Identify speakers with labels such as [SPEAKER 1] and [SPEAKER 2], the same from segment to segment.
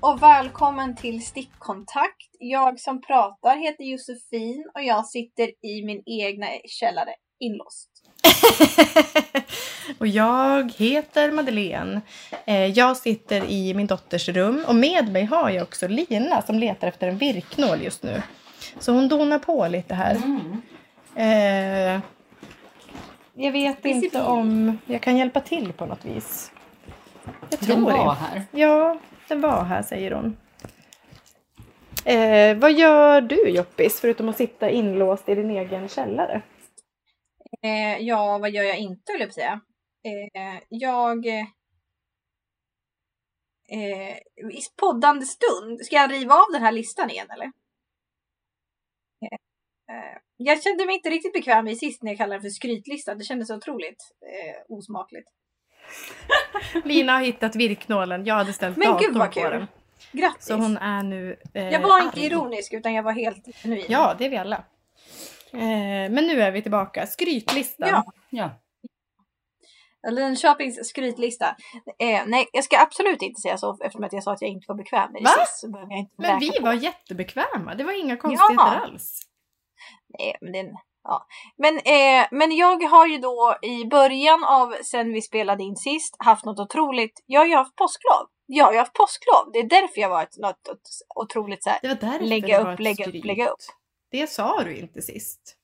[SPEAKER 1] och välkommen till Stickkontakt. Jag som pratar heter Josefin och jag sitter i min egna källare inlåst.
[SPEAKER 2] och jag heter Madeleine. Eh, Jag sitter i min dotters rum och med mig har jag också Lina som letar efter en virknål just nu. Så hon donar på lite här. Eh, Jag vet inte om jag kan hjälpa till på något vis. Jag
[SPEAKER 3] Den
[SPEAKER 2] tror
[SPEAKER 3] var
[SPEAKER 2] det.
[SPEAKER 3] här.
[SPEAKER 2] Ja, den var här säger hon. Eh, vad gör du Joppis förutom att sitta inlåst i din egen källare?
[SPEAKER 1] Eh, ja, vad gör jag inte höll jag på att säga. Eh, jag... eh, Eh, I poddande stund, ska jag riva av den här listan igen eller? Eh, eh, jag kände mig inte riktigt bekväm i sist när jag kallade den för skrytlista. Det kändes så otroligt eh, osmakligt.
[SPEAKER 2] Lina har hittat virknålen. Jag hade ställt
[SPEAKER 1] Men gud,
[SPEAKER 2] datorn
[SPEAKER 1] vad
[SPEAKER 2] på
[SPEAKER 1] kul.
[SPEAKER 2] den.
[SPEAKER 1] Grattis!
[SPEAKER 2] Så hon är nu eh,
[SPEAKER 1] Jag var inte
[SPEAKER 2] arg.
[SPEAKER 1] ironisk utan jag var helt genuin.
[SPEAKER 2] Ja, det är vi alla. Eh, men nu är vi tillbaka. Skrytlistan.
[SPEAKER 1] Ja.
[SPEAKER 3] Ja.
[SPEAKER 1] Linköpings skrytlista. Eh, nej, jag ska absolut inte säga så eftersom att jag sa att jag inte var bekväm med det
[SPEAKER 2] Va?
[SPEAKER 1] sist. Så behöver jag inte
[SPEAKER 2] Men
[SPEAKER 1] räkna
[SPEAKER 2] vi
[SPEAKER 1] på.
[SPEAKER 2] var jättebekväma. Det var inga konstigheter
[SPEAKER 1] Ja.
[SPEAKER 2] alls.
[SPEAKER 1] Nej, men, den, ja. men, eh, men jag har ju då i början av sen vi spelade in sist haft något otroligt. Jag har ju haft påsklov. Jag har ju haft påsklov. Det är därför jag har varit något ot- otroligt så här.
[SPEAKER 2] Det var därför
[SPEAKER 1] Lägga
[SPEAKER 2] det
[SPEAKER 1] upp,
[SPEAKER 2] var ett
[SPEAKER 1] lägga upp,
[SPEAKER 2] skryt.
[SPEAKER 1] lägga upp.
[SPEAKER 2] Det sa du inte sist.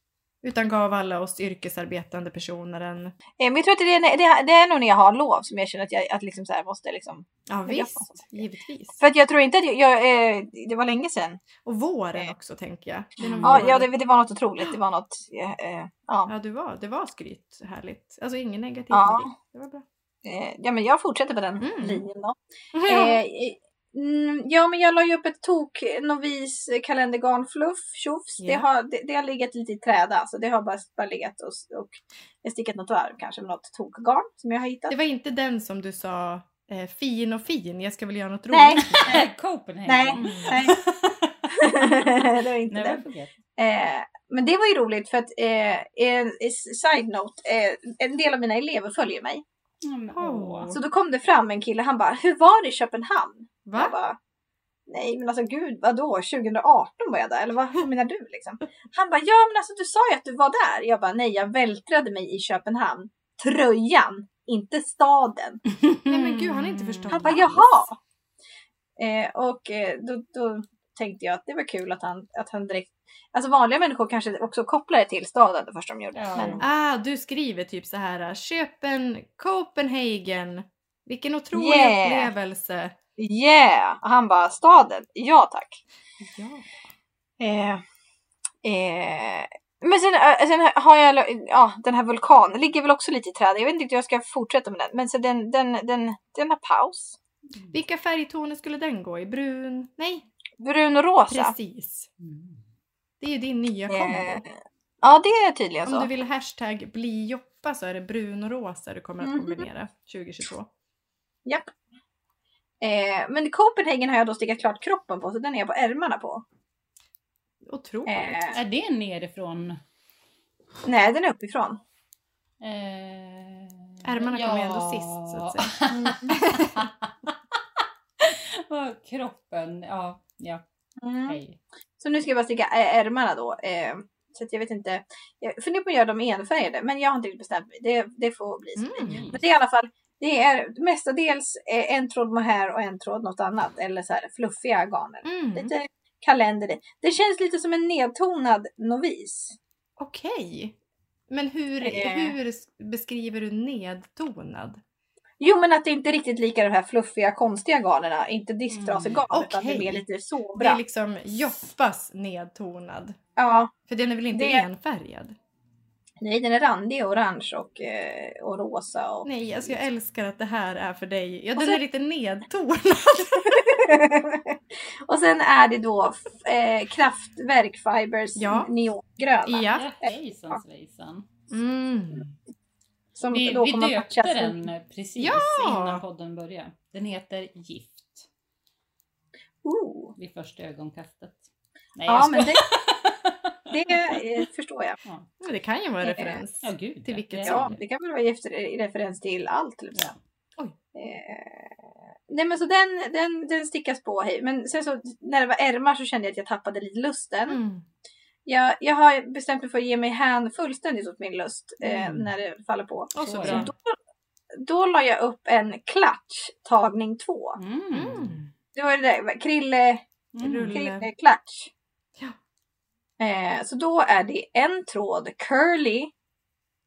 [SPEAKER 2] Utan gav alla oss yrkesarbetande personer en...
[SPEAKER 1] Eh, men jag tror att det är, det, är- det är nog när jag har lov som jag känner att jag att liksom så här måste liksom.
[SPEAKER 2] Ja
[SPEAKER 1] Lägga upp
[SPEAKER 2] visst,
[SPEAKER 1] massa saker.
[SPEAKER 2] givetvis.
[SPEAKER 1] För att jag tror inte att jag, jag eh, det var länge sedan.
[SPEAKER 2] Och våren
[SPEAKER 1] Eh.
[SPEAKER 2] också tänker jag. Det är någon
[SPEAKER 1] Ja,
[SPEAKER 2] vår.
[SPEAKER 1] ja det, det var något otroligt. Det var något. Eh, eh, ja.
[SPEAKER 2] ja du var, det var skryt. Härligt. Alltså inget negativt
[SPEAKER 1] Ja.
[SPEAKER 2] med det. Det var bra.
[SPEAKER 1] Eh, ja, men jag fortsätter på den
[SPEAKER 2] Mm.
[SPEAKER 1] linjen då. Eh, eh, mm, ja, men jag la ju upp ett tok novis eh, kalendergarnfluff, tjofs.
[SPEAKER 2] Ja.
[SPEAKER 1] Det, har, det, det har legat lite i träda, så det har bara, bara legat och, och jag stickat något varv kanske med något tokgarn som jag har hittat.
[SPEAKER 2] Det var inte den som du sa eh, fin och fin, jag ska väl göra något roligt.
[SPEAKER 1] Nej.
[SPEAKER 3] Copenhagen.
[SPEAKER 1] Nej,
[SPEAKER 3] Mm.
[SPEAKER 1] nej. det var inte
[SPEAKER 3] Never
[SPEAKER 1] den.
[SPEAKER 3] forget.
[SPEAKER 1] Eh, men det var ju roligt för att, eh, en, en side note, eh, en del av mina elever följer mig.
[SPEAKER 3] Mm,
[SPEAKER 2] Åh.
[SPEAKER 3] åh.
[SPEAKER 1] Så då kom det fram en kille, han bara, hur var det i Köpenhamn? Jag
[SPEAKER 2] Va?
[SPEAKER 1] bara, nej men alltså gud vadå 2018 var jag där eller vad, vad menar du liksom? Han bara, ja men alltså du sa ju att du var där. Jag bara, nej jag vältrade mig i Köpenhamn. Tröjan, inte staden.
[SPEAKER 2] Nej men gud, han har inte förstått
[SPEAKER 1] Han bara,
[SPEAKER 2] alls.
[SPEAKER 1] jaha! Eh, och eh, då, då tänkte jag att det var kul att han, att han direkt, alltså vanliga människor kanske också kopplar det till staden det första de gjorde.
[SPEAKER 3] Ja.
[SPEAKER 1] Men,
[SPEAKER 2] Ah, du skriver typ så här. Köpen, Copenhagen. Vilken otrolig
[SPEAKER 1] Yeah.
[SPEAKER 2] upplevelse.
[SPEAKER 1] yeah! Och han bara, staden, ja tack.
[SPEAKER 2] Ja.
[SPEAKER 1] Eh, eh, men sen, eh, sen har jag, ja den här vulkanen ligger väl också lite i träd. Jag vet inte riktigt hur jag ska fortsätta med den. Men så den, den, den, den har paus.
[SPEAKER 3] Mm.
[SPEAKER 2] Vilka färgtoner skulle den gå i? Brun? Nej,
[SPEAKER 1] Brun och rosa.
[SPEAKER 2] precis.
[SPEAKER 3] Mm.
[SPEAKER 2] Det är ju din nya
[SPEAKER 1] Eh,
[SPEAKER 2] kombo.
[SPEAKER 1] ja det är tydligen
[SPEAKER 2] Om du
[SPEAKER 1] så.
[SPEAKER 2] vill hashtag bli Joppa så är det brun och rosa du kommer att
[SPEAKER 1] Mhm.
[SPEAKER 2] kombinera 2022.
[SPEAKER 1] Japp. Eh, men Copenhagen har jag då stickat klart kroppen på så den är jag på ärmarna på.
[SPEAKER 2] Otroligt.
[SPEAKER 1] Eh,
[SPEAKER 3] Är det nerifrån?
[SPEAKER 1] nej den är uppifrån.
[SPEAKER 3] Eh,
[SPEAKER 2] Ärmarna kommer ju ändå sist så att säga.
[SPEAKER 3] Och kroppen, ja. ja
[SPEAKER 1] Mm.
[SPEAKER 3] hej.
[SPEAKER 1] Så nu ska jag bara sticka ä- ärmarna då. Eh, så att jag vet inte. Jag funderar på att göra dem enfärgade men jag har inte riktigt bestämt mig. Det, det får bli så.
[SPEAKER 2] Mm.
[SPEAKER 1] Men det är i alla fall, det är mestadels eh, en tråd mohair och en tråd något annat. Eller så här fluffiga garner.
[SPEAKER 2] Mm.
[SPEAKER 1] Lite kalender i. Det känns lite som en nedtonad novis.
[SPEAKER 2] Okej. Men hur,
[SPEAKER 1] Eh.
[SPEAKER 2] hur beskriver du nedtonad?
[SPEAKER 1] Jo men att det inte är riktigt lika de här fluffiga konstiga garnerna. Inte disktrasegarn
[SPEAKER 2] Mm,
[SPEAKER 1] utan det är
[SPEAKER 2] okej.
[SPEAKER 1] mer lite
[SPEAKER 2] Det
[SPEAKER 1] sobra.
[SPEAKER 2] är liksom Joppas nedtonad.
[SPEAKER 1] Ja,
[SPEAKER 2] För den är väl inte
[SPEAKER 1] Det-
[SPEAKER 2] enfärgad?
[SPEAKER 1] nej den är randig och orange och, eh, och rosa. Och...
[SPEAKER 2] Nej, alltså jag älskar att det här är för dig. Ja,
[SPEAKER 1] Och
[SPEAKER 2] den
[SPEAKER 1] så-
[SPEAKER 2] är lite nedtonad.
[SPEAKER 1] och sen är det då f- eh, Kraftwerk Fibers
[SPEAKER 2] Ja.
[SPEAKER 1] neongröna.
[SPEAKER 2] ja.
[SPEAKER 3] Hejsan svejsan.
[SPEAKER 2] Mm.
[SPEAKER 1] Som
[SPEAKER 3] Vi,
[SPEAKER 1] då
[SPEAKER 3] vi
[SPEAKER 1] kommer att
[SPEAKER 3] döpte
[SPEAKER 1] matchas med-
[SPEAKER 3] den precis
[SPEAKER 2] Ja!
[SPEAKER 3] innan podden började. Den heter Gift
[SPEAKER 1] Ooh.
[SPEAKER 3] vid första ögonkastet. Nej,
[SPEAKER 1] Oh. Ja,
[SPEAKER 3] jag
[SPEAKER 1] men
[SPEAKER 3] skojar.
[SPEAKER 1] det, det eh, förstår jag.
[SPEAKER 3] Ja.
[SPEAKER 2] Men Det kan ju vara en
[SPEAKER 1] Eh,
[SPEAKER 2] referens.
[SPEAKER 3] Ja, gud.
[SPEAKER 2] Till vilket
[SPEAKER 3] det är
[SPEAKER 2] som.
[SPEAKER 1] Ja, det kan väl vara efter, i referens till allt. Liksom.
[SPEAKER 3] Ja.
[SPEAKER 2] Oj.
[SPEAKER 1] Eh, Nej men så den, den, den stickas på hej. Men sen så när det var ärmar så kände jag att jag tappade lite lusten.
[SPEAKER 2] Mm.
[SPEAKER 1] Jag, jag har bestämt mig för att ge mig hän fullständigt åt min lust eh,
[SPEAKER 2] Mm.
[SPEAKER 1] när det faller på.
[SPEAKER 2] Och så
[SPEAKER 3] Så
[SPEAKER 2] bra.
[SPEAKER 1] Då, då la jag upp en klatsch tagning två.
[SPEAKER 3] Mm.
[SPEAKER 2] Mm.
[SPEAKER 1] Det var ju det där, krille,
[SPEAKER 2] Rulle.
[SPEAKER 1] krille klatsch.
[SPEAKER 2] Ja.
[SPEAKER 1] Eh, så då är det en tråd curly.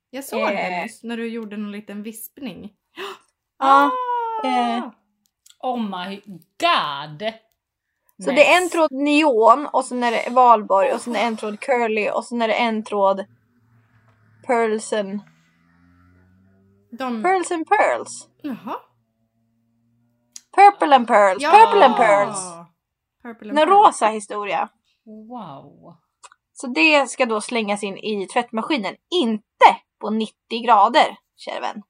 [SPEAKER 2] Jag såg
[SPEAKER 1] Eh.
[SPEAKER 2] det nyss när du gjorde någon liten vispning.
[SPEAKER 1] Ja,
[SPEAKER 2] Ah!
[SPEAKER 1] eh.
[SPEAKER 3] Oh my god!
[SPEAKER 1] Så det är en tråd neon och sen är det valborg och sen är det en tråd curly och sen är det en tråd pearls
[SPEAKER 2] Mm.
[SPEAKER 1] and,
[SPEAKER 2] De...
[SPEAKER 1] pearls and pearls.
[SPEAKER 2] Jaha.
[SPEAKER 1] Purple and pearls, purple and pearls.
[SPEAKER 2] Purple and
[SPEAKER 1] En
[SPEAKER 2] pearls.
[SPEAKER 1] rosa historia.
[SPEAKER 3] Wow!
[SPEAKER 1] Så det ska då slängas in i tvättmaskinen. Inte på 90 grader, kära vän.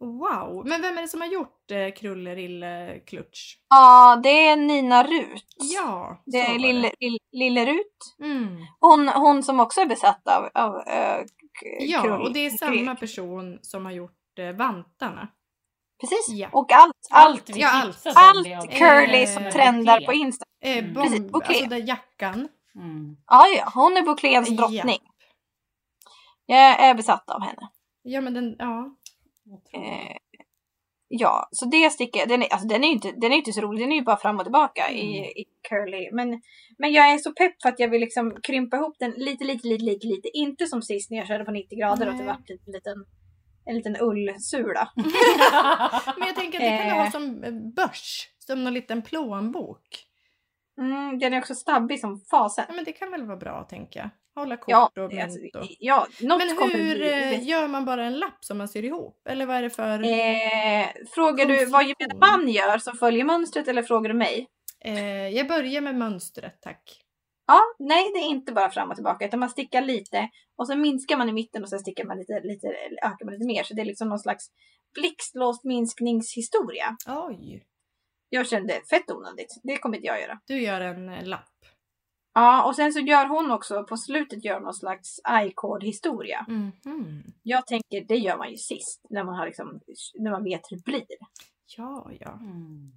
[SPEAKER 2] Wow. Men vem är det som har gjort eh, Krullerille Klutsch?
[SPEAKER 1] Ja, det är Nina Rut.
[SPEAKER 2] Ja.
[SPEAKER 1] det
[SPEAKER 2] så var
[SPEAKER 1] är Lille, Lille, Lille Rut.
[SPEAKER 2] Mm.
[SPEAKER 1] Hon, hon som också är besatt av, av eh, k-
[SPEAKER 2] Ja,
[SPEAKER 1] krull-
[SPEAKER 2] och det
[SPEAKER 1] krull.
[SPEAKER 2] är samma person som har gjort eh, vantarna.
[SPEAKER 1] Precis.
[SPEAKER 2] Ja.
[SPEAKER 1] Och allt, allt,
[SPEAKER 3] vi
[SPEAKER 2] ja,
[SPEAKER 3] tipsade om
[SPEAKER 1] allt
[SPEAKER 3] det av-
[SPEAKER 1] curly
[SPEAKER 2] Eh,
[SPEAKER 1] som
[SPEAKER 2] bouquet.
[SPEAKER 1] trendar på Insta.
[SPEAKER 2] Eh,
[SPEAKER 3] Mm.
[SPEAKER 2] bomb,
[SPEAKER 1] Precis, bouquet.
[SPEAKER 2] Alltså där jackan.
[SPEAKER 3] Mm.
[SPEAKER 1] Ja, ja, hon är Boucléns
[SPEAKER 2] Ja.
[SPEAKER 1] drottning. Jag är besatt av henne.
[SPEAKER 2] Ja, men den, ja.
[SPEAKER 3] Otroligt.
[SPEAKER 1] Eh, ja, så det sticker den är, alltså, den är ju inte, den är inte så rolig, den är ju bara fram och tillbaka i,
[SPEAKER 3] Mm.
[SPEAKER 1] i curly. Men, men jag är så pepp för att jag vill liksom krympa ihop den lite, lite, lite, lite, lite. Inte som sist när jag körde på 90 grader och det
[SPEAKER 2] Nej.
[SPEAKER 1] vart en liten, en liten ullsula.
[SPEAKER 2] Men jag tänker att det kan du
[SPEAKER 1] Eh.
[SPEAKER 2] ha som eh, börs, som någon liten plånbok.
[SPEAKER 1] Mm, den är också stabbig som fasen.
[SPEAKER 2] Ja, men det kan väl vara bra, tänker jag. Hålla Mm. kort
[SPEAKER 1] Ja,
[SPEAKER 2] och mynt
[SPEAKER 1] alltså,
[SPEAKER 2] och...
[SPEAKER 1] ja, något
[SPEAKER 2] Men
[SPEAKER 1] kommer bli
[SPEAKER 2] hur eh, gör man bara en lapp som man syr ihop? Eller vad är det för...
[SPEAKER 1] Eh, frågar du vad gemene
[SPEAKER 2] Konstruktion.
[SPEAKER 1] man gör som följer mönstret eller frågar du mig?
[SPEAKER 2] Eh, jag börjar med mönstret, tack.
[SPEAKER 1] Ja, nej det är inte bara fram och tillbaka utan man stickar lite och sen minskar man i mitten och sen stickar man lite, lite, ökar man lite mer. Så det är liksom någon slags blixtlåst minskningshistoria.
[SPEAKER 2] Oj!
[SPEAKER 1] Jag kände fett onödigt, det kommer inte jag göra.
[SPEAKER 2] Du gör en eh, lapp.
[SPEAKER 1] Ja, och sen så gör hon också på slutet gör någon slags i-cord historia.
[SPEAKER 2] Mhm.
[SPEAKER 1] Jag tänker det gör man ju sist när man har liksom, när man vet hur det blir.
[SPEAKER 2] Ja, ja.
[SPEAKER 3] Mm.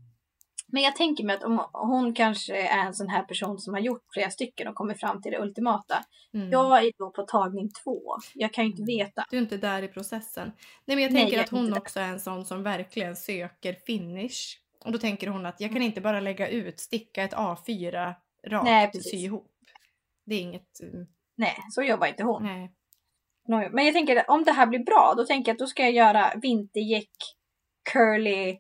[SPEAKER 1] Men jag tänker mig att om hon kanske är en sån här person som har gjort flera stycken och kommit fram till det ultimata.
[SPEAKER 2] Mm.
[SPEAKER 1] Jag är då på tagning två. Jag kan ju inte veta.
[SPEAKER 2] Du är inte där i processen. Nej men jag
[SPEAKER 1] Nej,
[SPEAKER 2] tänker
[SPEAKER 1] jag är
[SPEAKER 2] att hon
[SPEAKER 1] inte där.
[SPEAKER 2] också är en sån som verkligen söker finish. Och då tänker hon att
[SPEAKER 1] Mm.
[SPEAKER 2] jag kan inte bara lägga ut, sticka ett A4 rakt
[SPEAKER 1] Nej,
[SPEAKER 2] och
[SPEAKER 1] precis.
[SPEAKER 2] sy ihop. Det är inget... mm,
[SPEAKER 1] Nej, så jobbar inte hon.
[SPEAKER 2] Nej.
[SPEAKER 1] Nåja, Men jag tänker att om det här blir bra, då tänker jag att då ska jag göra vintergäck, curly,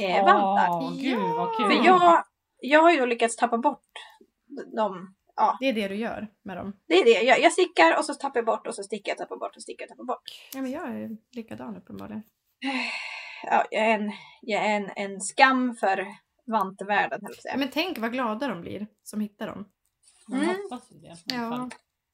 [SPEAKER 1] eh, vantar.
[SPEAKER 3] Åh, gud vad kul!
[SPEAKER 1] För jag, jag har ju då lyckats tappa bort dem. Ja,
[SPEAKER 2] Det är det du gör med dem.
[SPEAKER 1] det är det. Jag, jag stickar och så tappar jag bort och så stickar jag, tappar bort och stickar, tappar bort.
[SPEAKER 2] Ja men jag är likadan uppenbarligen.
[SPEAKER 1] Ja, jag är en, jag är en, en skam för vantevärlden, höll jag på att säga.
[SPEAKER 2] Men tänk vad glada de blir som hittar dem.
[SPEAKER 3] Man
[SPEAKER 1] Mm.
[SPEAKER 3] hoppas ju det. i alla
[SPEAKER 2] Ja.
[SPEAKER 3] fall.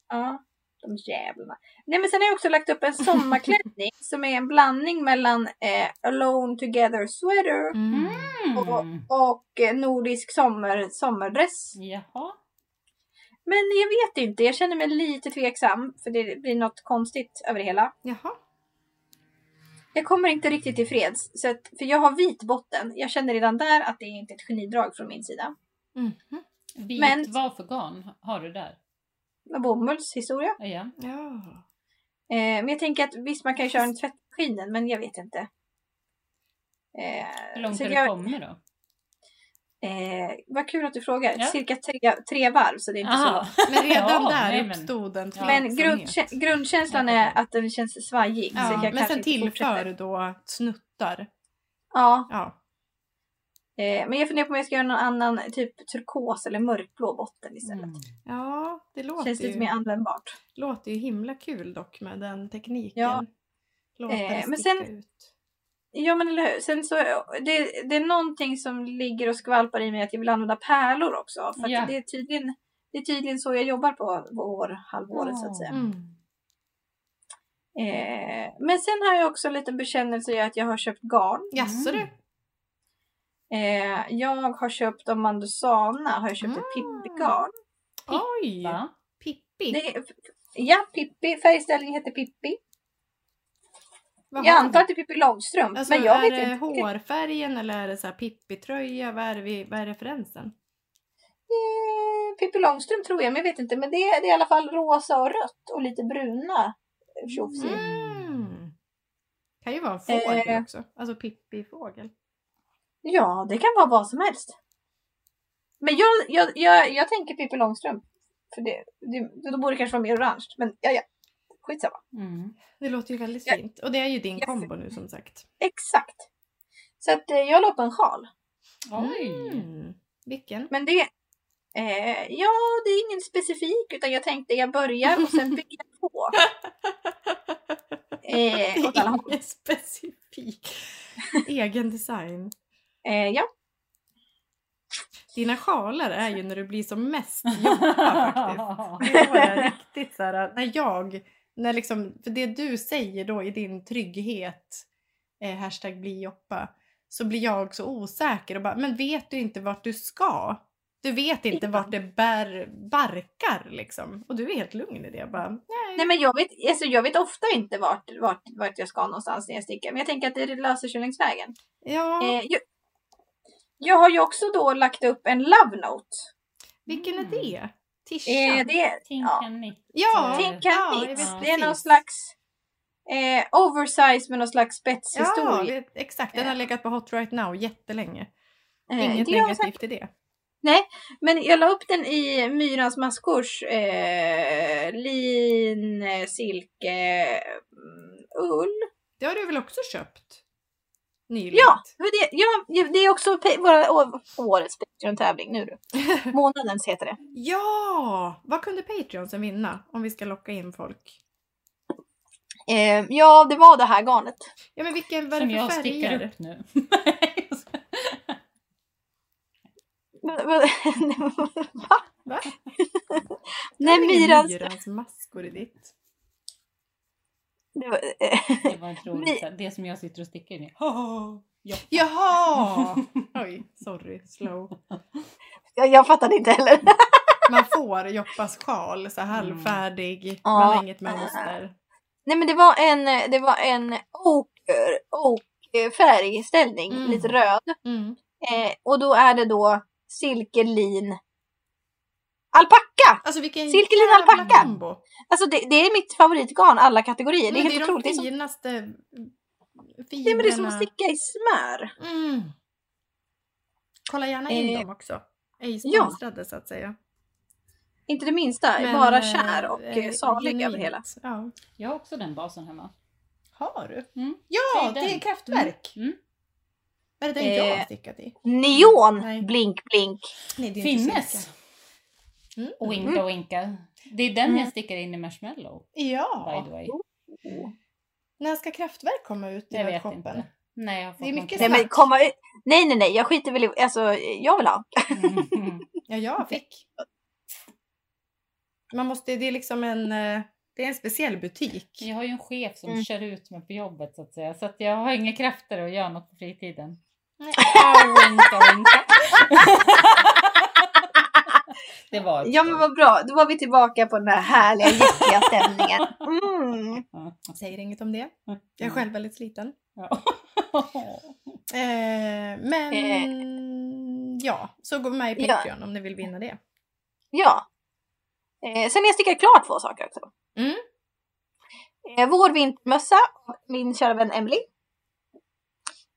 [SPEAKER 1] Ja, de jävlarna. Nej men sen har jag också lagt upp en sommarklänning som är en blandning mellan eh, Alone Together Sweater
[SPEAKER 2] Mm.
[SPEAKER 3] Mm.
[SPEAKER 1] och eh, Nordisk sommar, sommardress.
[SPEAKER 3] Jaha.
[SPEAKER 1] Men jag vet inte, jag känner mig lite tveksam för det blir något konstigt över det hela.
[SPEAKER 2] Jaha.
[SPEAKER 1] Jag kommer inte riktigt tillfreds, så att, för jag har vit botten. Jag känner redan där att det är inte är ett genidrag från min sida. Mm-hmm.
[SPEAKER 2] Mhm.
[SPEAKER 3] Vit,
[SPEAKER 1] Men-
[SPEAKER 3] vad för garn har du där?
[SPEAKER 1] Bomulls historia.
[SPEAKER 3] Ja.
[SPEAKER 2] Ja.
[SPEAKER 1] Eh, men jag tänker att visst man kan ju köra den i tvättmaskinen men jag vet inte. Eh,
[SPEAKER 3] Hur långt
[SPEAKER 1] så
[SPEAKER 3] har
[SPEAKER 1] jag-
[SPEAKER 3] du kommit då?
[SPEAKER 1] Eh, vad kul att du frågar.
[SPEAKER 3] Ja.
[SPEAKER 1] Cirka tre, tre varv så det är inte så.
[SPEAKER 2] Men redan
[SPEAKER 3] Ja,
[SPEAKER 2] där
[SPEAKER 3] nej, men-
[SPEAKER 2] uppstod en
[SPEAKER 3] Ja.
[SPEAKER 1] Men
[SPEAKER 2] tveksamhet.
[SPEAKER 1] grundkä- grundkänslan
[SPEAKER 3] Jag
[SPEAKER 1] är
[SPEAKER 3] fattar.
[SPEAKER 1] att den känns svajig. så
[SPEAKER 2] Ja,
[SPEAKER 1] jag
[SPEAKER 2] men
[SPEAKER 1] kanske
[SPEAKER 2] sen
[SPEAKER 1] inte
[SPEAKER 2] tillför
[SPEAKER 1] fortsätter.
[SPEAKER 2] du då snuttar.
[SPEAKER 1] Ja,
[SPEAKER 2] Ja.
[SPEAKER 1] eh, men jag funderar på om jag ska göra någon annan typ turkos eller mörkblå botten istället.
[SPEAKER 3] Mm.
[SPEAKER 2] Ja, det låter
[SPEAKER 1] Känns
[SPEAKER 2] ju...
[SPEAKER 1] lite mer användbart.
[SPEAKER 2] Låter ju himla kul dock med den tekniken.
[SPEAKER 1] Ja.
[SPEAKER 2] Låta det
[SPEAKER 1] Eh, men
[SPEAKER 2] sticka
[SPEAKER 1] sen-
[SPEAKER 2] ut.
[SPEAKER 1] Ja men eller hur. Sen så, det, det är någonting som ligger och skvalpar i mig att jag vill använda pärlor också. För att
[SPEAKER 3] Ja.
[SPEAKER 1] det, är tydligen, det är tydligen så jag jobbar på vårhalvåret så att säga.
[SPEAKER 3] Mm.
[SPEAKER 1] Eh, men sen har jag också en liten bekännelse i att jag har köpt garn.
[SPEAKER 2] Jaså
[SPEAKER 1] Mm.
[SPEAKER 2] du?
[SPEAKER 1] Eh, jag har köpt av Mandusana, har jag köpt ett
[SPEAKER 2] Mm.
[SPEAKER 1] Pippi-garn.
[SPEAKER 2] Oj!
[SPEAKER 3] Va?
[SPEAKER 2] Pippi.
[SPEAKER 1] Det är- Ja, Pippi. Färgställningen heter Pippi.
[SPEAKER 2] Vad
[SPEAKER 1] Jag
[SPEAKER 2] har
[SPEAKER 1] antar
[SPEAKER 2] du?
[SPEAKER 1] att det är Pippi Långstrump.
[SPEAKER 2] Alltså,
[SPEAKER 1] men jag
[SPEAKER 2] är
[SPEAKER 1] vet
[SPEAKER 2] det
[SPEAKER 1] inte. riktigt.
[SPEAKER 2] hårfärgen eller är det så här Pippi-tröja? Vad är, det vi, vad är referensen?
[SPEAKER 1] Eh, Pippi Långstrump tror jag, men jag vet inte. Men det är, det är i alla fall rosa och rött och lite bruna tjofsigt.
[SPEAKER 2] Mm. Kan ju vara en fågel
[SPEAKER 1] Eh.
[SPEAKER 2] också. Alltså Pippi-fågel.
[SPEAKER 1] Ja, det kan vara vad som helst. Men jag, jag, jag, jag tänker Pippi Långstrump. För det, det, då borde det kanske vara mer orange. Men ja, ja. Skitsamma.
[SPEAKER 3] Mm.
[SPEAKER 2] Det låter ju väldigt
[SPEAKER 1] Ja.
[SPEAKER 2] fint. Och det är ju din
[SPEAKER 1] Ja.
[SPEAKER 2] kombo nu som sagt.
[SPEAKER 1] Exakt. Så att eh, jag la upp en sjal.
[SPEAKER 3] Oj!
[SPEAKER 2] Mm. Vilken?
[SPEAKER 1] Men det... Eh, ja, det är ingen specifik utan jag tänkte jag börjar och sen bygger jag på. Eh, åt alla håll.
[SPEAKER 2] Ingen specifik. Egen design.
[SPEAKER 1] Eh, ja,
[SPEAKER 2] Dina sjalar är ju när du blir som mest jobba faktiskt. Det är då jag riktigt så här, när jag, när liksom, för det du säger då i din trygghet, eh, hashtag bli joppa, så blir jag så osäker och bara, men vet du inte vart du ska? Du vet inte
[SPEAKER 1] Ja.
[SPEAKER 2] vart det bär, barkar liksom. Och du är helt lugn i det. Jag bara, nej.
[SPEAKER 1] nej men jag vet, alltså, jag vet ofta inte vart, vart, vart jag ska någonstans när jag stickar. Men jag tänker att det löser sig längs vägen.
[SPEAKER 2] Ja,
[SPEAKER 1] Eh, jag, jag har ju också då lagt upp en love note.
[SPEAKER 2] vilken är det? Tisha?
[SPEAKER 1] mm. Eh, det är
[SPEAKER 3] Tinka nitt.
[SPEAKER 2] ja,
[SPEAKER 1] Tinkan
[SPEAKER 2] ja, jag
[SPEAKER 1] Nits.
[SPEAKER 2] vet
[SPEAKER 1] Det är någon
[SPEAKER 2] precis.
[SPEAKER 1] slags eh, oversize med någon slags
[SPEAKER 2] Ja,
[SPEAKER 1] spetshistoria.
[SPEAKER 2] det, exakt. Den har legat på hot right now jättelänge.
[SPEAKER 1] Eh,
[SPEAKER 2] Inget
[SPEAKER 1] det gör jag
[SPEAKER 2] negativt i det.
[SPEAKER 1] Men jag la upp den i Myrans maskors eh, lin, eh, silke, mm, ull.
[SPEAKER 2] Det har du väl också köpt? Nyligen?
[SPEAKER 1] Ja, men det, ja, det är också pe- våra, å- årets Patreon-tävling nu du. Månadens heter det.
[SPEAKER 2] Ja! Vad kunde Patreonsen vinna om vi ska locka in folk?
[SPEAKER 1] Eh, ja, det var det här garnet.
[SPEAKER 2] Ja men vilken, vad är
[SPEAKER 3] Som
[SPEAKER 2] det
[SPEAKER 3] jag
[SPEAKER 2] för
[SPEAKER 3] sticker
[SPEAKER 2] färger?
[SPEAKER 3] upp nu.
[SPEAKER 1] Men- men- Va?
[SPEAKER 2] Va?
[SPEAKER 1] Nej,
[SPEAKER 2] Det är ingen
[SPEAKER 1] Myrans...
[SPEAKER 2] Myrans maskor i ditt.
[SPEAKER 1] det var- eh,
[SPEAKER 3] Det var inte roligt. så här, Det som jag sitter och sticker i.
[SPEAKER 2] Oh. Jaha! Oj, sorry, slow.
[SPEAKER 1] Jag, jag fattade inte heller.
[SPEAKER 2] Man får Joppas sjal
[SPEAKER 3] Mm.
[SPEAKER 2] så halvfärdig, man har
[SPEAKER 1] Ja.
[SPEAKER 2] inget mönster.
[SPEAKER 1] Nej men det var en, eh, det var en oker, färgställning,
[SPEAKER 2] Mm.
[SPEAKER 1] lite röd.
[SPEAKER 2] Mm.
[SPEAKER 1] Eh, och då är det då silkelin alpacka!
[SPEAKER 2] Alltså vilken
[SPEAKER 1] Silkelin
[SPEAKER 2] jävla
[SPEAKER 1] alpacka.
[SPEAKER 2] kombo.
[SPEAKER 1] Alltså det, det är mitt favoritgarn alla kategorier. Det är
[SPEAKER 2] Men
[SPEAKER 1] helt
[SPEAKER 2] det är
[SPEAKER 1] otroligt. Det
[SPEAKER 2] de
[SPEAKER 1] är, som,
[SPEAKER 2] finaste
[SPEAKER 1] det, men det är som att
[SPEAKER 2] fibrerna.
[SPEAKER 1] sticka i smör.
[SPEAKER 2] Mm. Kolla gärna in
[SPEAKER 1] Eh,
[SPEAKER 2] dem också. Är ju
[SPEAKER 1] ja.
[SPEAKER 2] sponsrade så att säga.
[SPEAKER 1] Inte det minsta,
[SPEAKER 2] Men,
[SPEAKER 1] bara
[SPEAKER 2] eh,
[SPEAKER 1] kär och eh,
[SPEAKER 2] eh,
[SPEAKER 1] salig över
[SPEAKER 2] genuint.
[SPEAKER 1] hela.
[SPEAKER 2] Ja.
[SPEAKER 3] Jag har också den basen hemma.
[SPEAKER 2] Har du?
[SPEAKER 3] Mm.
[SPEAKER 2] Ja,
[SPEAKER 3] Det
[SPEAKER 2] det
[SPEAKER 3] är
[SPEAKER 2] är,
[SPEAKER 3] den.
[SPEAKER 2] kraftverk.
[SPEAKER 3] Mm. Mm.
[SPEAKER 2] Är det den
[SPEAKER 1] Eh,
[SPEAKER 2] jag har stickat i?
[SPEAKER 1] Neon!
[SPEAKER 2] Nej.
[SPEAKER 1] Blink blink!
[SPEAKER 2] Nej, det är inte
[SPEAKER 3] Finnes!
[SPEAKER 2] stickat. Mm.
[SPEAKER 3] Och winka och winka. Det är den jag stickar in i marshmallow. By
[SPEAKER 2] Ja.
[SPEAKER 3] the way.
[SPEAKER 2] När ska kraftverk komma ut i
[SPEAKER 3] Jag vet
[SPEAKER 2] webbshoppen?
[SPEAKER 3] inte. Nej, jag har fått
[SPEAKER 2] Det är mycket
[SPEAKER 1] Nej
[SPEAKER 2] snack.
[SPEAKER 1] men komma ut! Nej nej nej, jag skiter väl i... Alltså jag vill ha.
[SPEAKER 3] Mm.
[SPEAKER 2] Ja, jag fick. Man måste, det är liksom en, eh, det är en speciell butik.
[SPEAKER 3] Jag har ju en chef som
[SPEAKER 1] Mm.
[SPEAKER 3] kör ut mig på jobbet så att säga. Så att jag har inga krafter att göra något på fritiden.
[SPEAKER 2] Nej.
[SPEAKER 3] Ah, winka, winka. det var ett
[SPEAKER 1] Ja men
[SPEAKER 3] skoj.
[SPEAKER 1] vad bra, då var vi tillbaka på den här härliga jättiga stämningen. Mm.
[SPEAKER 2] Säger inget om det. Jag är själv väldigt sliten.
[SPEAKER 3] Mm. Ja.
[SPEAKER 2] Eh, men ja, så gå med i
[SPEAKER 1] Ja.
[SPEAKER 2] Patreon om ni vill vinna det.
[SPEAKER 1] Ja. Eh, sen har jag stickat klart två saker också.
[SPEAKER 2] Mm.
[SPEAKER 1] Eh, vår vintermössa, av min kära vän Emily.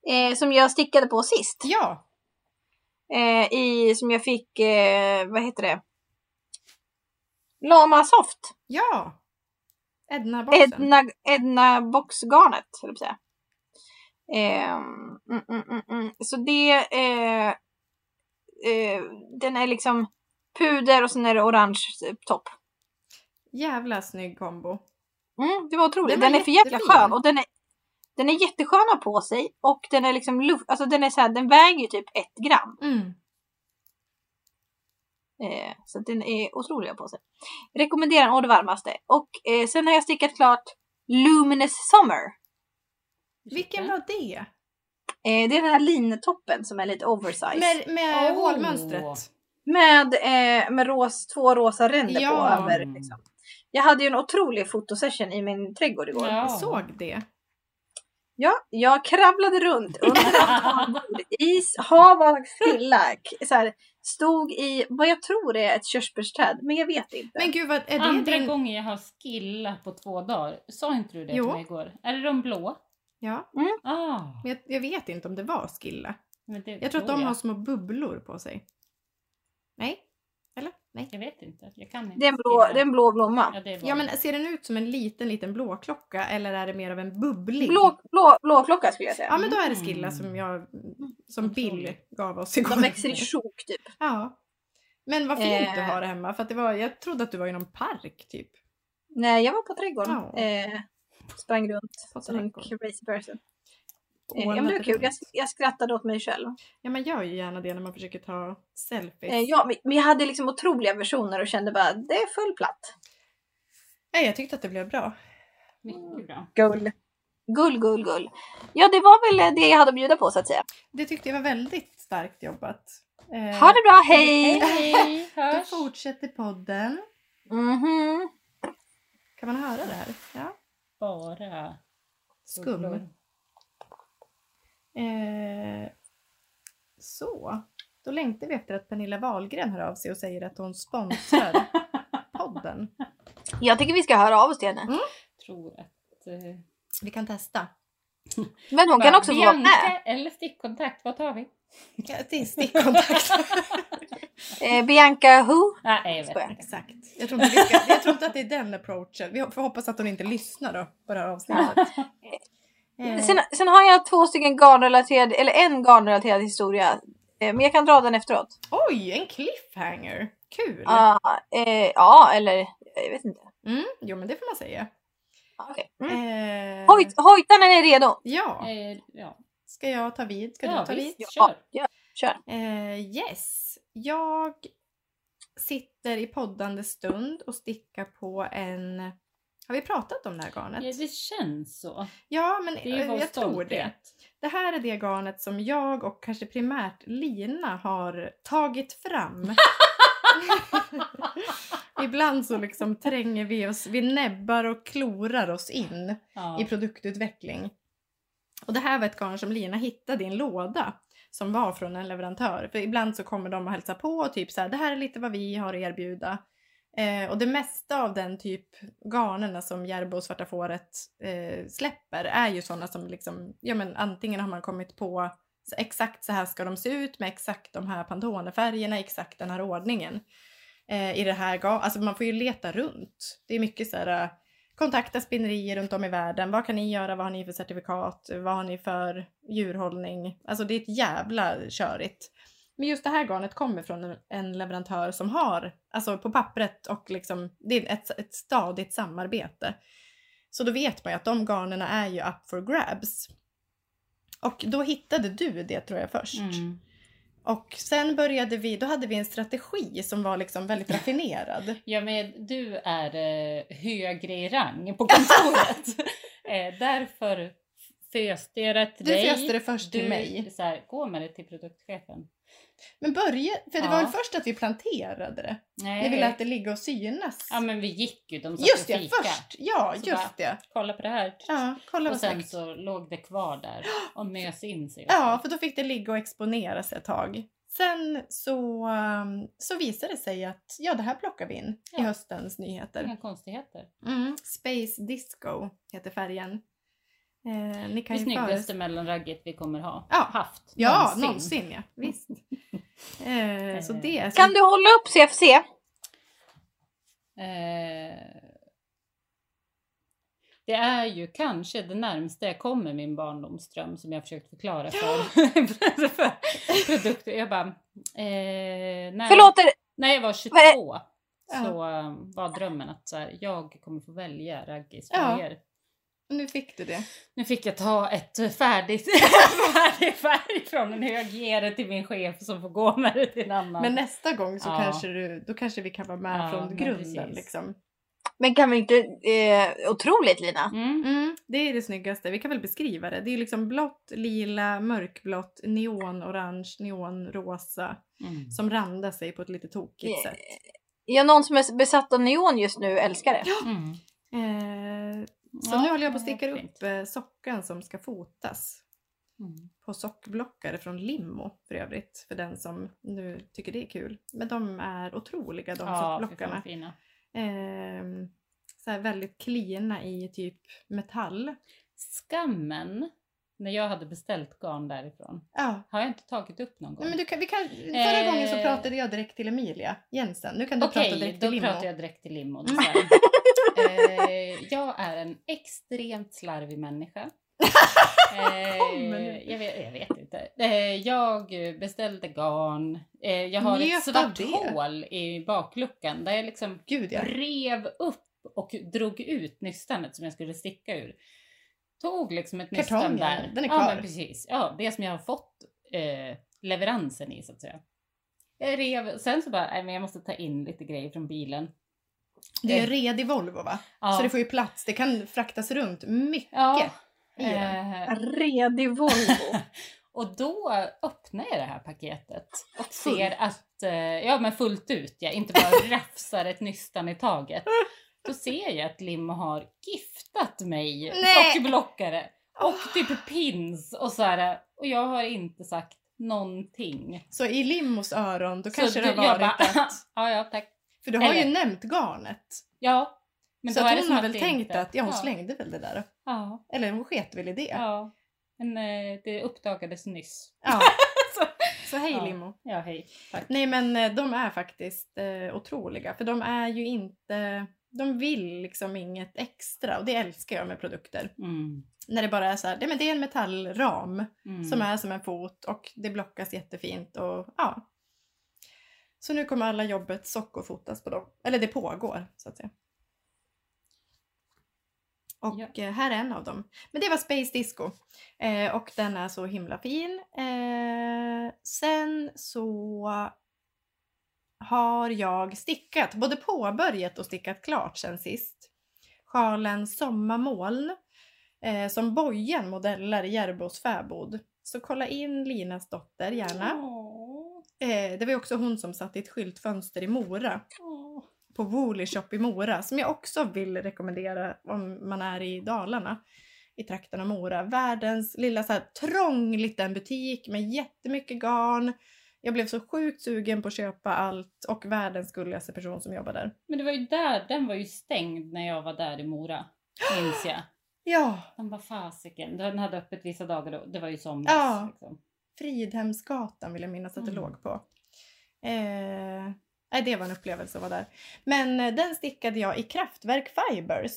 [SPEAKER 1] Eh, som jag stickade på sist.
[SPEAKER 2] Ja,
[SPEAKER 1] Eh, i, som jag fick, eh, vad heter det? Lama Soft.
[SPEAKER 2] ja. Edna-basen.
[SPEAKER 1] Edna, Edna boxgarnet, höll jag på att säga. Ehm, mm, mm, mm, mm. Så det, eh, eh, den är liksom puder och sen är det orange eh, topp.
[SPEAKER 2] Jävla snygg kombo.
[SPEAKER 1] Mm, det var otroligt.
[SPEAKER 2] Den var
[SPEAKER 1] Den, är för jäkla
[SPEAKER 2] jättefin.
[SPEAKER 1] skön och den är, den är jätteskön att ha på sig och den är liksom luft, alltså den är så här, den väger ju typ ett gram.
[SPEAKER 2] Mm.
[SPEAKER 1] Eh, så att den är otrolig att ha på sig. Rekommenderar den å det varmaste. Och eh, sen har jag stickat klart Luminous Summer.
[SPEAKER 3] Mm.
[SPEAKER 2] Vilken var det?
[SPEAKER 1] Eh, det är den här linetoppen som är lite oversized.
[SPEAKER 2] Med, med
[SPEAKER 3] Oh.
[SPEAKER 2] hålmönstret.
[SPEAKER 1] Med, eh, med ros, två rosa ränder på
[SPEAKER 2] Ja.
[SPEAKER 1] över. Liksom. Jag hade ju en otrolig fotosession i min trädgård igår.
[SPEAKER 3] Ja.
[SPEAKER 2] Jag såg det.
[SPEAKER 1] Ja, jag kravlade runt under is, hav och stilla. K- Så här, stod i vad jag tror är ett körsbärsträd, men jag vet inte.
[SPEAKER 2] Men gud, vad är det
[SPEAKER 3] Andra
[SPEAKER 2] din...
[SPEAKER 3] gången jag har skilla på två dagar. Sa inte du det
[SPEAKER 2] Jo.
[SPEAKER 3] till mig igår? Är det de blå?
[SPEAKER 2] Ja,
[SPEAKER 3] Ah,
[SPEAKER 2] men jag, jag vet inte om det var skilla.
[SPEAKER 3] men det
[SPEAKER 2] Jag tror att de
[SPEAKER 3] jag.
[SPEAKER 2] har små bubblor på sig. Nej? Eller? Nej.
[SPEAKER 3] Jag vet inte. Jag kan inte.
[SPEAKER 1] det är en blå,
[SPEAKER 3] skilla.
[SPEAKER 1] det är en blå blomma.
[SPEAKER 3] Ja, det är
[SPEAKER 2] Ja men ser den ut som en liten, liten blåklocka eller är det mer av en bubblig?
[SPEAKER 1] Blå, Mm. blå, blåklocka skulle jag säga.
[SPEAKER 2] Ja men då är det skilla som jag, som Bill
[SPEAKER 3] Otroligt.
[SPEAKER 2] gav oss igår.
[SPEAKER 1] De växer i sjok typ.
[SPEAKER 2] Ja. Men vad fint du
[SPEAKER 1] Eh.
[SPEAKER 2] har det hemma för att det var, jag trodde att du var i någon park typ.
[SPEAKER 1] Nej, jag var på trädgården.
[SPEAKER 2] Ja.
[SPEAKER 1] Eh, sprang runt
[SPEAKER 2] På
[SPEAKER 1] som en
[SPEAKER 2] trädgården.
[SPEAKER 1] crazy person. Eh, ja,
[SPEAKER 2] Ordnade
[SPEAKER 1] men det var kul.
[SPEAKER 2] runt.
[SPEAKER 1] Jag, jag skrattade åt mig själv.
[SPEAKER 2] Ja man gör ju gärna det när man försöker ta selfies.
[SPEAKER 1] Eh, ja, men- men jag hade liksom otroliga versioner och kände bara det är full platt.
[SPEAKER 2] Nej jag tyckte att det blev bra.
[SPEAKER 3] Mycket bra.
[SPEAKER 1] Gull. Gull, gull, gull. Ja, det var väl eh, det jag hade att bjuda på så att säga.
[SPEAKER 2] Det tyckte jag var väldigt starkt jobbat. Eh,
[SPEAKER 1] Ha det bra, hej!
[SPEAKER 3] Hej,
[SPEAKER 2] Då
[SPEAKER 3] hörs!
[SPEAKER 2] fortsätter podden.
[SPEAKER 1] Mhm.
[SPEAKER 2] Kan man höra det här? Ja.
[SPEAKER 3] Bara
[SPEAKER 2] Skum. Eh, så, då längtar vi efter att Pernilla Wahlgren hör av sig och säger att hon sponsrar podden. Mm.
[SPEAKER 1] Jag tycker vi ska höra av oss till henne.
[SPEAKER 3] Tror att... eh,
[SPEAKER 2] Vi kan testa.
[SPEAKER 1] Men hon kan också få vara med.
[SPEAKER 3] Bianca eller stickkontakt, vad tar vi?
[SPEAKER 2] Ja, det är stickkontakt.
[SPEAKER 1] Eh, Bianca Who?
[SPEAKER 3] Nej, jag vet
[SPEAKER 1] Skojar.
[SPEAKER 3] inte.
[SPEAKER 2] Exakt. Jag tror, inte vi ska, jag tror inte att det är den approachen. Vi får hoppas att hon inte lyssnar då på det här avsnittet. Eh,
[SPEAKER 1] Sen, sen har jag två stycken garnrelaterade, eller en garnrelaterad historia. Eh, men jag kan dra den efteråt.
[SPEAKER 2] oj, en cliffhanger! Kul!
[SPEAKER 1] Ja, eh, ja eller jag vet inte.
[SPEAKER 2] Mm, jo, men det får man säga.
[SPEAKER 1] Okay. Mm.
[SPEAKER 2] Eh,
[SPEAKER 1] Hojt, hojtarna är redo.
[SPEAKER 2] Ja,
[SPEAKER 3] Eh, ja,
[SPEAKER 2] ska jag ta vid? Ska
[SPEAKER 3] ja
[SPEAKER 2] du ta vid?
[SPEAKER 3] visst,
[SPEAKER 1] Ja.
[SPEAKER 3] kör!
[SPEAKER 1] Kör.
[SPEAKER 2] Eh, yes, jag sitter i poddande stund och stickar på en... Har vi pratat om det här
[SPEAKER 3] Ja,
[SPEAKER 2] garnet?
[SPEAKER 3] det känns så.
[SPEAKER 2] Ja, men
[SPEAKER 3] Det är ju
[SPEAKER 2] eh,
[SPEAKER 3] vår
[SPEAKER 2] jag tror det.
[SPEAKER 3] stolthet.
[SPEAKER 2] Det här är det garnet som jag och kanske primärt Lina har tagit fram. Ibland så liksom tränger vi oss, vi näbbar och klorar oss in
[SPEAKER 3] Ja.
[SPEAKER 2] i produktutveckling. Och det här var ett garn som Lina hittade i en låda som var från en leverantör. För ibland så kommer de och hälsar på och typ så här, det här är lite vad vi har att erbjuda. Eh, och det mesta av den typ garnerna som Järbo och Svarta Fåret eh, släpper är ju sådana som liksom, ja men antingen har man kommit på så exakt så här ska de se ut med exakt de här Pantone-färgerna, exakt den här ordningen. Eh, I det här garnet, alltså man får ju leta runt. Det är mycket så här eh, kontakta spinnerier runt om i världen. Vad kan ni göra? Vad har ni för certifikat? Vad har ni för djurhållning? Alltså det är ett jävla körigt. Men just det här garnet kommer från en- en leverantör som har, alltså på pappret och liksom, det är ett, ett stadigt samarbete. Så då vet man ju att de garnerna är ju up for grabs. Och då hittade du det tror jag först.
[SPEAKER 3] Mm.
[SPEAKER 2] Och sen började vi, då hade vi en strategi som var liksom väldigt raffinerad.
[SPEAKER 3] Ja, men du är eh, högre i rang på kontoret. eh, därför föste jag det till
[SPEAKER 2] Du
[SPEAKER 3] dig.
[SPEAKER 2] föste det först till
[SPEAKER 3] Du-
[SPEAKER 2] mig.
[SPEAKER 3] Så här, gå med det till produktchefen.
[SPEAKER 2] Men börja, för det
[SPEAKER 3] Ja.
[SPEAKER 2] var väl först att vi planterade det?
[SPEAKER 3] Nej.
[SPEAKER 2] Ni ville att det ligger och synas?
[SPEAKER 3] Ja, men vi gick ju. De satt
[SPEAKER 2] just
[SPEAKER 3] och
[SPEAKER 2] det,
[SPEAKER 3] fika.
[SPEAKER 2] först! Ja,
[SPEAKER 3] Så bara-
[SPEAKER 2] just det.
[SPEAKER 3] Kolla på det här.
[SPEAKER 2] Ja, kolla
[SPEAKER 3] och
[SPEAKER 2] vad
[SPEAKER 3] sen
[SPEAKER 2] snyggt.
[SPEAKER 3] så låg det kvar där och mös in sig.
[SPEAKER 2] Ja, för då fick det ligga och exponera sig ett tag. Sen så, um, så visade det sig att ja, det här plockar vi in i
[SPEAKER 3] Ja.
[SPEAKER 2] höstens nyheter.
[SPEAKER 3] Inga konstigheter.
[SPEAKER 2] Mm. Space Disco heter färgen. Eh, ni kan
[SPEAKER 3] Det
[SPEAKER 2] ju föreställa
[SPEAKER 3] snyggaste mellanragget vi kommer ha.
[SPEAKER 2] Ja.
[SPEAKER 3] Haft.
[SPEAKER 2] Ja, någonsin ja. Visst. Eh, så det är så...
[SPEAKER 1] Kan du hålla upp CFC?
[SPEAKER 3] Eh, det är ju kanske det närmaste jag kommer min barndomsdröm som jag försökt förklara för, för produkter. Jag bara... Eh, när,
[SPEAKER 1] Förlåt, är-
[SPEAKER 3] När jag var 22 så eh, var drömmen att så här, jag kommer få välja raggis
[SPEAKER 2] Ja.
[SPEAKER 3] färger.
[SPEAKER 2] Nu fick du det.
[SPEAKER 3] Nu fick jag ta ett färdigt färdig färg från en hög ge det till min chef som får gå med det till en annan.
[SPEAKER 2] Men nästa gång så
[SPEAKER 3] Ja.
[SPEAKER 2] kanske du, då kanske vi kan vara med
[SPEAKER 3] Ja,
[SPEAKER 2] från
[SPEAKER 3] men
[SPEAKER 2] grunden
[SPEAKER 3] precis.
[SPEAKER 2] liksom.
[SPEAKER 1] men kan vi inte... Eh, otroligt Lina!
[SPEAKER 3] mm.
[SPEAKER 2] Mm, det är det snyggaste. Vi kan väl beskriva det. Det är liksom blått, lila, mörkblått, neonorange, neonrosa
[SPEAKER 3] Mm.
[SPEAKER 2] som randar sig på ett lite tokigt
[SPEAKER 1] Yeah.
[SPEAKER 2] sätt.
[SPEAKER 1] Ja, någon som är besatt av neon just nu älskar det.
[SPEAKER 3] Mm.
[SPEAKER 2] Eh, Så
[SPEAKER 3] Ja,
[SPEAKER 2] nu håller jag på att
[SPEAKER 3] det är
[SPEAKER 2] sticka
[SPEAKER 3] fint.
[SPEAKER 2] upp eh, sockan som ska fotas
[SPEAKER 3] Mm.
[SPEAKER 2] på sockblockare från Limmo för övrigt, för den som nu tycker det är kul. Men de är otroliga de
[SPEAKER 3] Ja, fy
[SPEAKER 2] sockblockarna.
[SPEAKER 3] fan fina.
[SPEAKER 2] Ehm, så här väldigt klina i typ metall.
[SPEAKER 3] Skammen när jag hade beställt garn därifrån
[SPEAKER 2] Ja.
[SPEAKER 3] har jag inte tagit upp någon gång.
[SPEAKER 2] Nej, men du kan, vi kan, förra
[SPEAKER 3] Eh.
[SPEAKER 2] gången så pratade jag direkt till Emilia Jensen. Nu kan du
[SPEAKER 3] Okej,
[SPEAKER 2] prata direkt
[SPEAKER 3] då
[SPEAKER 2] till Limmo.
[SPEAKER 3] pratar jag direkt Mm. till Limmo. det är så här. eh, jag är en extremt slarvig människa.
[SPEAKER 2] Kommer nu.
[SPEAKER 3] Eh, jag, vet, jag vet inte. Eh, jag beställde garn. Eh, jag har ett
[SPEAKER 2] Njöt av
[SPEAKER 3] svart
[SPEAKER 2] det.
[SPEAKER 3] hål i bakluckan där jag liksom
[SPEAKER 2] Gud ja.
[SPEAKER 3] rev upp och drog ut nystanet som jag skulle sticka ur. Tog liksom ett
[SPEAKER 2] Kartongen,
[SPEAKER 3] nystan där.
[SPEAKER 2] den är
[SPEAKER 3] Ja,
[SPEAKER 2] kvar.
[SPEAKER 3] men precis. Ja, det som jag har fått eh, leveransen i så att säga. Jag rev, sen så bara, nej men jag måste ta in lite grejer från bilen.
[SPEAKER 2] Det är en
[SPEAKER 3] Eh,
[SPEAKER 2] redig Volvo va?
[SPEAKER 3] ja.
[SPEAKER 2] Så det får ju plats. Det kan fraktas runt mycket
[SPEAKER 3] ja.
[SPEAKER 2] i den.
[SPEAKER 3] Eh,
[SPEAKER 1] Redig Volvo.
[SPEAKER 3] och då öppnar jag det här paketet och
[SPEAKER 1] Fullt.
[SPEAKER 3] ser att, eh, ja men fullt ut ja, inte bara rafsar ett nystan i taget. Då ser jag att Lim har giftat mig
[SPEAKER 2] Nej.
[SPEAKER 3] sockerblockare. Och
[SPEAKER 2] Åh.
[SPEAKER 3] typ pins och så här. Och jag har inte sagt någonting.
[SPEAKER 2] Så i Limmos öron då
[SPEAKER 3] Så
[SPEAKER 2] kanske det
[SPEAKER 3] du-
[SPEAKER 2] har
[SPEAKER 3] jag
[SPEAKER 2] varit
[SPEAKER 3] bara,
[SPEAKER 2] att...
[SPEAKER 3] Ja, ja, tack.
[SPEAKER 2] För du har ju
[SPEAKER 3] Eller-
[SPEAKER 2] nämnt garnet.
[SPEAKER 3] Ja.
[SPEAKER 2] så
[SPEAKER 3] då
[SPEAKER 2] att
[SPEAKER 3] är det
[SPEAKER 2] hon
[SPEAKER 3] som
[SPEAKER 2] har väl
[SPEAKER 3] det
[SPEAKER 2] tänkt
[SPEAKER 3] inte-
[SPEAKER 2] att ja, hon
[SPEAKER 3] ja,
[SPEAKER 2] slängde väl det där.
[SPEAKER 3] Ja,
[SPEAKER 2] Eller hon sket väl i det. Ja.
[SPEAKER 3] ja. Men eh, det uppdagades nyss.
[SPEAKER 2] så. hej
[SPEAKER 3] Ja.
[SPEAKER 2] Limmo.
[SPEAKER 3] Ja, hej.
[SPEAKER 2] Nej men eh, de är faktiskt eh, otroliga för de är ju inte... De vill liksom inget extra och det älskar jag med produkter.
[SPEAKER 3] Mm.
[SPEAKER 2] När det bara är så här, nej men det är en metallram
[SPEAKER 3] Mm.
[SPEAKER 2] som är som en fot och det blockas jättefint och ja. Så nu kommer alla jobbet sockerfotas på dem. Eller det pågår så att säga. Och
[SPEAKER 3] Ja.
[SPEAKER 2] eh, här är en av dem. Men det var Space Disco. Eh, och den är så himla fin. Eh, sen så har jag stickat, både påbörjat och stickat klart sen sist. Sjalen Sommarmoln eh, som Bojen modeller i Järbos fäbod. Så kolla in Linas dotter gärna.
[SPEAKER 3] Åh,
[SPEAKER 2] Eh, det var ju också hon som satt i ett skyltfönster i Mora,
[SPEAKER 3] åh.
[SPEAKER 2] på Woolly Shop i Mora, som jag också vill rekommendera om man är i Dalarna, i trakten av Mora. Världens lilla så här trång liten butik med jättemycket garn. Jag blev så sjukt sugen på att köpa allt och världens gulligaste person som jobbar där.
[SPEAKER 3] Men det var ju där, den var ju stängd när jag var där i Mora. Minns jag.
[SPEAKER 2] Ja,
[SPEAKER 3] Den var fasiken. Den hade öppet vissa dagar då. Det var ju somras.
[SPEAKER 2] Ja.
[SPEAKER 3] Liksom.
[SPEAKER 2] Fridhemsgatan vill jag minnas att det
[SPEAKER 3] Mm.
[SPEAKER 2] låg på. Eh, nej, det var en upplevelse att vara där. Men eh, den stickade jag i Kraftwerk Fibers.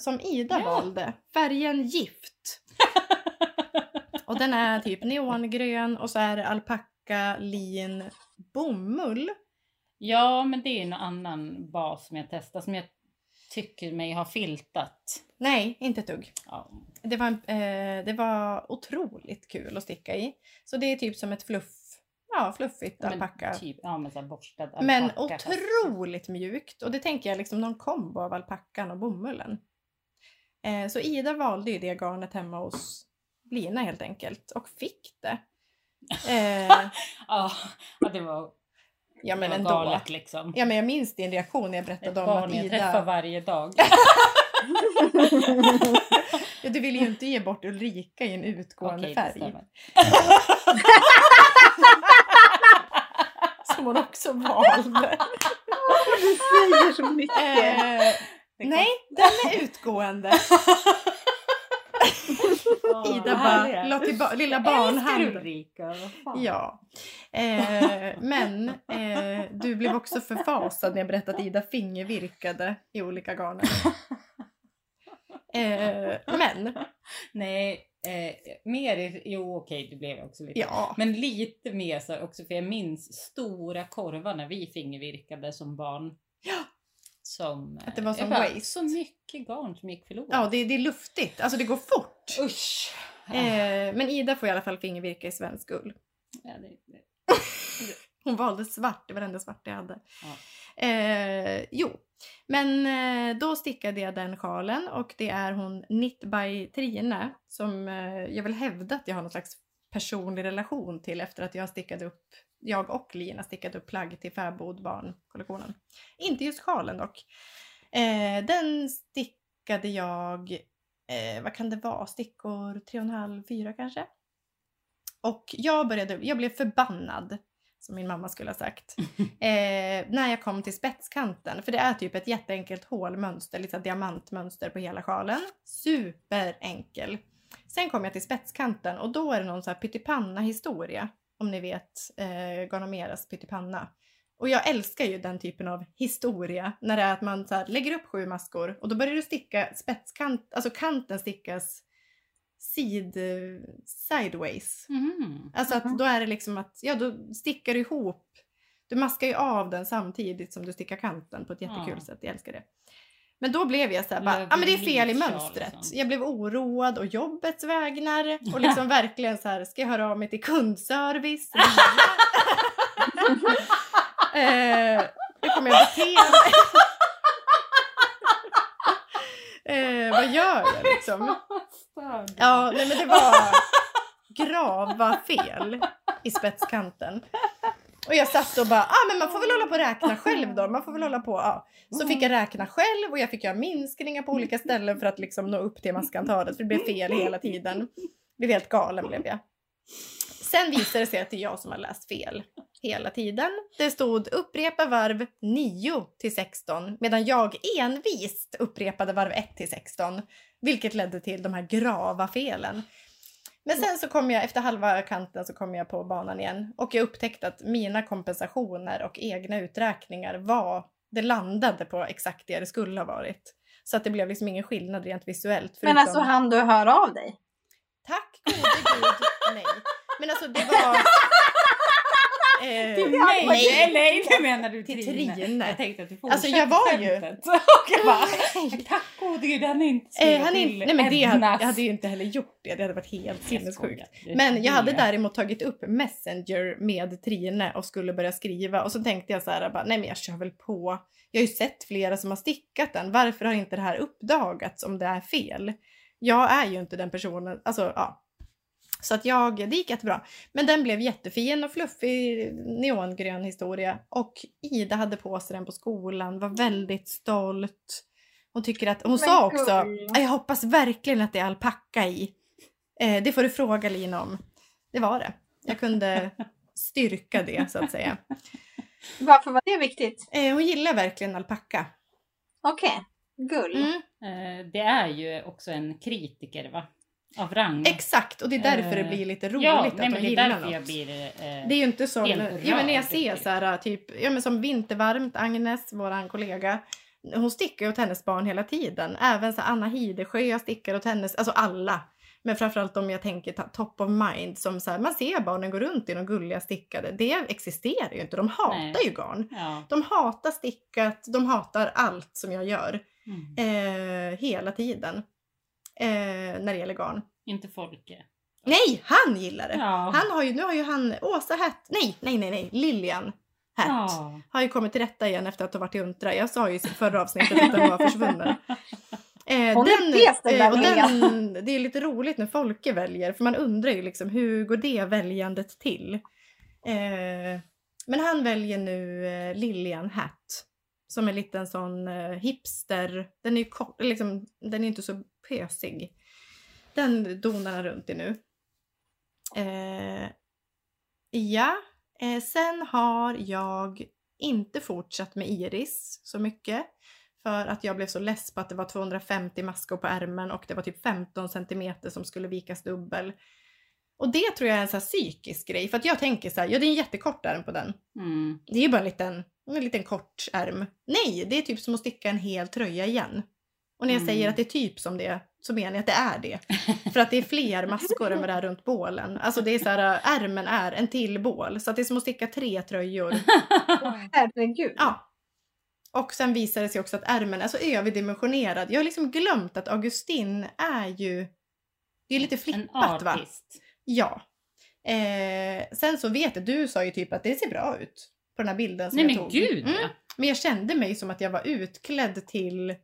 [SPEAKER 2] Som Ida
[SPEAKER 3] Ja.
[SPEAKER 2] valde. Färgen gift. och den är typ neongrön och så är det alpacka, lin, bomull.
[SPEAKER 3] Ja, men det är ju en annan bas som jag testar som jag tycker mig ha filtat.
[SPEAKER 2] Nej, inte ett dugg.
[SPEAKER 3] Ja.
[SPEAKER 2] Det var, en, eh, det var otroligt kul att sticka i. Så det är typ som ett fluff, ja, fluffigt
[SPEAKER 3] men
[SPEAKER 2] alpacka.
[SPEAKER 3] Typ, ja, men så här borstad
[SPEAKER 2] Men
[SPEAKER 3] alpacka, fast-
[SPEAKER 2] otroligt mjukt och det tänker jag liksom någon kombo av alpackan och bomullen. Eh, så Ida valde ju det garnet hemma hos Lina helt enkelt och fick det. Eh,
[SPEAKER 3] Ja, ja, det var,
[SPEAKER 2] ja men
[SPEAKER 3] det var
[SPEAKER 2] ändå.
[SPEAKER 3] galet liksom.
[SPEAKER 2] Ja men jag minns din reaktion när jag
[SPEAKER 3] Ett
[SPEAKER 2] berättade om
[SPEAKER 3] barn
[SPEAKER 2] att
[SPEAKER 3] jag träffar
[SPEAKER 2] Ida...
[SPEAKER 3] varje dag.
[SPEAKER 2] Ja, du ville ju inte ge bort Ulrika i en utgående
[SPEAKER 3] Okej, det
[SPEAKER 2] färg.
[SPEAKER 3] stämmer.
[SPEAKER 2] Som hon också valde.
[SPEAKER 1] Du säger så mycket.
[SPEAKER 2] Eh,
[SPEAKER 3] Det kom-
[SPEAKER 2] nej, den är utgående.
[SPEAKER 3] Ja,
[SPEAKER 2] Ida bara
[SPEAKER 3] härliga.
[SPEAKER 2] la tillba- lilla
[SPEAKER 3] Jag älskar
[SPEAKER 2] barnhanden.
[SPEAKER 3] Ulrika. vad fan.
[SPEAKER 2] Ja. Eh, men eh, du blev också förfasad när jag berättade att Ida fingervirkade i olika garner. Eh, men,
[SPEAKER 3] Nej, eh, mer i, jo okej det blev jag också lite.
[SPEAKER 2] ja.
[SPEAKER 3] Men lite mer så här också för jag minns stora korvar när vi fingervirkade som barn.
[SPEAKER 2] Ja.
[SPEAKER 3] Som, eh,
[SPEAKER 2] Att det var
[SPEAKER 3] jag
[SPEAKER 2] som waste.
[SPEAKER 3] Så mycket garn som gick förlorat.
[SPEAKER 2] Ja, det, det är luftigt. Alltså det går fort.
[SPEAKER 3] Usch!
[SPEAKER 2] Eh, men Ida får i alla fall fingervirka i svensk ull.
[SPEAKER 3] Ja, det, det.
[SPEAKER 2] Hon valde svart, det var det enda svart jag hade.
[SPEAKER 3] Ja.
[SPEAKER 2] Eh, jo, men eh, då stickade jag den sjalen och det är hon Knit by Trine som eh, jag vill hävda att jag har någon slags personlig relation till efter att jag stickade upp, jag och Lina stickade upp plagg till fäbod barnkollektionen. Inte just sjalen dock. Eh, den stick plockade jag, eh, vad kan det vara, stickor 3,5, 4 kanske. Och jag, började, jag blev förbannad, som min mamma skulle ha sagt, eh, när jag kom till spetskanten. För det är typ ett jätteenkelt hålmönster, lite så här diamantmönster på hela sjalen. Superenkel. Sen kom jag till spetskanten och då är det någon så här pyttipanna-historia. Om ni vet eh, Ganomeras pyttipanna. Och jag älskar ju den typen av historia när det är att man så här lägger upp sju maskor och då börjar du sticka spetskant, alltså kanten stickas sid, sideways.
[SPEAKER 3] Mhm.
[SPEAKER 2] Alltså att då är det liksom att, ja då stickar du ihop, du maskar ju av den samtidigt som du stickar kanten på ett jättekul
[SPEAKER 3] Ja.
[SPEAKER 2] sätt, jag älskar det. Men då blev jag såhär bara, ja
[SPEAKER 3] Löv-
[SPEAKER 2] ah, men det är fel i
[SPEAKER 3] linkkjol
[SPEAKER 2] mönstret.
[SPEAKER 3] och sånt.
[SPEAKER 2] Jag blev oroad och jobbets vägnar och liksom verkligen så här, ska jag höra av mig till kundservice? eh, hur kommer jag bete mig? eh, vad gör jag liksom?
[SPEAKER 3] Störd.
[SPEAKER 2] Ja, nej men det var grava fel i spetskanten. Och jag satt och bara, ah, men man får väl hålla på och räkna själv då. Man får väl hålla på. Ja. Så fick jag räkna själv och jag fick göra minskningar på olika ställen för att liksom nå upp till maskantalet. För det blev fel hela tiden. Blev helt galen blev jag. Sen visade det sig att det är jag som har läst fel hela tiden. Det stod upprepa varv 9 till 16 medan jag envist upprepade varv 1 till 16. Vilket ledde till de här grava felen. Men sen så kom jag, efter halva kanten så kom jag på banan igen och jag upptäckte att mina kompensationer och egna uträkningar var, det landade på exakt det det skulle ha varit. Så att det blev liksom ingen skillnad rent visuellt.
[SPEAKER 1] Men alltså han du hör av dig?
[SPEAKER 2] Tack gode gud, nej. Men alltså det var... Eh,
[SPEAKER 3] Till
[SPEAKER 1] Ja, nej.
[SPEAKER 3] mig? Nej, nej, det menar du
[SPEAKER 2] Till
[SPEAKER 3] till
[SPEAKER 2] Trine.
[SPEAKER 3] Jag tänkte att du
[SPEAKER 2] Alltså,
[SPEAKER 3] fortsatte
[SPEAKER 2] jag var ju-
[SPEAKER 3] skämtet. Och jag bara,
[SPEAKER 2] nej.
[SPEAKER 3] tack gode gud, han är inte
[SPEAKER 2] Eh,
[SPEAKER 3] skrivit
[SPEAKER 2] han är,
[SPEAKER 3] till
[SPEAKER 2] nej men det, hade-
[SPEAKER 3] Ednas.
[SPEAKER 2] jag hade ju inte heller gjort det, det hade varit helt
[SPEAKER 3] Jag
[SPEAKER 2] sinnessjukt.
[SPEAKER 3] skojar.
[SPEAKER 2] Men jag hade
[SPEAKER 3] Det-
[SPEAKER 2] däremot tagit upp Messenger med Trine och skulle börja skriva och så tänkte jag så här, bara, nej men jag kör väl på. Jag har ju sett flera som har stickat den, varför har inte det här uppdagats om det är fel? Jag är ju inte den personen, alltså ja. Så att jag, det gick jättebra. Men den blev jättefin och fluffig neongrön historia och Ida hade på sig den på skolan, var väldigt stolt. Hon tycker att, hon
[SPEAKER 1] Men
[SPEAKER 2] sa också,
[SPEAKER 1] gullig.
[SPEAKER 2] "Ja, jag hoppas verkligen att det är alpacka i. Eh, det får du fråga Lina om. Det var det. Jag kunde styrka det så att säga.
[SPEAKER 1] Varför var det viktigt?
[SPEAKER 2] Eh, hon gillar verkligen alpacka.
[SPEAKER 1] Okej, gull.
[SPEAKER 2] Mm,
[SPEAKER 3] Eh, Det är ju också en kritiker va? Av rang.
[SPEAKER 2] exakt, och det är därför det
[SPEAKER 3] Eh,
[SPEAKER 2] blir lite roligt
[SPEAKER 3] ja,
[SPEAKER 2] att
[SPEAKER 3] nej,
[SPEAKER 2] hon
[SPEAKER 3] men det är
[SPEAKER 2] gillar
[SPEAKER 3] därför
[SPEAKER 2] något.
[SPEAKER 3] jag blir... Eh,
[SPEAKER 2] Det är ju inte som,
[SPEAKER 3] Helt
[SPEAKER 2] ja, men när jag
[SPEAKER 3] rörd,
[SPEAKER 2] ser
[SPEAKER 3] tycker
[SPEAKER 2] så här, typ, ja, men som Vintervarmt, Agnes, våran kollega, hon stickar ju åt hennes barn hela tiden. Även så här, Anna Hidesjö, jag stickar åt hennes, alltså alla. Men framförallt om jag tänker ta- top of mind som så här, man ser barnen gå runt i de gulliga stickade. Det existerar ju inte, de hatar
[SPEAKER 3] Nej.
[SPEAKER 2] ju garn.
[SPEAKER 3] ja.
[SPEAKER 2] De hatar stickat, de hatar allt som jag gör.
[SPEAKER 3] mm.
[SPEAKER 2] Eh, hela tiden. Eh, när det gäller garn.
[SPEAKER 3] Inte Folke.
[SPEAKER 2] Nej, han gillar det!
[SPEAKER 3] Ja.
[SPEAKER 2] Han har ju, nu har ju han Åsa Hatt, nej, nej, nej, nej, Lilian Hatt.
[SPEAKER 3] Ja.
[SPEAKER 2] Har ju kommit till rätta igen efter att ha varit i Untra. Jag sa ju i förra avsnittet att den var försvunnen. Eh,
[SPEAKER 1] Hon är bäst, den där
[SPEAKER 2] och den, det är lite roligt när Folke väljer för man undrar ju liksom hur går det väljandet till? Eh, men han väljer nu eh, Lilian Hatt som en liten sån eh, hipster. Den är ju kort, liksom, den är inte så pösig. Den donar han runt i nu. Eh, ja, eh, sen har jag inte fortsatt med Iris så mycket. För att jag blev så less på att det var 250 maskor på ärmen och det var typ 15 centimeter som skulle vikas dubbel. Och det tror jag är en så här psykisk grej. För att jag tänker så här, ja det är en jättekort ärm på den.
[SPEAKER 3] Mm.
[SPEAKER 2] Det är ju bara en liten, en liten kort ärm. Nej, det är typ som att sticka en hel tröja igen. Och när jag
[SPEAKER 3] Mm.
[SPEAKER 2] säger att det är typ som det så menar jag att det är det. För att det är fler maskor än vad det är runt bålen. Alltså det är så här, ärmen är en till bål. Så att det är som att sticka tre tröjor
[SPEAKER 1] Åh, Herregud.
[SPEAKER 2] Ja. Och sen visar det sig också att ärmen är så överdimensionerad. Jag har liksom glömt att Augustin är ju... Det är lite
[SPEAKER 3] en
[SPEAKER 2] flippat va?
[SPEAKER 3] artist.
[SPEAKER 2] Ja. Eh, sen så vet jag, du sa ju typ att det ser bra ut på den här bilden som
[SPEAKER 3] Nej
[SPEAKER 2] jag
[SPEAKER 3] men
[SPEAKER 2] tog.
[SPEAKER 3] gud
[SPEAKER 2] Mm.
[SPEAKER 3] ja.
[SPEAKER 2] Men jag kände mig som att jag var utklädd till,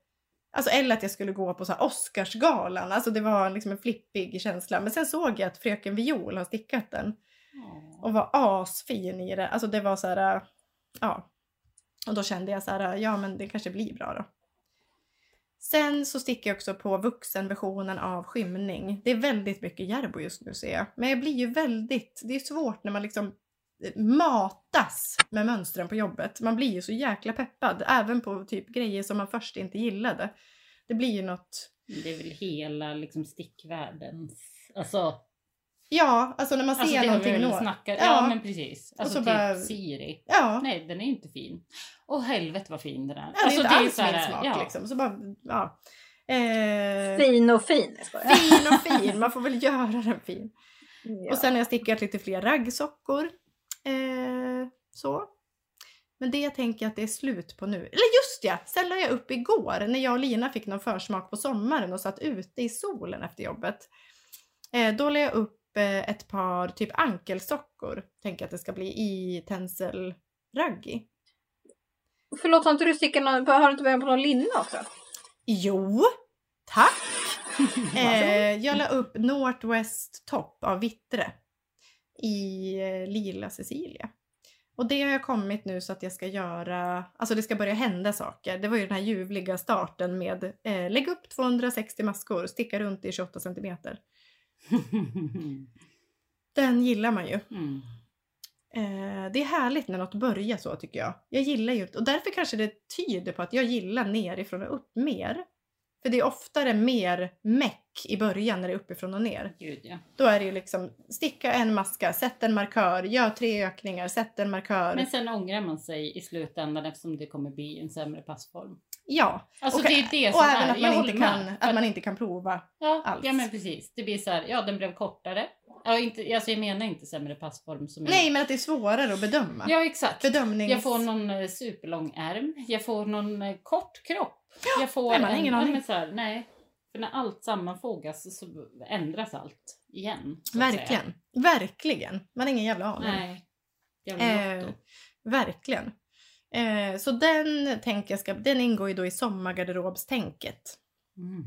[SPEAKER 2] alltså eller att jag skulle gå på så här Oscarsgalan. Alltså det var liksom en flippig känsla. Men sen såg jag att Fröken Viol har stickat den.
[SPEAKER 3] Ja.
[SPEAKER 2] Och var asfin i det. Alltså det var så här, äh, ja. Och då kände jag så här, äh, ja men det kanske blir bra då. Sen så sticker jag också på vuxenversionen av skymning. Det är väldigt mycket Järbo just nu ser jag. Men jag blir ju väldigt, det är svårt när man liksom eh, matas med mönstren på jobbet. Man blir ju så jäkla peppad, även på typ grejer som man först inte gillade. Det blir ju något
[SPEAKER 3] Det är väl hela liksom, stickvärldens... Alltså,
[SPEAKER 2] Ja, alltså när man ser
[SPEAKER 3] alltså det har vi
[SPEAKER 2] någonting
[SPEAKER 3] väl
[SPEAKER 2] nå-
[SPEAKER 3] snackat
[SPEAKER 2] Ja.
[SPEAKER 3] ja. men precis. Alltså
[SPEAKER 2] så
[SPEAKER 3] typ
[SPEAKER 2] bara-
[SPEAKER 3] Siri.
[SPEAKER 2] Ja,
[SPEAKER 3] Nej den är ju inte fin. Åh helvete vad fin den är.
[SPEAKER 2] ja det är
[SPEAKER 3] Alltså,
[SPEAKER 2] inte
[SPEAKER 3] ju
[SPEAKER 2] alls
[SPEAKER 3] så här,
[SPEAKER 2] min smak
[SPEAKER 3] ja.
[SPEAKER 2] liksom. Så bara, ja. Eh,
[SPEAKER 1] Fin och fin. jag skojar.
[SPEAKER 2] fin och fin, man får väl göra den fin.
[SPEAKER 1] Ja.
[SPEAKER 2] Och sen har jag stickat lite fler raggsockor. Eh, så. Men det tänker jag att det är slut på nu. Eller just ja! Sen la jag upp igår när jag och Lina fick någon försmak på sommaren och satt ute i solen efter jobbet. Eh, då la jag upp eh, ett par typ ankelsockor. Tänker att det ska bli i tencel raggi.
[SPEAKER 1] Förlåt, har inte du stickat någon, har du inte börjat på någon linne också?
[SPEAKER 2] Jo! Tack! Eh, jag la upp Northwest Top av Vittre i eh, lila Cecilia. Och det har jag kommit nu så att jag ska göra, alltså det ska börja hända saker. Det var ju den här ljuvliga starten med eh, lägg upp 260 maskor, sticka runt i 28 centimeter. Den gillar man ju.
[SPEAKER 3] mm.
[SPEAKER 2] Eh, det är härligt när något börjar så tycker jag. Jag gillar ju och därför kanske det tyder på att jag gillar nerifrån och upp mer. För det är oftare mer meck i början när det är uppifrån och ner.
[SPEAKER 3] Gud ja.
[SPEAKER 2] Då är det ju liksom sticka en maska, sätt en markör, gör tre ökningar, sätt en markör.
[SPEAKER 3] Men sen ångrar man sig i slutändan eftersom det kommer bli en sämre passform.
[SPEAKER 2] ja,
[SPEAKER 3] Alltså
[SPEAKER 2] Och-
[SPEAKER 3] det är det som
[SPEAKER 2] och
[SPEAKER 3] är.
[SPEAKER 2] även att
[SPEAKER 3] jag
[SPEAKER 2] man, inte
[SPEAKER 3] håller med.
[SPEAKER 2] kan,
[SPEAKER 3] För Mm.
[SPEAKER 2] att man inte kan prova.
[SPEAKER 3] Ja,
[SPEAKER 2] alls.
[SPEAKER 3] ja men precis. Det blir så här, ja den blev kortare. Ja, inte, alltså jag menar inte sämre passform som
[SPEAKER 2] Nej, men att det är svårare att bedöma.
[SPEAKER 3] jag... Ja exakt.
[SPEAKER 2] Bedömnings...
[SPEAKER 3] Jag får någon eh, superlång ärm. Jag får någon eh, kort kropp. Jag får
[SPEAKER 2] nej, man har ingen
[SPEAKER 3] ja,
[SPEAKER 2] aning.
[SPEAKER 3] men så här, nej. För när allt sammanfogas så ändras allt igen. så att säga.
[SPEAKER 2] Verkligen. Verkligen. Man har ingen jävla aning.
[SPEAKER 3] Nej. Jävla
[SPEAKER 2] Eh,
[SPEAKER 3] lotto.
[SPEAKER 2] verkligen. Eh, så den, tänker jag ska, den ingår ju då i sommargarderobstänket.
[SPEAKER 3] Mm.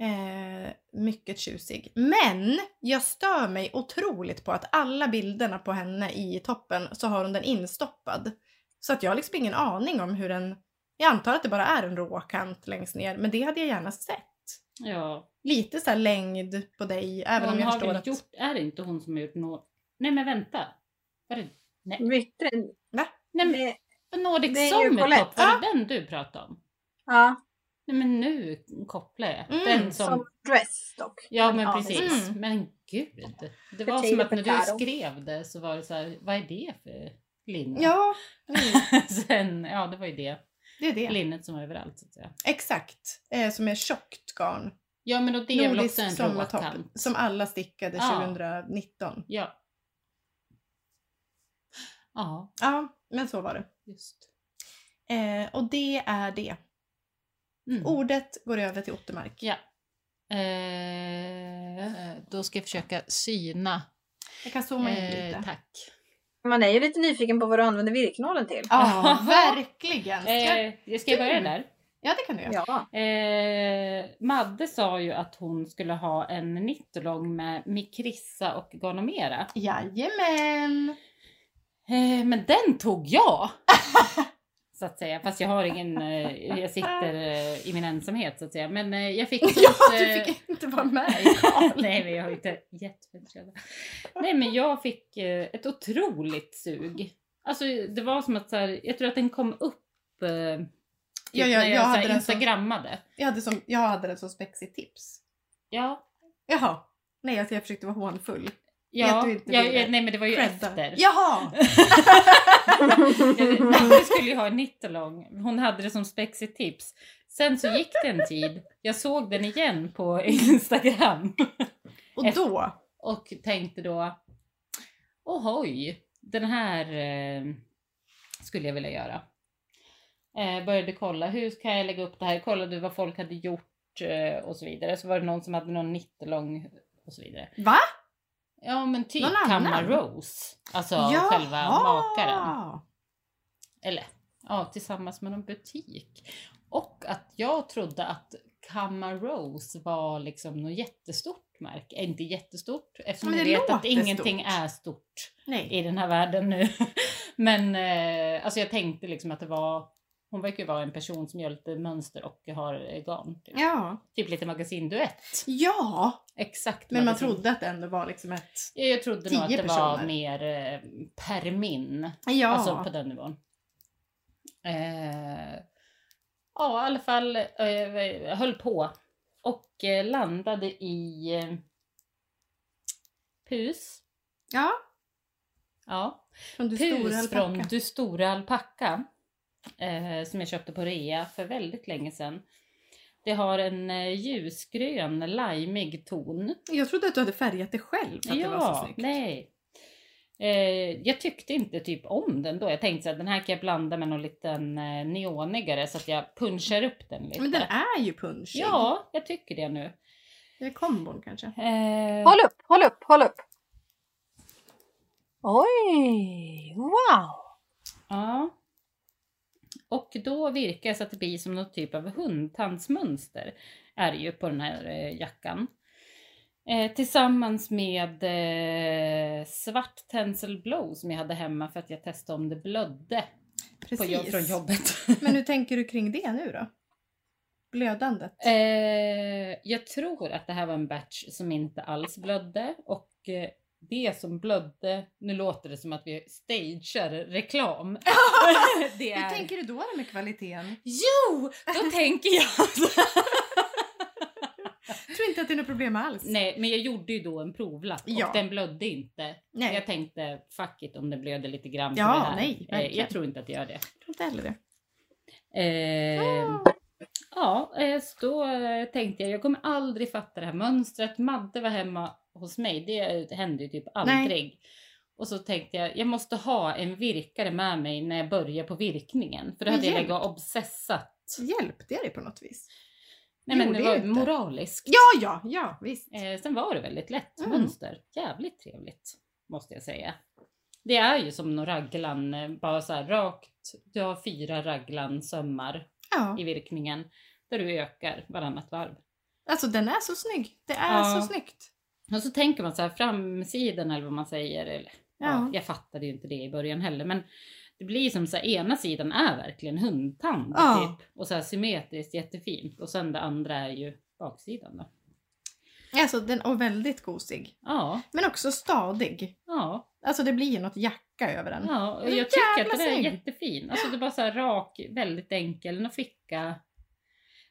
[SPEAKER 2] Eh, mycket tjusig. Men jag stör mig otroligt på att alla bilderna på henne i toppen så har hon den instoppad. Så att jag har liksom ingen aning om hur den... Jag antar att det bara är en råkant längst ner, men det hade jag gärna sett.
[SPEAKER 3] Ja.
[SPEAKER 2] Lite så här längd på dig, även
[SPEAKER 3] hon
[SPEAKER 2] om jag
[SPEAKER 3] har
[SPEAKER 2] förstår
[SPEAKER 3] väl
[SPEAKER 2] att...
[SPEAKER 3] gjort, är det inte hon som har gjort något? Nej men vänta. Var det,
[SPEAKER 1] Vittre.
[SPEAKER 3] nej men
[SPEAKER 1] Det-
[SPEAKER 3] Nordic
[SPEAKER 1] det är ju Colette.
[SPEAKER 3] Summertop, var
[SPEAKER 2] Ja.
[SPEAKER 3] det den du pratade om?
[SPEAKER 1] Ja,
[SPEAKER 3] Nej men nu kopplar jag.
[SPEAKER 2] Mm,
[SPEAKER 3] den som,
[SPEAKER 1] som dress dock.
[SPEAKER 3] Ja men
[SPEAKER 1] Ja,
[SPEAKER 3] precis.
[SPEAKER 2] mm.
[SPEAKER 3] Men gud. Det var
[SPEAKER 1] Potato,
[SPEAKER 3] som att när du
[SPEAKER 1] potato.
[SPEAKER 3] skrev det så var det så här, vad är det för linne?
[SPEAKER 2] Ja, mm,
[SPEAKER 3] Sen, ja det var ju det.
[SPEAKER 2] det är det.
[SPEAKER 3] Linnet som var överallt så att säga.
[SPEAKER 2] Exakt. Eh, som är tjockt garn.
[SPEAKER 3] Ja men och det är väl
[SPEAKER 2] Nordisk
[SPEAKER 3] också en
[SPEAKER 2] sommartopp
[SPEAKER 3] råkant.
[SPEAKER 2] som alla stickade
[SPEAKER 3] Ja.
[SPEAKER 2] 2019.
[SPEAKER 3] Ja. Ja,
[SPEAKER 2] Ja, men så var det.
[SPEAKER 3] just.
[SPEAKER 2] Eh, och det är det.
[SPEAKER 3] Mm.
[SPEAKER 2] Ordet går över till Ottermark.
[SPEAKER 3] Ja. Eh, då ska jag försöka syna.
[SPEAKER 2] Jag kan zooma in
[SPEAKER 3] Eh,
[SPEAKER 2] lite.
[SPEAKER 3] tack.
[SPEAKER 1] Man är ju lite nyfiken på vad du använder virknålen till.
[SPEAKER 2] Ja, verkligen! Ska jag-
[SPEAKER 3] Eh, jag ska börja där.
[SPEAKER 2] Ja, det kan du göra.
[SPEAKER 1] Ja.
[SPEAKER 3] Eh, Madde sa ju att hon skulle ha en nittolång med mikrissa och gonomera.
[SPEAKER 2] Jajamän!
[SPEAKER 3] Eh, men den tog jag! så att säga. Fast jag har ingen, eh, jag sitter eh, i min ensamhet så att säga. Men eh, jag fick
[SPEAKER 2] Ja,
[SPEAKER 3] sånt,
[SPEAKER 2] du
[SPEAKER 3] eh,
[SPEAKER 2] fick inte vara med i tal.
[SPEAKER 3] Nej men jag har ju inte jättefint kläder. Nej men jag fick eh, ett otroligt sug. Alltså det var som att så här, jag tror att den kom upp eh, typ
[SPEAKER 2] Ja, ja,
[SPEAKER 3] när
[SPEAKER 2] jag
[SPEAKER 3] jag, så
[SPEAKER 2] hade
[SPEAKER 3] här,
[SPEAKER 2] den som-
[SPEAKER 3] instagrammade.
[SPEAKER 2] Jag hade, som, jag hade det som spexigt tips.
[SPEAKER 3] Ja,
[SPEAKER 2] Jaha. Nej, alltså jag försökte vara hånfull. Vet
[SPEAKER 3] ja,
[SPEAKER 2] du inte
[SPEAKER 3] ja,
[SPEAKER 2] det?
[SPEAKER 3] ja nej men det var ju
[SPEAKER 2] Credda.
[SPEAKER 3] efter.
[SPEAKER 2] Jaha!
[SPEAKER 3] Madde skulle ju ha en nittolång. Hon hade det som spexigt tips. Sen så gick det en tid. Jag såg den igen på Instagram.
[SPEAKER 2] Och då?
[SPEAKER 3] Och tänkte då, ohoj, den här eh, skulle jag vilja göra. Eh, började kolla, hur kan jag lägga upp det här? Kollade vad folk hade gjort eh, och så vidare. Så var det någon som hade någon nittelång och så vidare.
[SPEAKER 2] Va?
[SPEAKER 3] Ja men typ
[SPEAKER 2] Någon annan?
[SPEAKER 3] Kamma Rose. Alltså själva makaren. Eller ja, tillsammans med någon butik. Och att jag trodde att Kamma Rose var liksom något jättestort märke. Eh, Inte jättestort eftersom
[SPEAKER 2] Men
[SPEAKER 3] jag
[SPEAKER 2] det
[SPEAKER 3] vet att
[SPEAKER 2] låter
[SPEAKER 3] ingenting
[SPEAKER 2] stort.
[SPEAKER 3] är stort
[SPEAKER 2] Nej.
[SPEAKER 3] i den här världen nu. Men eh, alltså jag tänkte liksom att det var Hon verkar ju vara en person som gör lite mönster och har eh, garn. Typ,
[SPEAKER 2] Ja.
[SPEAKER 3] typ lite magasinduett.
[SPEAKER 2] Ja!
[SPEAKER 3] Exakt.
[SPEAKER 2] Men man
[SPEAKER 3] magasin.
[SPEAKER 2] trodde att det ändå var liksom ett...
[SPEAKER 3] Ja, Jag trodde nog att det
[SPEAKER 2] Tio
[SPEAKER 3] var
[SPEAKER 2] personer.
[SPEAKER 3] mer eh, permin.
[SPEAKER 2] Ja.
[SPEAKER 3] Alltså på den nivån. Eh, ja, i alla fall eh, höll på. Och eh, landade i eh, Pus.
[SPEAKER 2] ja.
[SPEAKER 3] Ja.
[SPEAKER 2] Från du stora
[SPEAKER 3] Pus från
[SPEAKER 2] alpacka.
[SPEAKER 3] Du stora alpacka. Eh, som jag köpte på rea för väldigt länge sedan. Det har en eh, ljusgrön, limeig ton.
[SPEAKER 2] Jag trodde att du hade färgat det själv för att det var så snyggt.
[SPEAKER 3] nej. Eh, jag tyckte inte typ om den då. Jag tänkte att den här kan jag blanda med någon liten eh, neonigare så att jag punchar upp den lite.
[SPEAKER 2] Men den är ju punschig.
[SPEAKER 3] Ja, jag tycker det nu.
[SPEAKER 2] Eller kombon kanske.
[SPEAKER 3] Eh,
[SPEAKER 1] Håll upp, håll upp, håll upp. Oj, wow.
[SPEAKER 3] Ja. Och då virkar jag så att det blir som någon typ av hundtandsmönster. Är det ju på den här eh, jackan. Eh, tillsammans med eh, svart tencel blow som jag hade hemma för att jag testade om det blödde på jobb, från jobbet.
[SPEAKER 2] Men hur tänker du kring det nu då? Blödandet?
[SPEAKER 3] eh, jag tror att det här var en batch som inte alls blödde och eh, det som blödde, nu låter det som att vi stagear reklam. det
[SPEAKER 2] Hur tänker du då med kvaliteten?
[SPEAKER 3] Jo, då tänker jag
[SPEAKER 2] Jag tror inte att det är något problem alls.
[SPEAKER 3] Nej, men jag gjorde ju då en provlapp
[SPEAKER 2] Ja.
[SPEAKER 3] och den blödde inte.
[SPEAKER 2] Nej.
[SPEAKER 3] Jag tänkte fuck it om det blöder lite grann. på
[SPEAKER 2] Ja,
[SPEAKER 3] det här.
[SPEAKER 2] nej,
[SPEAKER 3] Eh,
[SPEAKER 2] verkligen.
[SPEAKER 3] jag tror inte att det gör det.
[SPEAKER 2] Jag tror inte heller det.
[SPEAKER 3] Eh,
[SPEAKER 2] Ah.
[SPEAKER 3] ja, eh, så då eh, tänkte jag jag kommer aldrig fatta det här mönstret. Madde var hemma hos mig. Det hände ju typ aldrig. Och så tänkte jag, jag måste ha en virkare med mig när jag börjar på virkningen. För då
[SPEAKER 2] Men
[SPEAKER 3] hade jag
[SPEAKER 2] hjälp.
[SPEAKER 3] legat och obsessat.
[SPEAKER 2] Hjälpte jag dig på något vis?
[SPEAKER 3] Nej men
[SPEAKER 2] Gjorde
[SPEAKER 3] det
[SPEAKER 2] jag
[SPEAKER 3] var
[SPEAKER 2] inte.
[SPEAKER 3] moraliskt.
[SPEAKER 2] Ja, ja, ja, visst.
[SPEAKER 3] Eh, sen var det väldigt lätt
[SPEAKER 2] Mm.
[SPEAKER 3] mönster. Jävligt trevligt måste jag säga. Det är ju som någon raglan, eh, bara så här rakt. Du har fyra raglan sömmar
[SPEAKER 2] Ja.
[SPEAKER 3] i virkningen där du ökar varannat varv.
[SPEAKER 2] Alltså den är så snygg. Det är
[SPEAKER 3] Ja.
[SPEAKER 2] så snyggt.
[SPEAKER 3] Och så tänker man så här framsidan eller vad man säger. Eller, ja.
[SPEAKER 2] Ja.
[SPEAKER 3] jag fattade ju inte det i början heller men det blir som så här, ena sidan är verkligen hundtand
[SPEAKER 2] Ja.
[SPEAKER 3] typ, och så här symmetriskt jättefint och sen det andra är ju baksidan då.
[SPEAKER 2] Alltså den är väldigt gosig.
[SPEAKER 3] Ja,
[SPEAKER 2] Men också stadig.
[SPEAKER 3] ja.
[SPEAKER 2] Alltså det blir ju något jacka över den.
[SPEAKER 3] Ja, och
[SPEAKER 2] Den är
[SPEAKER 3] jag tycker
[SPEAKER 2] jävla
[SPEAKER 3] att den är
[SPEAKER 2] snygg.
[SPEAKER 3] jättefin. Alltså det är bara så här rak, väldigt enkel, en ficka.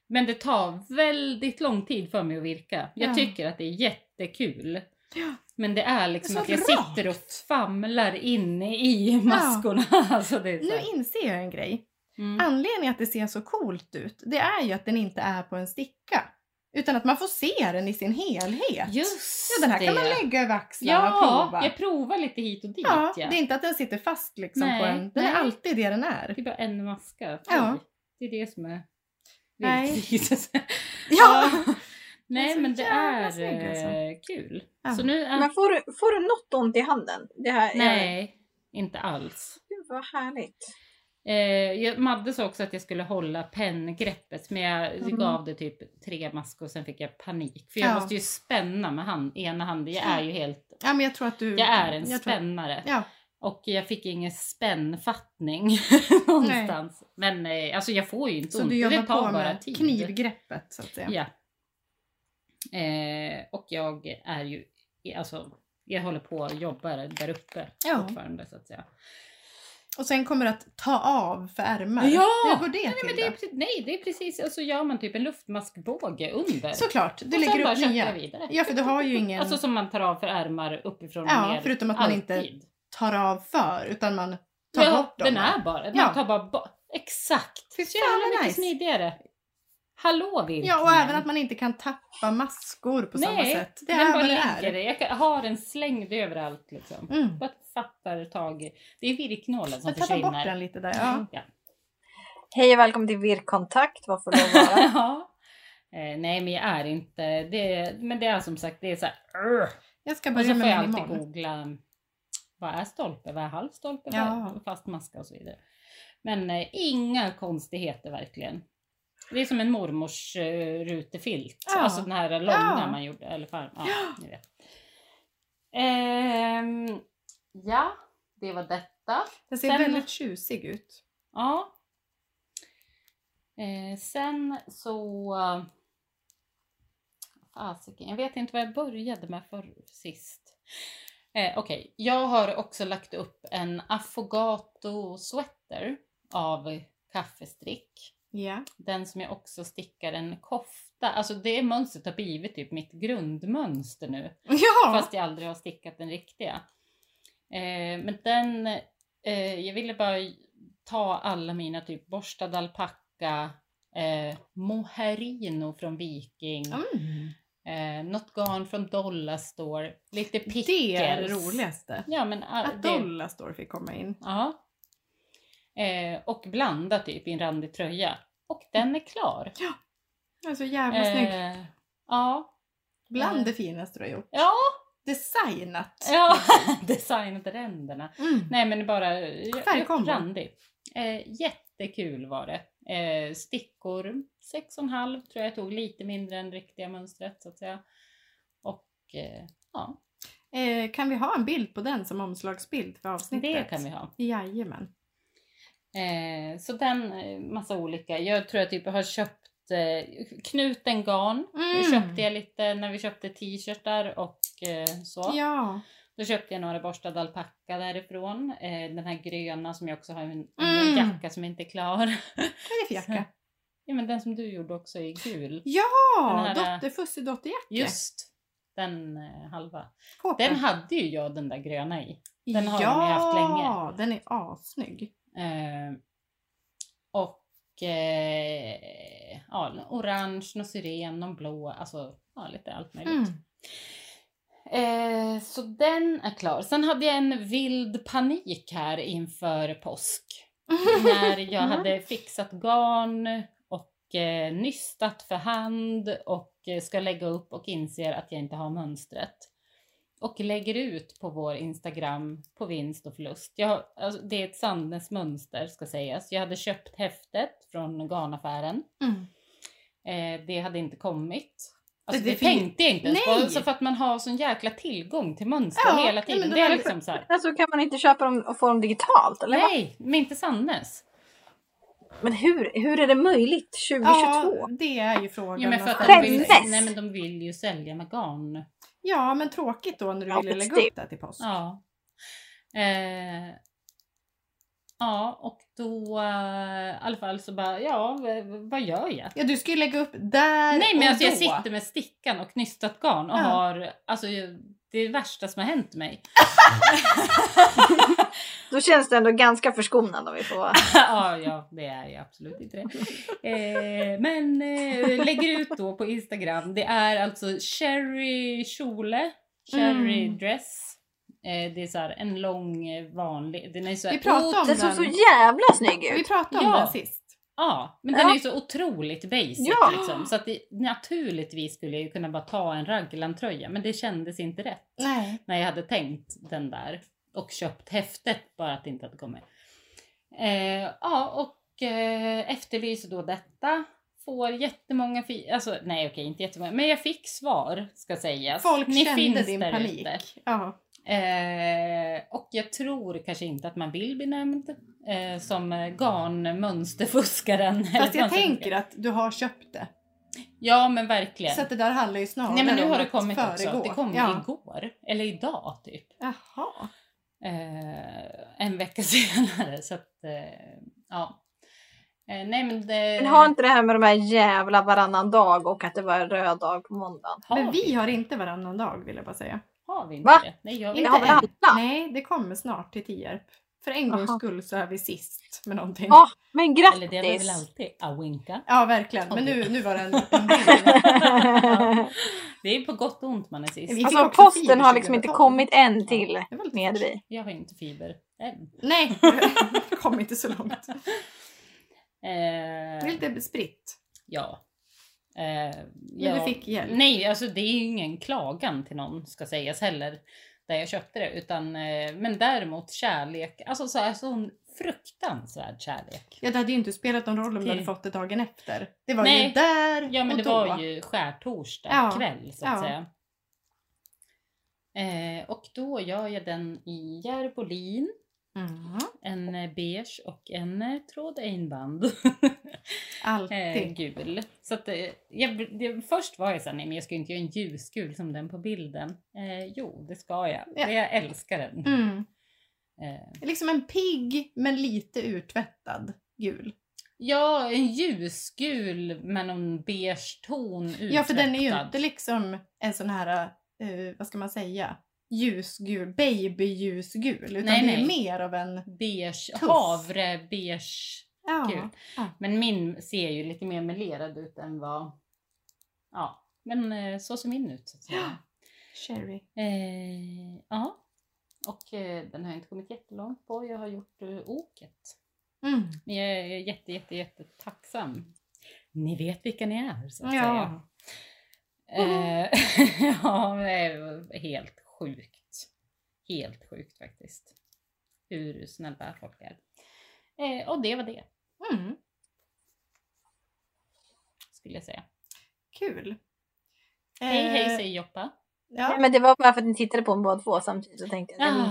[SPEAKER 3] Men det tar väldigt lång tid för mig att virka. Jag
[SPEAKER 2] Ja.
[SPEAKER 3] tycker att det är jättekul.
[SPEAKER 2] Ja.
[SPEAKER 3] Men det är liksom
[SPEAKER 2] Så
[SPEAKER 3] att jag
[SPEAKER 2] rakt.
[SPEAKER 3] sitter och famlar inne i maskorna. Alltså det är så.
[SPEAKER 2] Nu
[SPEAKER 3] här.
[SPEAKER 2] inser jag en grej.
[SPEAKER 3] Mm.
[SPEAKER 2] Anledningen att det ser så coolt ut, det är ju att den inte är på en sticka. Utan att man får se den i sin helhet.
[SPEAKER 3] Just
[SPEAKER 2] ja, den här
[SPEAKER 3] det.
[SPEAKER 2] kan man lägga över axlarna och
[SPEAKER 3] Ja,
[SPEAKER 2] prova.
[SPEAKER 3] jag provar lite hit och dit.
[SPEAKER 2] ja,
[SPEAKER 3] Ja,
[SPEAKER 2] det är inte att den sitter fast liksom
[SPEAKER 3] Nej,
[SPEAKER 2] på en. Den är
[SPEAKER 3] nej.
[SPEAKER 2] alltid det den är.
[SPEAKER 3] Det är bara en maska.
[SPEAKER 2] Ja.
[SPEAKER 3] Oj, Det är det som är
[SPEAKER 2] Nej.
[SPEAKER 3] viktigt.
[SPEAKER 2] Ja!
[SPEAKER 3] Nej
[SPEAKER 2] så
[SPEAKER 3] men det
[SPEAKER 2] jävla
[SPEAKER 3] är
[SPEAKER 2] snygg, alltså.
[SPEAKER 3] eh, kul.
[SPEAKER 2] Ja.
[SPEAKER 3] Så nu är...
[SPEAKER 1] Men får, du- får du något ont i handen? Det här Är,
[SPEAKER 3] Nej, inte alls.
[SPEAKER 1] Gud, vad härligt.
[SPEAKER 3] Eh, jag, Madde sa också att jag skulle hålla penngreppet men jag
[SPEAKER 1] Mm.
[SPEAKER 3] gav det typ tre maskor och sen fick jag panik. För jag
[SPEAKER 2] Ja.
[SPEAKER 3] måste ju spänna med hand, ena handen. Jag är ju helt...
[SPEAKER 2] ja, men jag tror att du...
[SPEAKER 3] Jag är en
[SPEAKER 2] jag tror-
[SPEAKER 3] spännare.
[SPEAKER 2] Ja,
[SPEAKER 3] Och jag fick ingen spännfattning någonstans. Men eh, alltså jag får ju inte
[SPEAKER 2] så
[SPEAKER 3] ont.
[SPEAKER 2] du
[SPEAKER 3] det
[SPEAKER 2] jobbar
[SPEAKER 3] tar
[SPEAKER 2] på
[SPEAKER 3] bara
[SPEAKER 2] med
[SPEAKER 3] tid.
[SPEAKER 2] knivgreppet så att säga.
[SPEAKER 3] Ja. Eh, och jag är ju, alltså jag håller på och jobbar där uppe
[SPEAKER 2] Ja.
[SPEAKER 3] fortfarande så att säga.
[SPEAKER 2] Och sen kommer det att ta av för ärmar.
[SPEAKER 3] Ja!
[SPEAKER 2] Hur går det
[SPEAKER 3] Nej,
[SPEAKER 2] till
[SPEAKER 3] men det är,
[SPEAKER 2] då?
[SPEAKER 3] precis- nej, det är precis, och så gör man typ en luftmaskbåge under.
[SPEAKER 2] Såklart, du
[SPEAKER 3] och sen
[SPEAKER 2] lägger
[SPEAKER 3] bara
[SPEAKER 2] upp
[SPEAKER 3] köttar
[SPEAKER 2] nya.
[SPEAKER 3] jag vidare.
[SPEAKER 2] Ja, för du har ju ingen-
[SPEAKER 3] Alltså som man tar av för ärmar uppifrån och
[SPEAKER 2] Ja,
[SPEAKER 3] ner.
[SPEAKER 2] förutom att man inte
[SPEAKER 3] alltid.
[SPEAKER 2] Tar av för, utan man tar
[SPEAKER 3] ja,
[SPEAKER 2] bort dem.
[SPEAKER 3] Den är bara, man
[SPEAKER 2] Ja.
[SPEAKER 3] tar bara bo- Exakt!
[SPEAKER 2] Fy
[SPEAKER 3] Så jävla
[SPEAKER 2] fan,
[SPEAKER 3] mycket
[SPEAKER 2] vad nice.
[SPEAKER 3] smidigare. Hallå virkningen.
[SPEAKER 2] Ja, och även att man inte kan tappa maskor på samma
[SPEAKER 3] Nej,
[SPEAKER 2] sätt. Det
[SPEAKER 3] den
[SPEAKER 2] är
[SPEAKER 3] bara
[SPEAKER 2] vad det
[SPEAKER 3] ligger
[SPEAKER 2] är.
[SPEAKER 3] det. Jag kan- har den slängd överallt liksom.
[SPEAKER 2] Mm.
[SPEAKER 3] Bara fattar tag i. Det är virknålen som
[SPEAKER 2] Jag tappar bort
[SPEAKER 3] försvinner. Mm.
[SPEAKER 2] den lite där. Ja.
[SPEAKER 3] Ja.
[SPEAKER 1] Hej och välkommen till Virkkontakt. Vad får det vara?
[SPEAKER 3] Ja. Eh, nej men jag är inte, det, men det är som sagt det är så här, "Urgh."
[SPEAKER 2] Jag ska
[SPEAKER 3] Och så
[SPEAKER 2] börja
[SPEAKER 3] får
[SPEAKER 2] med
[SPEAKER 3] jag
[SPEAKER 2] den
[SPEAKER 3] alltid
[SPEAKER 2] imorgon.
[SPEAKER 3] googla vad är stolpe, vad är halvstolpe, vad
[SPEAKER 2] Ja.
[SPEAKER 3] är fast maska och så vidare. Men eh, inga konstigheter verkligen. Det är som en mormors eh, rutefilt.
[SPEAKER 2] Ja.
[SPEAKER 3] Alltså den här långa
[SPEAKER 2] Ja.
[SPEAKER 3] man gjorde. Eller farm. Ja, ni vet. Ehm, ja, det var detta.
[SPEAKER 2] Den ser
[SPEAKER 3] Sen-
[SPEAKER 2] väldigt tjusig ut.
[SPEAKER 3] Ja. Eh, sen så... Fasiken, jag vet inte vad jag började med för sist. Eh, Okej, jag har också lagt upp en affogato sweater av kaffestrick.
[SPEAKER 2] Ja.
[SPEAKER 3] Den som jag också stickar en kofta. Alltså det mönstret har blivit typ mitt grundmönster nu.
[SPEAKER 2] Ja!
[SPEAKER 3] Fast jag aldrig har stickat den riktiga. Eh, men den, eh, jag ville bara ta alla mina typ borstad alpacka, eh, moherino från Viking,
[SPEAKER 2] Mm.
[SPEAKER 3] eh, något garn från Dollarstore, lite pickles.
[SPEAKER 2] Det är det roligaste.
[SPEAKER 3] Ja men all,
[SPEAKER 2] Att
[SPEAKER 3] det,
[SPEAKER 2] Dollarstore fick komma in.
[SPEAKER 3] ja. Eh, och blanda typ i en randig tröja. Och den är klar.
[SPEAKER 2] Den är så jävla snygg.
[SPEAKER 3] Eh, ja.
[SPEAKER 2] Bland det finaste du har gjort.
[SPEAKER 3] Ja,
[SPEAKER 2] Designat.
[SPEAKER 3] ja. designat ränderna.
[SPEAKER 2] Mm.
[SPEAKER 3] Nej men bara eh,
[SPEAKER 2] Färgkombo.
[SPEAKER 3] randig. Eh, jättekul var det. Eh, stickor, 6,5 tror jag tog, lite mindre än riktiga mönstret så att säga. Och eh, ja,
[SPEAKER 2] Eh, kan vi ha en bild på den som omslagsbild för avsnittet?
[SPEAKER 3] det kan vi ha.
[SPEAKER 2] Jajamän.
[SPEAKER 3] Eh, så den, eh, massa olika. Jag tror jag typ har köpt eh, knuten garn.
[SPEAKER 2] Mm.
[SPEAKER 3] köpte jag lite när vi köpte t-shirtar och eh, så.
[SPEAKER 2] Mm. Ja.
[SPEAKER 3] Då köpte jag några borstad alpacka därifrån. Eh, den här gröna som jag också har en,
[SPEAKER 2] Mm.
[SPEAKER 3] en jacka som inte är klar.
[SPEAKER 2] Vad är det för jacka?
[SPEAKER 3] Ja men den som du gjorde också i gul. Den
[SPEAKER 2] Ja!
[SPEAKER 3] här-
[SPEAKER 2] Dotter Fussi Dotterjacka.
[SPEAKER 3] eh, Just den eh, halva.
[SPEAKER 2] Kåpan.
[SPEAKER 3] Den hade ju jag den där gröna i. den har de ju haft länge.
[SPEAKER 2] Ja, den är assnygg.
[SPEAKER 3] Eh, och eh, ja, någon orange, någon syren, någon blå, alltså ja, lite allt möjligt.
[SPEAKER 2] Mm.
[SPEAKER 3] Eh, så den är klar. Sen hade jag en vild panik här inför påsk. när jag
[SPEAKER 2] Mm.
[SPEAKER 3] hade fixat garn och eh, nystat för hand och eh, ska lägga upp och inser att jag inte har mönstret. Och lägger ut på vår Instagram på vinst och förlust. Jag, har- alltså, det är ett Sandnes mönster ska sägas. Jag hade köpt häftet från garnaffären.
[SPEAKER 2] Mm.
[SPEAKER 3] Eh, det hade inte kommit. Alltså,
[SPEAKER 2] Det-
[SPEAKER 3] det,
[SPEAKER 2] det fin-
[SPEAKER 3] tänkte jag inte ens på.
[SPEAKER 2] Nej!
[SPEAKER 3] Alltså, för att man har sån jäkla tillgång till mönster
[SPEAKER 2] Ja,
[SPEAKER 3] hela
[SPEAKER 2] nej,
[SPEAKER 3] tiden.
[SPEAKER 2] men det
[SPEAKER 3] det är
[SPEAKER 2] var-
[SPEAKER 3] liksom så här,
[SPEAKER 1] Alltså kan man inte köpa dem och få dem digitalt? Eller? vad?
[SPEAKER 3] nej, men inte Sandnes.
[SPEAKER 1] Men hur, hur är det möjligt 2022?
[SPEAKER 2] Ja, det är ju frågan.
[SPEAKER 3] Ja men, för att de
[SPEAKER 2] någonstans.
[SPEAKER 3] vill,
[SPEAKER 1] Skämdes!
[SPEAKER 3] nej, men de vill ju sälja med garn.
[SPEAKER 2] Ja, men tråkigt då när du
[SPEAKER 1] Ja,
[SPEAKER 2] ville
[SPEAKER 1] och
[SPEAKER 2] lägga
[SPEAKER 1] det-
[SPEAKER 2] upp det här till post.
[SPEAKER 3] Ja. Eh, ja, och då eh, i alla fall så bara, ja, v- v- vad gör jag?
[SPEAKER 2] Ja, du ska ju lägga upp där
[SPEAKER 3] Nej men
[SPEAKER 2] och
[SPEAKER 3] alltså
[SPEAKER 2] då.
[SPEAKER 3] jag sitter med stickan och knystat garn och
[SPEAKER 2] Ja.
[SPEAKER 3] har, alltså jag- det är det värsta som har hänt mig.
[SPEAKER 1] Då känns det ändå ganska förskonad om vi får vara...
[SPEAKER 3] ja, ja, det är jag absolut inte det. Eh, men eh, lägger ut då på Instagram, det är alltså cherry kjole, cherry
[SPEAKER 2] Mm.
[SPEAKER 3] dress. Eh, det är så här en lång eh, vanlig, den är så här
[SPEAKER 2] Vi pratade om
[SPEAKER 1] Den
[SPEAKER 2] den.
[SPEAKER 1] såg så jävla snygg
[SPEAKER 2] Vi
[SPEAKER 1] ut!
[SPEAKER 2] pratade om
[SPEAKER 3] Ja.
[SPEAKER 2] den sist.
[SPEAKER 3] Ja, men den är ju så otroligt basic
[SPEAKER 1] Ja.
[SPEAKER 3] liksom. Så att det, naturligtvis skulle jag ju kunna bara ta en raglantröja men det kändes inte rätt
[SPEAKER 2] Nej.
[SPEAKER 3] när jag hade tänkt den där och köpt häftet bara att det inte hade kommit. Eh, ja, och eh, efterlyser då detta. Får jättemånga, fi- alltså nej okej inte jättemånga, men jag fick svar ska sägas.
[SPEAKER 2] Alltså, Folk kände
[SPEAKER 3] finns
[SPEAKER 2] din
[SPEAKER 3] där
[SPEAKER 2] panik.
[SPEAKER 3] ute.
[SPEAKER 2] Ja.
[SPEAKER 3] Eh, och jag tror kanske inte att man vill bli nämnd eh, som eh, garnmönsterfuskaren.
[SPEAKER 2] Fast jag tänker att du har köpt det.
[SPEAKER 3] Ja men verkligen.
[SPEAKER 2] Så att det där handlar ju snarare
[SPEAKER 3] Nej men nu
[SPEAKER 2] om
[SPEAKER 3] har det
[SPEAKER 2] att
[SPEAKER 3] kommit också.
[SPEAKER 2] föregå.
[SPEAKER 3] Det kom
[SPEAKER 2] ja.
[SPEAKER 3] igår. Eller idag typ.
[SPEAKER 2] Jaha.
[SPEAKER 3] Eh, en vecka senare. Så att, eh, ja. Eh, nej men det...
[SPEAKER 1] Men har inte det här med de här jävla varannan dag och att det var en röd dag på måndagen?
[SPEAKER 3] har
[SPEAKER 2] Men vi har inte varannan dag vill jag bara säga.
[SPEAKER 3] Har vi inte
[SPEAKER 1] Va?
[SPEAKER 3] det? Nej jag
[SPEAKER 1] Det
[SPEAKER 2] Inte
[SPEAKER 1] har väl
[SPEAKER 2] än.
[SPEAKER 1] alla?
[SPEAKER 2] Nej, det kommer snart till Tierp. För en gångs
[SPEAKER 1] Jaha.
[SPEAKER 2] skull så är vi sist med någonting.
[SPEAKER 1] Ja, men
[SPEAKER 3] Eller det är väl
[SPEAKER 1] grattis!
[SPEAKER 3] alltid awinka.
[SPEAKER 2] Ja, verkligen. Men nu, nu var det en liten bild.
[SPEAKER 3] Det är på gott och ont man är sist.
[SPEAKER 2] Vi- fick
[SPEAKER 1] alltså
[SPEAKER 2] också
[SPEAKER 1] posten
[SPEAKER 2] fiber
[SPEAKER 1] har liksom inte
[SPEAKER 2] 2012.
[SPEAKER 1] kommit en till
[SPEAKER 2] Det var lite
[SPEAKER 1] med vi.
[SPEAKER 3] Jag har ju inte fiber än.
[SPEAKER 2] Nej, det kom inte så långt. Det är
[SPEAKER 3] Eh,
[SPEAKER 2] lite spritt.
[SPEAKER 3] ja. Eh,
[SPEAKER 2] Men
[SPEAKER 3] ja.
[SPEAKER 2] du fick hjälp.
[SPEAKER 3] Nej, alltså det är ju ingen klagan till någon ska sägas heller. Där jag köpte det. Utan, eh, men däremot kärlek. Alltså så här, sån fruktansvärd kärlek.
[SPEAKER 2] Ja, det hade ju inte spelat någon roll om du hade
[SPEAKER 3] Till-
[SPEAKER 2] fått det dagen efter. Det var ju
[SPEAKER 3] Nej.
[SPEAKER 2] där
[SPEAKER 3] Ja men
[SPEAKER 2] och
[SPEAKER 3] det
[SPEAKER 2] då.
[SPEAKER 3] var ju skärtorsdag
[SPEAKER 2] Ja,
[SPEAKER 3] kväll så att
[SPEAKER 2] ja.
[SPEAKER 3] säga. Eh, och då gör jag den i järbolin.
[SPEAKER 2] Mm.
[SPEAKER 3] En eh, beige och en eh, tråd einband.
[SPEAKER 2] Alltid.
[SPEAKER 3] eh, gul. Så att, eh, jag, det, först var jag såhär, nej men jag ska ju inte göra en ljusgul som den på bilden. Eh, jo, det ska jag.
[SPEAKER 2] Ja.
[SPEAKER 3] Jag älskar den.
[SPEAKER 2] Mm.
[SPEAKER 3] Eh,
[SPEAKER 2] Liksom en pigg men lite urtvättad gul.
[SPEAKER 3] ja, en ljusgul med någon beige ton
[SPEAKER 2] Ja, för den är ju
[SPEAKER 3] utvättad.
[SPEAKER 2] inte liksom en sån här, eh, vad ska man säga, ljusgul, babyljusgul. Utan
[SPEAKER 3] Nej,
[SPEAKER 2] det är
[SPEAKER 3] nej.
[SPEAKER 2] mer av en...
[SPEAKER 3] beige,
[SPEAKER 2] Tuff.
[SPEAKER 3] havre, beige.
[SPEAKER 2] Ja.
[SPEAKER 3] Gul. Men min ser ju lite mer melerad ut än vad... Ja, men eh, så ser min ut. Så att säga.
[SPEAKER 2] Sherry.
[SPEAKER 3] Eh, ja. Och eh, den har jag inte kommit jättelångt på. Jag har gjort eh, oket.
[SPEAKER 2] Mm.
[SPEAKER 3] Men jag är jätte, jätte, jätte tacksam. Ni vet vilka ni är så att
[SPEAKER 2] Ja.
[SPEAKER 3] säga. Eh, ja, men det är helt sjukt. Helt sjukt faktiskt. Hur snälla folk är. Eh, och det var det
[SPEAKER 2] Mm.
[SPEAKER 3] skulle jag säga.
[SPEAKER 2] Kul.
[SPEAKER 3] Hej hej
[SPEAKER 2] Eh,
[SPEAKER 3] säger Joppa.
[SPEAKER 1] Nej,
[SPEAKER 2] ja.
[SPEAKER 1] Men det var bara för att ni tittade på mig båda två samtidigt så tänkte jag "Mm,
[SPEAKER 3] Ah.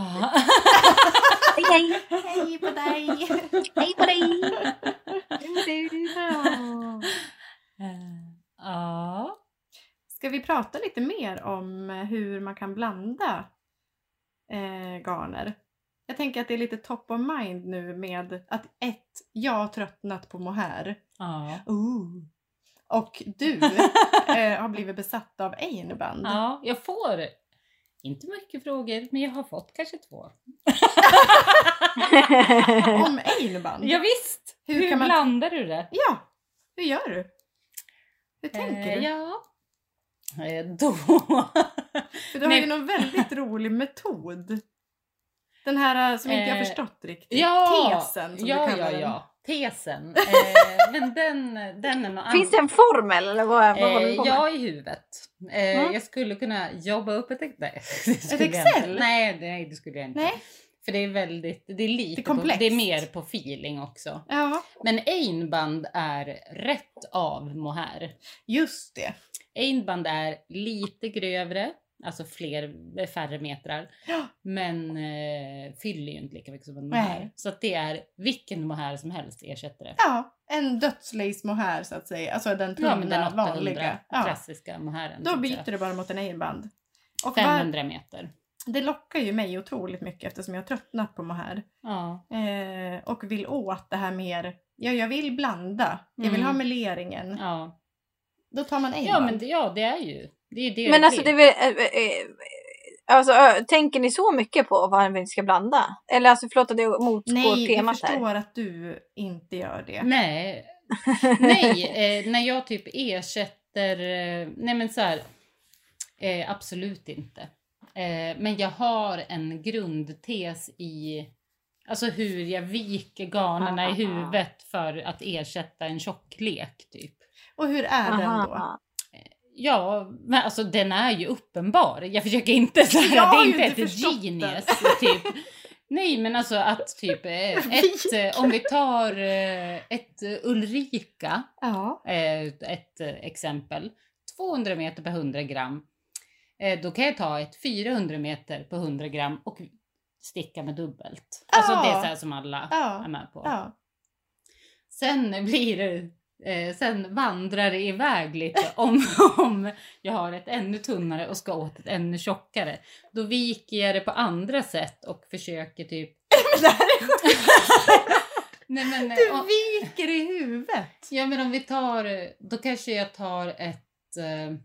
[SPEAKER 1] hej, hej,
[SPEAKER 2] Hej på dig!
[SPEAKER 1] hej på dig! Du.
[SPEAKER 2] Ja.
[SPEAKER 3] Eh, Ja.
[SPEAKER 2] Ska vi prata lite mer om hur man kan blanda eh, garner? Jag tänker att det är lite top of mind nu med att ett, Jag har tröttnat på mohair.
[SPEAKER 3] Ja.
[SPEAKER 2] Ooh. Och du eh, har blivit besatt av einband.
[SPEAKER 3] Ja, jag får inte mycket frågor, men jag har fått kanske två.
[SPEAKER 2] Om einband?
[SPEAKER 3] Ja, visst!
[SPEAKER 2] Hur
[SPEAKER 3] Hur,
[SPEAKER 2] kan man-
[SPEAKER 3] blandar du det?
[SPEAKER 2] Ja. Hur gör du? Hur tänker
[SPEAKER 3] Eh,
[SPEAKER 2] du?
[SPEAKER 3] Ja. Eh, Då.
[SPEAKER 2] För du har ju
[SPEAKER 3] Nej.
[SPEAKER 2] någon väldigt rolig metod. Den här eh, som inte jag
[SPEAKER 3] Eh,
[SPEAKER 2] förstått riktigt.
[SPEAKER 3] ja,
[SPEAKER 2] Tesen som
[SPEAKER 3] ja,
[SPEAKER 2] du kallar
[SPEAKER 3] ja,
[SPEAKER 2] den.
[SPEAKER 3] ja. Tesen. Eh, men den, den är någon
[SPEAKER 1] Finns det en formel eller vad, vad håller
[SPEAKER 3] Eh,
[SPEAKER 1] du på med?
[SPEAKER 3] ja, i huvudet. Eh,
[SPEAKER 1] Mm.
[SPEAKER 3] Jag skulle kunna jobba upp ett, nej, det skulle jag
[SPEAKER 2] Excel?
[SPEAKER 3] inte. Nej, nej, det skulle jag inte.
[SPEAKER 2] Nej.
[SPEAKER 3] För det är väldigt, det är lite,
[SPEAKER 2] Det är
[SPEAKER 3] på,
[SPEAKER 2] komplext.
[SPEAKER 3] det är mer på feeling också.
[SPEAKER 2] Ja,
[SPEAKER 3] Men einband är rätt av mohair.
[SPEAKER 2] just det.
[SPEAKER 3] Einband är lite grövre, alltså fler, färre metrar.
[SPEAKER 2] Ja.
[SPEAKER 3] Men eh, fyller ju inte lika mycket som en
[SPEAKER 2] Nej.
[SPEAKER 3] mohair. Så att det är vilken mohair som helst ersätter det.
[SPEAKER 2] Ja, en dödslace mohair så att säga. Alltså den tunna,
[SPEAKER 3] Ja, men den 800
[SPEAKER 2] vanliga. Ja.
[SPEAKER 3] klassiska mohairen.
[SPEAKER 2] Då
[SPEAKER 3] tycker jag.
[SPEAKER 2] byter du bara mot en einband. Och var,
[SPEAKER 3] 500 meter.
[SPEAKER 2] det lockar ju mig otroligt mycket eftersom jag har tröttnat på mohair.
[SPEAKER 3] Ja.
[SPEAKER 2] Eh, och vill åt det här mer, ja jag vill blanda. Jag vill
[SPEAKER 3] Mm.
[SPEAKER 2] ha meleringen.
[SPEAKER 3] Ja.
[SPEAKER 2] Då tar man einband.
[SPEAKER 3] Ja, men det, ja, det är ju det. Är ju det
[SPEAKER 1] Men
[SPEAKER 3] det
[SPEAKER 1] alltså, det
[SPEAKER 3] blir.
[SPEAKER 1] är väl, eh, eh, alltså, ö, tänker ni så mycket på vad ni ska blanda? Eller alltså förlåt att det motgår
[SPEAKER 2] Nej, jag
[SPEAKER 1] temat här.
[SPEAKER 2] förstår att du inte gör det.
[SPEAKER 3] Nej, nej eh, när jag typ ersätter... Eh, nej, men så här. Eh, absolut inte. Eh, men jag har en grundtes i alltså hur jag viker
[SPEAKER 2] Ah,
[SPEAKER 3] garnerna i huvudet för att ersätta en tjocklek. Typ.
[SPEAKER 2] Och hur är den då?
[SPEAKER 1] Aha.
[SPEAKER 3] Ja, men alltså den är ju uppenbar. Jag försöker inte så här,
[SPEAKER 2] Jag har
[SPEAKER 3] det är
[SPEAKER 2] ju
[SPEAKER 3] inte
[SPEAKER 2] inte
[SPEAKER 3] ett
[SPEAKER 2] förstått den.
[SPEAKER 3] genius. Typ. Nej, men alltså att typ eh, ett, eh, om vi tar eh, ett eh, Ulrika,
[SPEAKER 2] Ja.
[SPEAKER 3] eh, ett eh, exempel, 200 meter per 100 gram. Eh, Då kan jag ta ett 400 meter på 100 gram och sticka med dubbelt. Alltså
[SPEAKER 2] Ja.
[SPEAKER 3] det är så här som alla
[SPEAKER 2] Ja.
[SPEAKER 3] är med på.
[SPEAKER 2] ja.
[SPEAKER 3] Sen blir det, eh, sen vandrar det iväg lite om, om jag har ett ännu tunnare och ska åt ett ännu tjockare. Då viker jag det på andra sätt och försöker typ...
[SPEAKER 2] Men det här är sjukt.
[SPEAKER 3] Nej men, eh,
[SPEAKER 2] Du
[SPEAKER 3] om-
[SPEAKER 2] viker i huvudet.
[SPEAKER 3] ja, men om vi tar, eh, då kanske jag tar ett... Eh,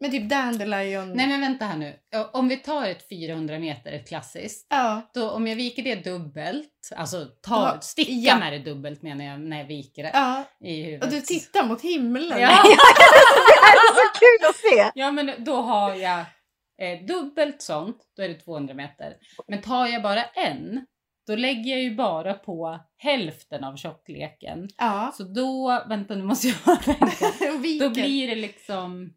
[SPEAKER 2] Men typ dandelion.
[SPEAKER 3] nej men vänta här nu. Ja, Om vi tar ett 400 meter, ett klassiskt.
[SPEAKER 2] Ja.
[SPEAKER 3] Då, om jag viker det dubbelt, alltså
[SPEAKER 2] Ja,
[SPEAKER 3] ta, sticka
[SPEAKER 2] ja.
[SPEAKER 3] med det dubbelt menar jag när jag viker det
[SPEAKER 2] Ja,
[SPEAKER 3] i huvudet.
[SPEAKER 2] och du tittar mot himlen.
[SPEAKER 3] Ja.
[SPEAKER 1] Det här är så kul att se!
[SPEAKER 3] Ja men då har jag eh, dubbelt sånt, då är det 200 meter. Men tar jag bara en, då lägger jag ju bara på hälften av tjockleken.
[SPEAKER 2] Ja.
[SPEAKER 3] Så då, vänta nu måste jag tänka.
[SPEAKER 2] Och viker
[SPEAKER 3] Då blir det liksom,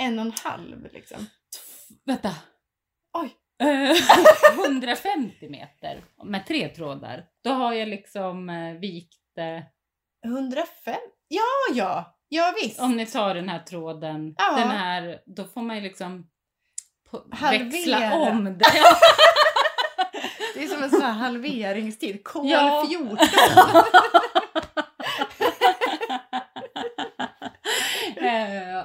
[SPEAKER 2] en och en halv liksom.
[SPEAKER 3] tf- vänta.
[SPEAKER 2] Oj.
[SPEAKER 3] Eh, 150 meter med tre trådar. Då har jag liksom eh, vikt, eh,
[SPEAKER 2] 105? Ja, ja. Ja visst.
[SPEAKER 3] om ni tar den här tråden,
[SPEAKER 2] Ja.
[SPEAKER 3] den här, då får man ju liksom på-
[SPEAKER 2] Halvera.
[SPEAKER 3] växla om det.
[SPEAKER 2] Det är som en sån här halveringstid. Kol
[SPEAKER 3] Ja.
[SPEAKER 2] 14.
[SPEAKER 3] Eh,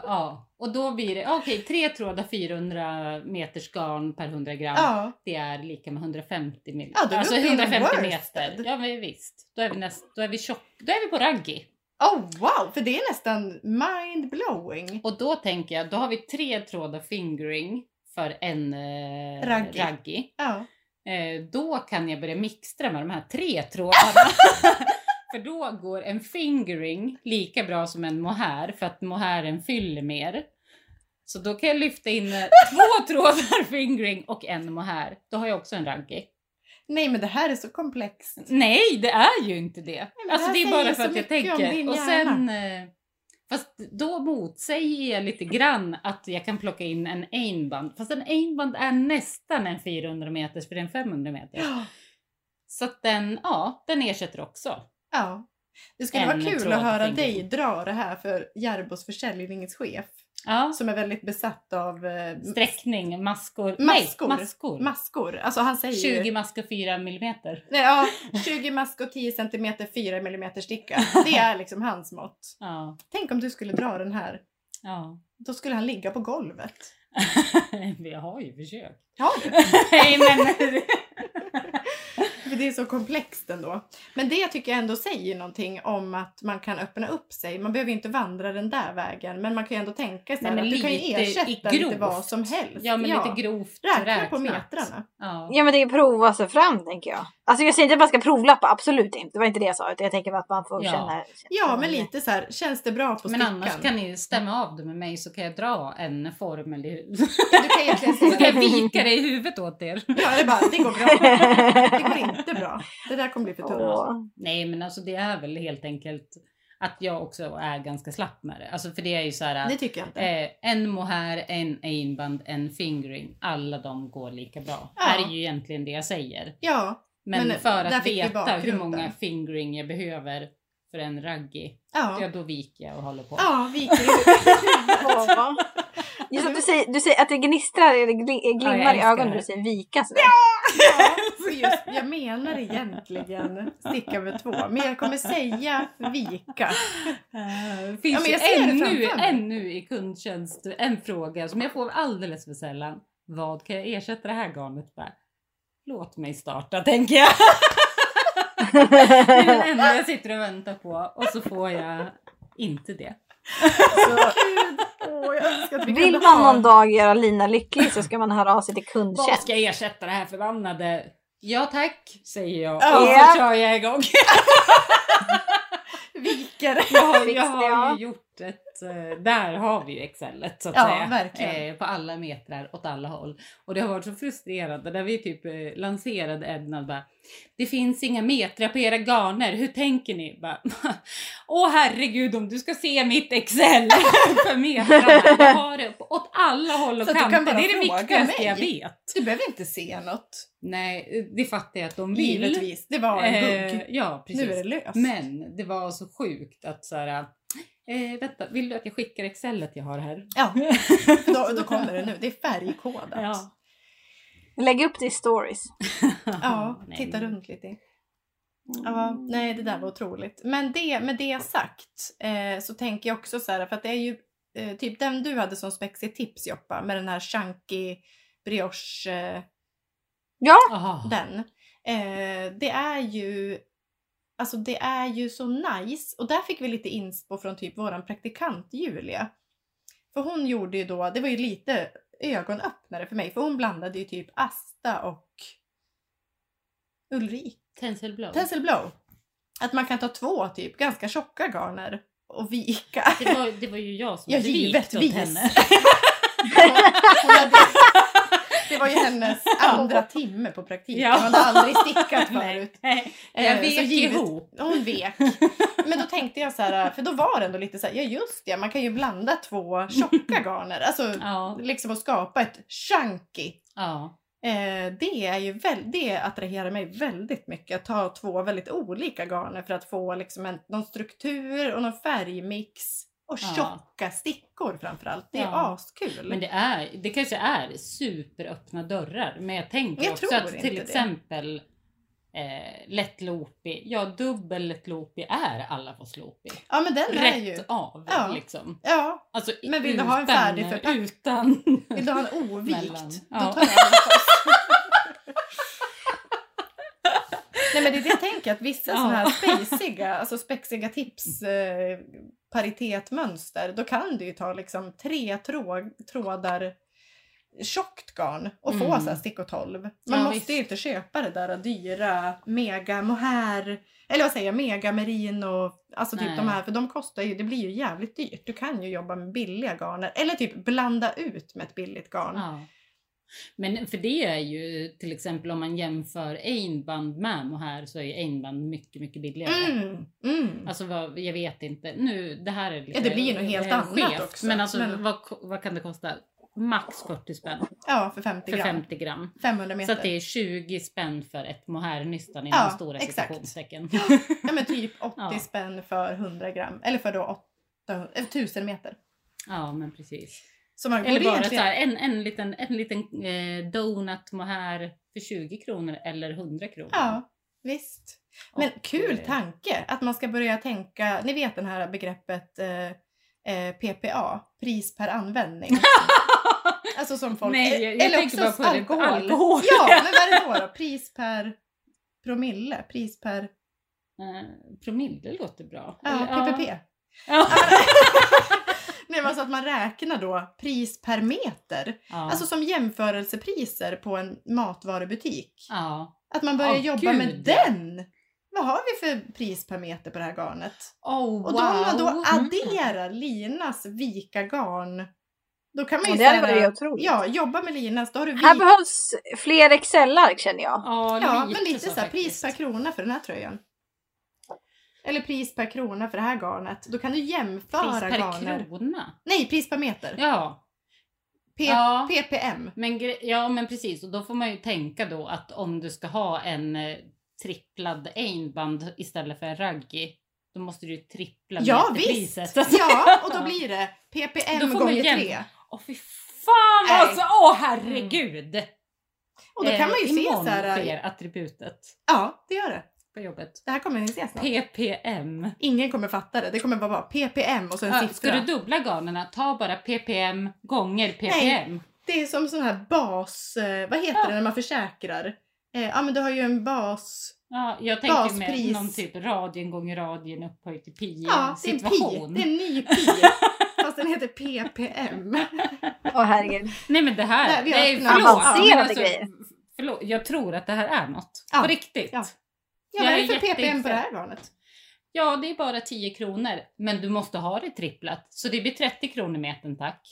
[SPEAKER 3] Och då blir det, okej, tre trådar 400 meters garn per 100 gram.
[SPEAKER 2] Ja,
[SPEAKER 3] Det är lika med 150 mil.
[SPEAKER 2] Ja, då är vi
[SPEAKER 3] alltså
[SPEAKER 2] uppe i
[SPEAKER 3] 150
[SPEAKER 2] worsted.
[SPEAKER 3] meter. Ja, men visst. Då är vi, näst, då är vi, tjock, då är vi på raggi.
[SPEAKER 2] oh, wow, för det är nästan mind-blowing.
[SPEAKER 3] Och då tänker jag, då har vi tre trådar fingering för en eh,
[SPEAKER 2] Raggi.
[SPEAKER 3] raggi.
[SPEAKER 2] Ja.
[SPEAKER 3] Eh, då kan jag börja mixtra med de här tre trådarna. för då går en fingering lika bra som en mohair för att mohairen fyller mer. Så då kan jag lyfta in eh, två trådar fingering och en mohair. Då har jag också en raggi.
[SPEAKER 2] Nej, men det här är så komplext.
[SPEAKER 3] Nej, det är ju inte det.
[SPEAKER 2] men
[SPEAKER 3] alltså
[SPEAKER 2] det här
[SPEAKER 3] det är
[SPEAKER 2] säger
[SPEAKER 3] bara
[SPEAKER 2] så
[SPEAKER 3] för att jag
[SPEAKER 2] mycket om din
[SPEAKER 3] tänker. Och
[SPEAKER 2] hjärna.
[SPEAKER 3] sen, eh, fast då motsäger jag lite grann att jag kan plocka in en einband. Fast en einband är nästan en 400 meters för det är en 500 meter.
[SPEAKER 2] Ja.
[SPEAKER 3] Så att den, ja, den ersätter också.
[SPEAKER 2] Ja. Det skulle
[SPEAKER 3] En
[SPEAKER 2] vara kul
[SPEAKER 3] tråd
[SPEAKER 2] att höra
[SPEAKER 3] fingering.
[SPEAKER 2] dig dra det här för Järbos försäljningschef
[SPEAKER 3] Ja.
[SPEAKER 2] som är väldigt besatt av eh,
[SPEAKER 3] Sträckning, maskor.
[SPEAKER 2] Maskor.
[SPEAKER 3] Nej, maskor.
[SPEAKER 2] maskor. Alltså han säger
[SPEAKER 3] 20 maskor 4 millimeter.
[SPEAKER 2] Nej, ja, 20 maskor, 10 cm, 4 mm sticka. Det är liksom hans mått.
[SPEAKER 3] Ja.
[SPEAKER 2] Tänk om du skulle dra den här.
[SPEAKER 3] ja.
[SPEAKER 2] Då skulle han ligga på golvet.
[SPEAKER 3] Vi har ju försökt.
[SPEAKER 2] Har du?
[SPEAKER 3] Nej men.
[SPEAKER 2] För det är så komplext ändå. Men det tycker jag ändå säger någonting om att man kan öppna upp sig. Man behöver ju inte vandra den där vägen. Men man kan ju ändå tänka sig
[SPEAKER 3] Nej,
[SPEAKER 2] att
[SPEAKER 3] men
[SPEAKER 2] du kan ju
[SPEAKER 3] lite i
[SPEAKER 2] ersätta lite
[SPEAKER 3] grovt.
[SPEAKER 2] vad som helst.
[SPEAKER 3] Ja men lite grovt
[SPEAKER 2] Räkna på
[SPEAKER 3] räknat.
[SPEAKER 2] metrarna.
[SPEAKER 3] Ja.
[SPEAKER 1] Ja men det är prova sig fram tänker jag. Alltså jag säger inte att man ska provlappa, absolut inte. Det var inte det jag sa. Utan jag tänker att man får
[SPEAKER 3] Ja.
[SPEAKER 1] känna.
[SPEAKER 2] Ja, men lite så här, känns det bra på
[SPEAKER 3] Men
[SPEAKER 2] stickan?
[SPEAKER 3] annars kan ni ju stämma av det med mig så kan jag dra en formel i huvudet.
[SPEAKER 2] Du kan egentligen
[SPEAKER 3] Så kan
[SPEAKER 2] säga
[SPEAKER 3] jag vika det i huvudet åt er.
[SPEAKER 2] Ja, det är bara, det går bra. Det går inte bra. Det där kommer bli för tungt.
[SPEAKER 1] Åh.
[SPEAKER 3] Nej men alltså det är väl helt enkelt att jag också är ganska slapp med det. Alltså för det är ju så här.
[SPEAKER 2] Det tycker jag inte.
[SPEAKER 3] Eh, en mohair, en einband, en fingering. Alla de går lika bra.
[SPEAKER 2] Ja.
[SPEAKER 3] Är ju egentligen det jag säger.
[SPEAKER 2] Ja,
[SPEAKER 3] Men,
[SPEAKER 2] Men
[SPEAKER 3] för
[SPEAKER 2] där
[SPEAKER 3] att
[SPEAKER 2] fick vi
[SPEAKER 3] veta hur
[SPEAKER 2] bakgrunden.
[SPEAKER 3] många fingering jag behöver för en raggi, ja
[SPEAKER 2] ja.
[SPEAKER 3] då viker jag och håller på.
[SPEAKER 2] Ja, viker ut.
[SPEAKER 1] Åh, vad- Just
[SPEAKER 2] Alltså-
[SPEAKER 1] att du säger, du säger att det gnistrar eller gli-
[SPEAKER 3] jag
[SPEAKER 1] glimmar i
[SPEAKER 3] älskar
[SPEAKER 1] ögonen
[SPEAKER 3] det.
[SPEAKER 1] när du säger vika sådär.
[SPEAKER 2] Ja, och just, jag menar egentligen sticka med två, men jag kommer säga vika.
[SPEAKER 3] Det
[SPEAKER 2] Ja,
[SPEAKER 3] Eh, finns
[SPEAKER 2] men jag
[SPEAKER 3] ju
[SPEAKER 2] ser det
[SPEAKER 3] ännu,
[SPEAKER 2] framför mig.
[SPEAKER 3] ännu i kundtjänst en fråga som jag får alldeles för sällan. Vad kan jag ersätta det här garnet med? Låt mig starta tänker jag. Det är det enda jag sitter och väntar på och så får jag inte det.
[SPEAKER 1] Så,
[SPEAKER 2] Gud, åh, jag önskar att vi
[SPEAKER 1] vill
[SPEAKER 2] kunde
[SPEAKER 1] man
[SPEAKER 2] ha...
[SPEAKER 1] någon dag göra Lina lycklig så ska man höra av sig till
[SPEAKER 3] Vad
[SPEAKER 1] kundtjänst.
[SPEAKER 3] ska jag ersätta det här förbannade? Ja tack, säger jag och
[SPEAKER 1] Ja.
[SPEAKER 3] så kör jag igång.
[SPEAKER 2] Viker.
[SPEAKER 3] Jag har,
[SPEAKER 1] Fix
[SPEAKER 3] jag
[SPEAKER 1] det,
[SPEAKER 3] har
[SPEAKER 1] ja.
[SPEAKER 3] ju gjort ett, eh, där har vi ju excelet så att
[SPEAKER 2] Ja,
[SPEAKER 3] säga.
[SPEAKER 2] verkligen.
[SPEAKER 3] Eh, På alla metrar åt alla håll. Och det har varit så frustrerande när vi typ eh, lanserade Ednad bara, det finns inga metrar på era garner, hur tänker ni? Bara, Åh herregud om du ska se mitt excel för metrarna, jag har det på- åt alla håll och
[SPEAKER 2] Så att du kan
[SPEAKER 3] kanter,
[SPEAKER 2] bara
[SPEAKER 3] det är det
[SPEAKER 2] fråga
[SPEAKER 3] viktigaste
[SPEAKER 2] mig.
[SPEAKER 3] jag vet.
[SPEAKER 2] Du behöver inte se något.
[SPEAKER 3] Nej, eh, det fattar jag att de vill.
[SPEAKER 2] Givetvis, det var en
[SPEAKER 3] Eh,
[SPEAKER 2] bugg.
[SPEAKER 3] ja, precis.
[SPEAKER 2] Nu är det löst.
[SPEAKER 3] Men det var så sjukt att så här. Eh, vänta, vill du att jag skickar excelet jag har här?
[SPEAKER 2] Ja, då, då kommer det nu. Det är färgkodat.
[SPEAKER 3] Ja.
[SPEAKER 1] Lägg upp det i stories.
[SPEAKER 2] Ja,
[SPEAKER 3] Nej,
[SPEAKER 2] titta
[SPEAKER 3] men-
[SPEAKER 2] runt lite. Ja,
[SPEAKER 1] Mm.
[SPEAKER 2] nej det där var otroligt. Men det, med det sagt eh, så tänker jag också så här, för att det är ju eh, typ den du hade som spexig tips Joppa, med den här chunky brioche, eh,
[SPEAKER 1] Ja,
[SPEAKER 3] Aha.
[SPEAKER 2] den. Eh, det är ju, alltså det är ju så nice. Och där fick vi lite inspo från typ våran praktikant Julia. För hon gjorde ju då, det var ju lite ögonöppnare för mig, för hon blandade ju typ Asta och Ulrik.
[SPEAKER 3] Tenselblad.
[SPEAKER 2] Pencil blow. Att man kan ta två typ ganska tjocka garner och vika.
[SPEAKER 3] Det, var, det var ju jag som
[SPEAKER 2] Ja,
[SPEAKER 3] hade vikt åt
[SPEAKER 2] givetvis.
[SPEAKER 3] henne.
[SPEAKER 2] Hon hade- Det var ju hennes andra timme på praktiken.
[SPEAKER 3] Ja.
[SPEAKER 2] Hon hade aldrig stickat
[SPEAKER 3] Nej,
[SPEAKER 2] förut.
[SPEAKER 3] nej. Jag
[SPEAKER 2] Eh, så
[SPEAKER 3] vek
[SPEAKER 2] givet-
[SPEAKER 3] ihop.
[SPEAKER 2] Hon vek. Men då tänkte jag så här, för då var det ändå lite så här, ja just det, man kan ju blanda två tjocka garner. Alltså
[SPEAKER 3] Ja,
[SPEAKER 2] liksom att skapa ett chunky.
[SPEAKER 3] ja.
[SPEAKER 2] Eh, det, är ju väl, det attraherar mig väldigt mycket. Att ta två väldigt olika garner för att få liksom en, någon struktur och någon färgmix. Och
[SPEAKER 3] Ja.
[SPEAKER 2] tjocka stickor framförallt. Det är
[SPEAKER 3] Ja.
[SPEAKER 2] askul.
[SPEAKER 3] Men det, är, det kanske är superöppna dörrar. Men jag tänker
[SPEAKER 2] Jag
[SPEAKER 3] också
[SPEAKER 2] tror
[SPEAKER 3] att
[SPEAKER 2] inte
[SPEAKER 3] till
[SPEAKER 2] det.
[SPEAKER 3] exempel eh, lättloopig. Ja, dubbel lättloopig är alla på sloopig.
[SPEAKER 2] Ja, men den är
[SPEAKER 3] Rätt
[SPEAKER 2] ju...
[SPEAKER 3] av
[SPEAKER 2] Ja.
[SPEAKER 3] liksom.
[SPEAKER 2] Ja,
[SPEAKER 3] Alltså, i-
[SPEAKER 2] Men vill du ha en
[SPEAKER 3] utan-
[SPEAKER 2] färdig förpackning?
[SPEAKER 3] Utan...
[SPEAKER 2] vill du ha en
[SPEAKER 3] Mellan.
[SPEAKER 2] ovikt?
[SPEAKER 3] Ja.
[SPEAKER 2] Då tar jag en fast. Nej men det är det jag tänker att vissa
[SPEAKER 3] Ja.
[SPEAKER 2] såna här spejsiga, alltså spexiga tips eh, paritetmönster, då kan du ju ta liksom tre trå- trådar tjockt garn och få
[SPEAKER 3] Mm.
[SPEAKER 2] så här stickor 12. Man måste
[SPEAKER 3] visst.
[SPEAKER 2] ju inte köpa det där dyra mega mohair, eller vad säger jag, mega merino, alltså typ
[SPEAKER 3] Nej.
[SPEAKER 2] de här, för de kostar ju, det blir ju jävligt dyrt. Du kan ju jobba med billiga garner, eller typ blanda ut med ett billigt garn.
[SPEAKER 3] Ja. Men för det är ju till exempel om man jämför einband med mohair så är ju einband mycket, mycket billigare.
[SPEAKER 2] Mm, mm.
[SPEAKER 3] Alltså vad, jag vet inte. Nu, det här är lite
[SPEAKER 2] Ja, det blir ju något helt
[SPEAKER 3] eh,
[SPEAKER 2] annat också.
[SPEAKER 3] Men alltså
[SPEAKER 2] Men-
[SPEAKER 3] Vad, ko- vad kan det kosta? Max 40 spänn
[SPEAKER 2] Ja, för 50
[SPEAKER 3] för
[SPEAKER 2] gram.
[SPEAKER 3] 50 gram.
[SPEAKER 2] 500 meter.
[SPEAKER 3] Så att det är 20 spänn för ett mohairnystan inom
[SPEAKER 2] Ja,
[SPEAKER 3] stora
[SPEAKER 2] exakt.
[SPEAKER 3] citationstecken.
[SPEAKER 2] Ja men typ 80
[SPEAKER 3] Ja.
[SPEAKER 2] spänn för 100 gram. Eller för då 800, eh, 1000 meter.
[SPEAKER 3] ja men precis.
[SPEAKER 2] Så man
[SPEAKER 3] Eller
[SPEAKER 2] borde
[SPEAKER 3] bara så
[SPEAKER 2] egentligen-
[SPEAKER 3] här, en, en liten, en liten eh, donut mohair för 20 kronor eller 100 kronor.
[SPEAKER 2] Ja, visst. Men
[SPEAKER 3] Och,
[SPEAKER 2] kul
[SPEAKER 3] eh,
[SPEAKER 2] tanke att man ska börja tänka, ni vet den här begreppet eh, eh, PPA, pris per användning. alltså som folk...
[SPEAKER 3] Nej,
[SPEAKER 2] eh,
[SPEAKER 3] jag- jag tänker bara på det- alkohol.
[SPEAKER 2] Ja, men vad är det då? då? Pris per promille, pris per...
[SPEAKER 3] Eh, promille låter bra.
[SPEAKER 2] Ja,
[SPEAKER 3] Eller,
[SPEAKER 2] PPP.
[SPEAKER 3] Ja.
[SPEAKER 2] Nej, men alltså att man räknar då pris per meter.
[SPEAKER 3] Ja.
[SPEAKER 2] Alltså som jämförelsepriser på en matvarubutik.
[SPEAKER 3] ja.
[SPEAKER 2] Att man börjar
[SPEAKER 3] Åh,
[SPEAKER 2] jobba
[SPEAKER 3] gud.
[SPEAKER 2] med den. Vad har vi för pris per meter på det här garnet?
[SPEAKER 3] Oh,
[SPEAKER 2] Och då om man då adderar Linas vika garn. Då kan man ju
[SPEAKER 1] Och det hade
[SPEAKER 2] så här,
[SPEAKER 1] varit otroligt.
[SPEAKER 2] Ja, jobba med Linas. Då har du vik-
[SPEAKER 1] Här behövs fler excellar känner jag.
[SPEAKER 3] Ja,
[SPEAKER 2] Ja, men lite så här,
[SPEAKER 3] faktiskt.
[SPEAKER 2] pris per krona för den här tröjan. Eller pris per krona för det här garnet. Då kan du jämföra
[SPEAKER 3] Pris per
[SPEAKER 2] garner.
[SPEAKER 3] krona.
[SPEAKER 2] Nej, pris per meter.
[SPEAKER 3] Ja.
[SPEAKER 2] P-
[SPEAKER 3] Ja.
[SPEAKER 2] PPM.
[SPEAKER 3] Men, gre- ja, men precis. Och då får man ju tänka då att om du ska ha en eh, tripplad einband istället för en raggi, då måste du ju trippla Alltså,
[SPEAKER 2] Ja visst!
[SPEAKER 3] meterpriset.
[SPEAKER 2] Ja, och då blir det PPM
[SPEAKER 3] Då får man
[SPEAKER 2] gånger
[SPEAKER 3] jämn-
[SPEAKER 2] tre.
[SPEAKER 3] Åh fy fan
[SPEAKER 2] Nej.
[SPEAKER 3] alltså! Åh herregud!
[SPEAKER 2] Och då
[SPEAKER 3] Eh,
[SPEAKER 2] kan man ju se
[SPEAKER 3] imorgon
[SPEAKER 2] så här.
[SPEAKER 3] sker attributet
[SPEAKER 2] Ja, det gör det.
[SPEAKER 3] på jobbet.
[SPEAKER 2] Det här kommer ni se snart.
[SPEAKER 3] PPM.
[SPEAKER 2] Ingen kommer fatta det. Det kommer bara vara PPM och så en
[SPEAKER 3] Ja, ska
[SPEAKER 2] siffra.
[SPEAKER 3] du dubbla garnerna, ta bara PPM gånger PPM.
[SPEAKER 2] Det är som sån här bas... eh, Vad heter
[SPEAKER 3] Ja.
[SPEAKER 2] det när man försäkrar? Eh, Ja, men du har ju en bas...
[SPEAKER 3] Ja, jag tänker med
[SPEAKER 2] Baspris.
[SPEAKER 3] någon typ radien gånger radien upphöjt till pi
[SPEAKER 2] Ja, det är en pi.
[SPEAKER 3] situation.
[SPEAKER 2] Det är en ny pi. Fast den heter PPM.
[SPEAKER 1] Åh herregud.
[SPEAKER 3] Nej men det här,
[SPEAKER 2] Nej, vi har
[SPEAKER 3] nej,
[SPEAKER 2] öppnat
[SPEAKER 3] förlåt.
[SPEAKER 1] avancerade
[SPEAKER 3] men alltså,
[SPEAKER 1] grejer.
[SPEAKER 3] Förlåt, jag tror att det här är något.
[SPEAKER 2] Ja,
[SPEAKER 3] På riktigt.
[SPEAKER 2] ja.
[SPEAKER 3] Ja.
[SPEAKER 2] Ja,
[SPEAKER 3] Jag
[SPEAKER 2] vad är
[SPEAKER 3] är
[SPEAKER 2] det för PPM på det här
[SPEAKER 3] jätteintresserad.
[SPEAKER 2] garnet?
[SPEAKER 3] det är bara 10 kronor. Men du måste ha det tripplat. Så det blir 30 kronor metern tack.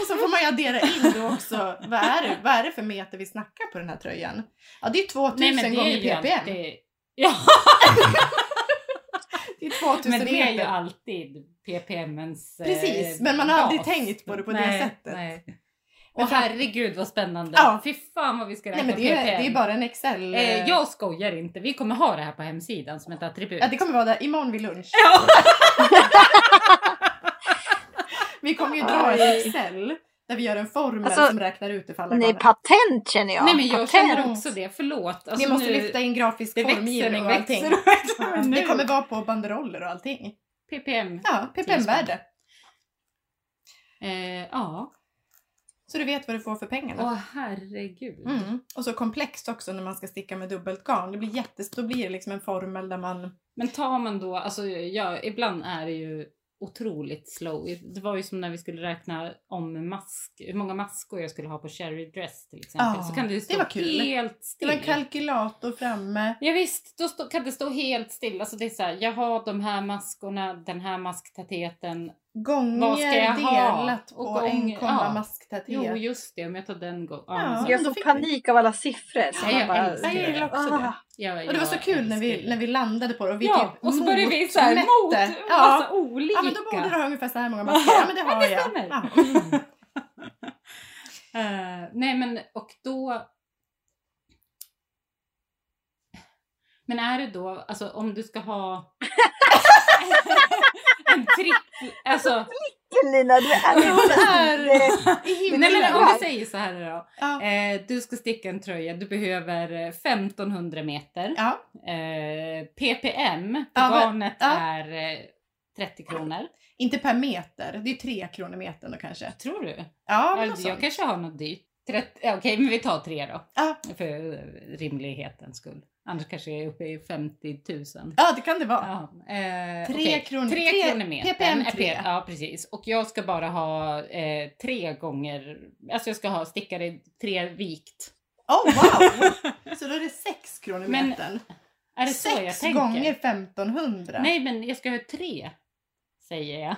[SPEAKER 2] Och så får man ju addera in då också. Vad är det, vad är det för meter vi snackar på den här tröjan? Ja, det är 2000
[SPEAKER 3] nej men det
[SPEAKER 2] gånger
[SPEAKER 3] är ju
[SPEAKER 2] PPM.
[SPEAKER 3] alltid... Ja,
[SPEAKER 2] Det är 2000
[SPEAKER 3] men det är ju
[SPEAKER 2] meter.
[SPEAKER 3] alltid PPMens eh,
[SPEAKER 2] Precis, men man har aldrig
[SPEAKER 3] bas.
[SPEAKER 2] tänkt på det på det
[SPEAKER 3] nej,
[SPEAKER 2] sättet.
[SPEAKER 3] Nej.
[SPEAKER 2] Men
[SPEAKER 3] Och
[SPEAKER 2] fram-
[SPEAKER 3] herregud vad spännande.
[SPEAKER 2] Ja.
[SPEAKER 3] Fy fan vad vi ska räkna
[SPEAKER 2] Nej men det är,
[SPEAKER 3] PPM.
[SPEAKER 2] det är bara en Excel...
[SPEAKER 3] Eh, jag skojar inte, vi kommer ha det här på hemsidan som ett attribut.
[SPEAKER 2] Ja, det kommer vara där imorgon vid lunch.
[SPEAKER 3] Ja.
[SPEAKER 2] Vi kommer ju dra ett Excel där vi gör en formel
[SPEAKER 1] Alltså,
[SPEAKER 2] som räknar ut ifall alla
[SPEAKER 1] Ni är
[SPEAKER 2] galet.
[SPEAKER 1] patent känner jag.
[SPEAKER 3] Nej men jag känner
[SPEAKER 1] Patent.
[SPEAKER 3] också det, förlåt.
[SPEAKER 2] Vi
[SPEAKER 3] Alltså,
[SPEAKER 2] måste
[SPEAKER 3] nu-
[SPEAKER 2] lyfta in grafisk
[SPEAKER 3] Det växer
[SPEAKER 2] formgivning
[SPEAKER 3] och
[SPEAKER 2] och allting.
[SPEAKER 3] växer och växer. Men
[SPEAKER 2] Det
[SPEAKER 3] nu-
[SPEAKER 2] kommer vara på banderoller och allting.
[SPEAKER 3] PPM.
[SPEAKER 2] Ja, PPM-värde.
[SPEAKER 3] Eh, ja.
[SPEAKER 2] Så du vet vad du får för pengarna.
[SPEAKER 3] Åh herregud.
[SPEAKER 2] Mm. Och så komplext också när man ska sticka med dubbelt garn. Det blir jättes... Då blir det liksom en formel där man...
[SPEAKER 3] Men tar man då, alltså ja, ibland är det ju otroligt slow. Det var ju som när vi skulle räkna om mask, hur många maskor jag skulle ha på cherry dress till exempel.
[SPEAKER 2] Ja,
[SPEAKER 3] så kan det ju stå
[SPEAKER 2] det var kul.
[SPEAKER 3] helt
[SPEAKER 2] Det
[SPEAKER 3] still.
[SPEAKER 2] var en kalkylator framme.
[SPEAKER 3] Ja, visst, då stå, kan det stå helt still. Alltså det är så här, jag har de här maskorna, den här masktateten. Vad ska jag
[SPEAKER 2] Gånger
[SPEAKER 3] ha?
[SPEAKER 2] delat på E.
[SPEAKER 3] Och gånger-
[SPEAKER 2] 1,
[SPEAKER 3] ja.
[SPEAKER 2] masktäthet.
[SPEAKER 3] Jo, just det, om jag tar den gången.
[SPEAKER 2] Ja.
[SPEAKER 3] Ja,
[SPEAKER 1] Jag
[SPEAKER 2] men då
[SPEAKER 1] får
[SPEAKER 2] fick
[SPEAKER 1] panik av alla siffror. så
[SPEAKER 3] Nej,
[SPEAKER 1] man
[SPEAKER 3] jag älskar
[SPEAKER 2] Nej, jag gillar också
[SPEAKER 1] Ah.
[SPEAKER 2] det.
[SPEAKER 3] ja,
[SPEAKER 2] Ah. Och det var så
[SPEAKER 3] jag
[SPEAKER 2] kul när vi,
[SPEAKER 3] älskar
[SPEAKER 2] när vi landade på det. Och vi
[SPEAKER 3] ja,
[SPEAKER 2] typ
[SPEAKER 3] och så började vi så här
[SPEAKER 2] motmätte.
[SPEAKER 3] mot massa
[SPEAKER 2] Ja.
[SPEAKER 3] olika.
[SPEAKER 2] ja, men då borde du ha ungefär så här många masker. Ja, men det har jag.
[SPEAKER 3] stämmer.
[SPEAKER 2] Ja.
[SPEAKER 3] Eh, nej men och då... Men är det då, alltså om du ska ha en trippel, alltså
[SPEAKER 1] Vilken Lina du är!
[SPEAKER 3] Jo, det är
[SPEAKER 1] Det-
[SPEAKER 2] I
[SPEAKER 3] Nej,
[SPEAKER 2] himlen.
[SPEAKER 3] men om
[SPEAKER 1] bra.
[SPEAKER 3] vi säger så här då.
[SPEAKER 2] ja.
[SPEAKER 3] Eh, du ska sticka en tröja, du behöver eh, 1500 meter.
[SPEAKER 2] ja.
[SPEAKER 3] Eh, PPM på
[SPEAKER 2] Ja, vad-
[SPEAKER 3] garnet
[SPEAKER 2] ja.
[SPEAKER 3] är eh, 30 kronor.
[SPEAKER 2] Inte per meter, det är tre kronor metern då kanske.
[SPEAKER 3] Tror du?
[SPEAKER 2] Ja,
[SPEAKER 3] Ja,
[SPEAKER 2] men något
[SPEAKER 3] jag
[SPEAKER 2] sånt.
[SPEAKER 3] kanske har något dyrt. 30 ja, Okej, men vi tar tre då.
[SPEAKER 2] Ja.
[SPEAKER 3] För eh, rimlighetens skull. Annars kanske jag är uppe i 50 000.
[SPEAKER 2] ja, det kan det vara.
[SPEAKER 3] Ja, eh,
[SPEAKER 2] Tre
[SPEAKER 3] okej.
[SPEAKER 2] kronor-
[SPEAKER 3] tre
[SPEAKER 2] tre-
[SPEAKER 3] kronor metern.
[SPEAKER 2] PPM
[SPEAKER 3] är
[SPEAKER 2] tre.
[SPEAKER 3] Ja, precis. Och jag ska bara ha eh, tre gånger, alltså jag ska ha stickare i tre vikt.
[SPEAKER 2] Oh, wow! Så då är det sex kronor
[SPEAKER 3] Men-
[SPEAKER 2] metern.
[SPEAKER 3] Är det så jag
[SPEAKER 2] sex
[SPEAKER 3] tänker?
[SPEAKER 2] gånger 1500.
[SPEAKER 3] Nej, men jag ska ha tre, säger jag.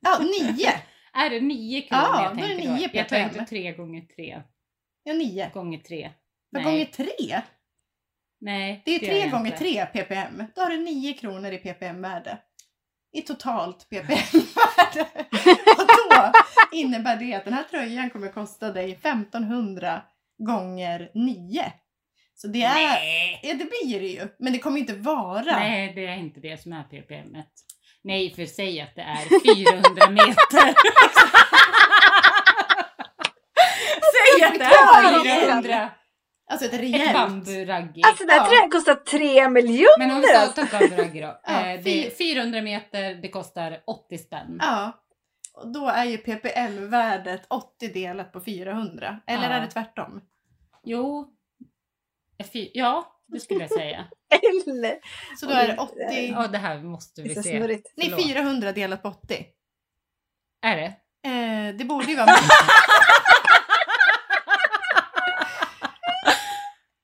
[SPEAKER 2] Ja, nio.
[SPEAKER 3] Är det nio kronor
[SPEAKER 2] Ja,
[SPEAKER 3] jag
[SPEAKER 2] då är det
[SPEAKER 3] tänker
[SPEAKER 2] nio
[SPEAKER 3] Jag tar
[SPEAKER 2] PPM.
[SPEAKER 3] inte tre gånger tre.
[SPEAKER 2] Ja, nio.
[SPEAKER 3] Gånger tre.
[SPEAKER 2] Vad gånger tre?
[SPEAKER 3] Nej,
[SPEAKER 2] Det är
[SPEAKER 3] gör
[SPEAKER 2] tre
[SPEAKER 3] jag
[SPEAKER 2] gånger
[SPEAKER 3] inte.
[SPEAKER 2] tre ppm. Då har du nio kronor i ppm-värde. I totalt ppm-värde. Och då innebär det att den här tröjan kommer kosta dig 1500 gånger nio. Så det är...
[SPEAKER 3] Nej.
[SPEAKER 2] Ja, det blir det ju. Men det kommer ju inte vara.
[SPEAKER 3] Nej, det är inte det som är ppm -et. Nej, för säg att det är 400 meter. säg att det
[SPEAKER 1] Klar,
[SPEAKER 3] är 400.
[SPEAKER 2] Alltså ett
[SPEAKER 3] Ett
[SPEAKER 2] rejält.
[SPEAKER 3] bamburaggi.
[SPEAKER 1] Alltså den här
[SPEAKER 2] Ja.
[SPEAKER 1] tröjan kostar 3 miljoner!
[SPEAKER 3] Men om vi tar- tar bamburaggi då.
[SPEAKER 2] Ja,
[SPEAKER 3] Eh, det är
[SPEAKER 2] fy-
[SPEAKER 3] 400 meter, det kostar 80 spänn.
[SPEAKER 2] Ja. Och då är ju ppm-värdet 80 delat på 400. Eller
[SPEAKER 3] Ja.
[SPEAKER 2] är det tvärtom?
[SPEAKER 3] Jo. Eh, fy- Ja, det skulle jag säga.
[SPEAKER 1] Eller?
[SPEAKER 2] Så då är det
[SPEAKER 3] Ja,
[SPEAKER 2] 80...
[SPEAKER 3] det här måste
[SPEAKER 1] Det är
[SPEAKER 3] vi
[SPEAKER 1] så
[SPEAKER 3] se.
[SPEAKER 1] snurrigt.
[SPEAKER 2] Nej, 400 delat på 80.
[SPEAKER 3] Är det?
[SPEAKER 2] Eh, det borde ju vara mer.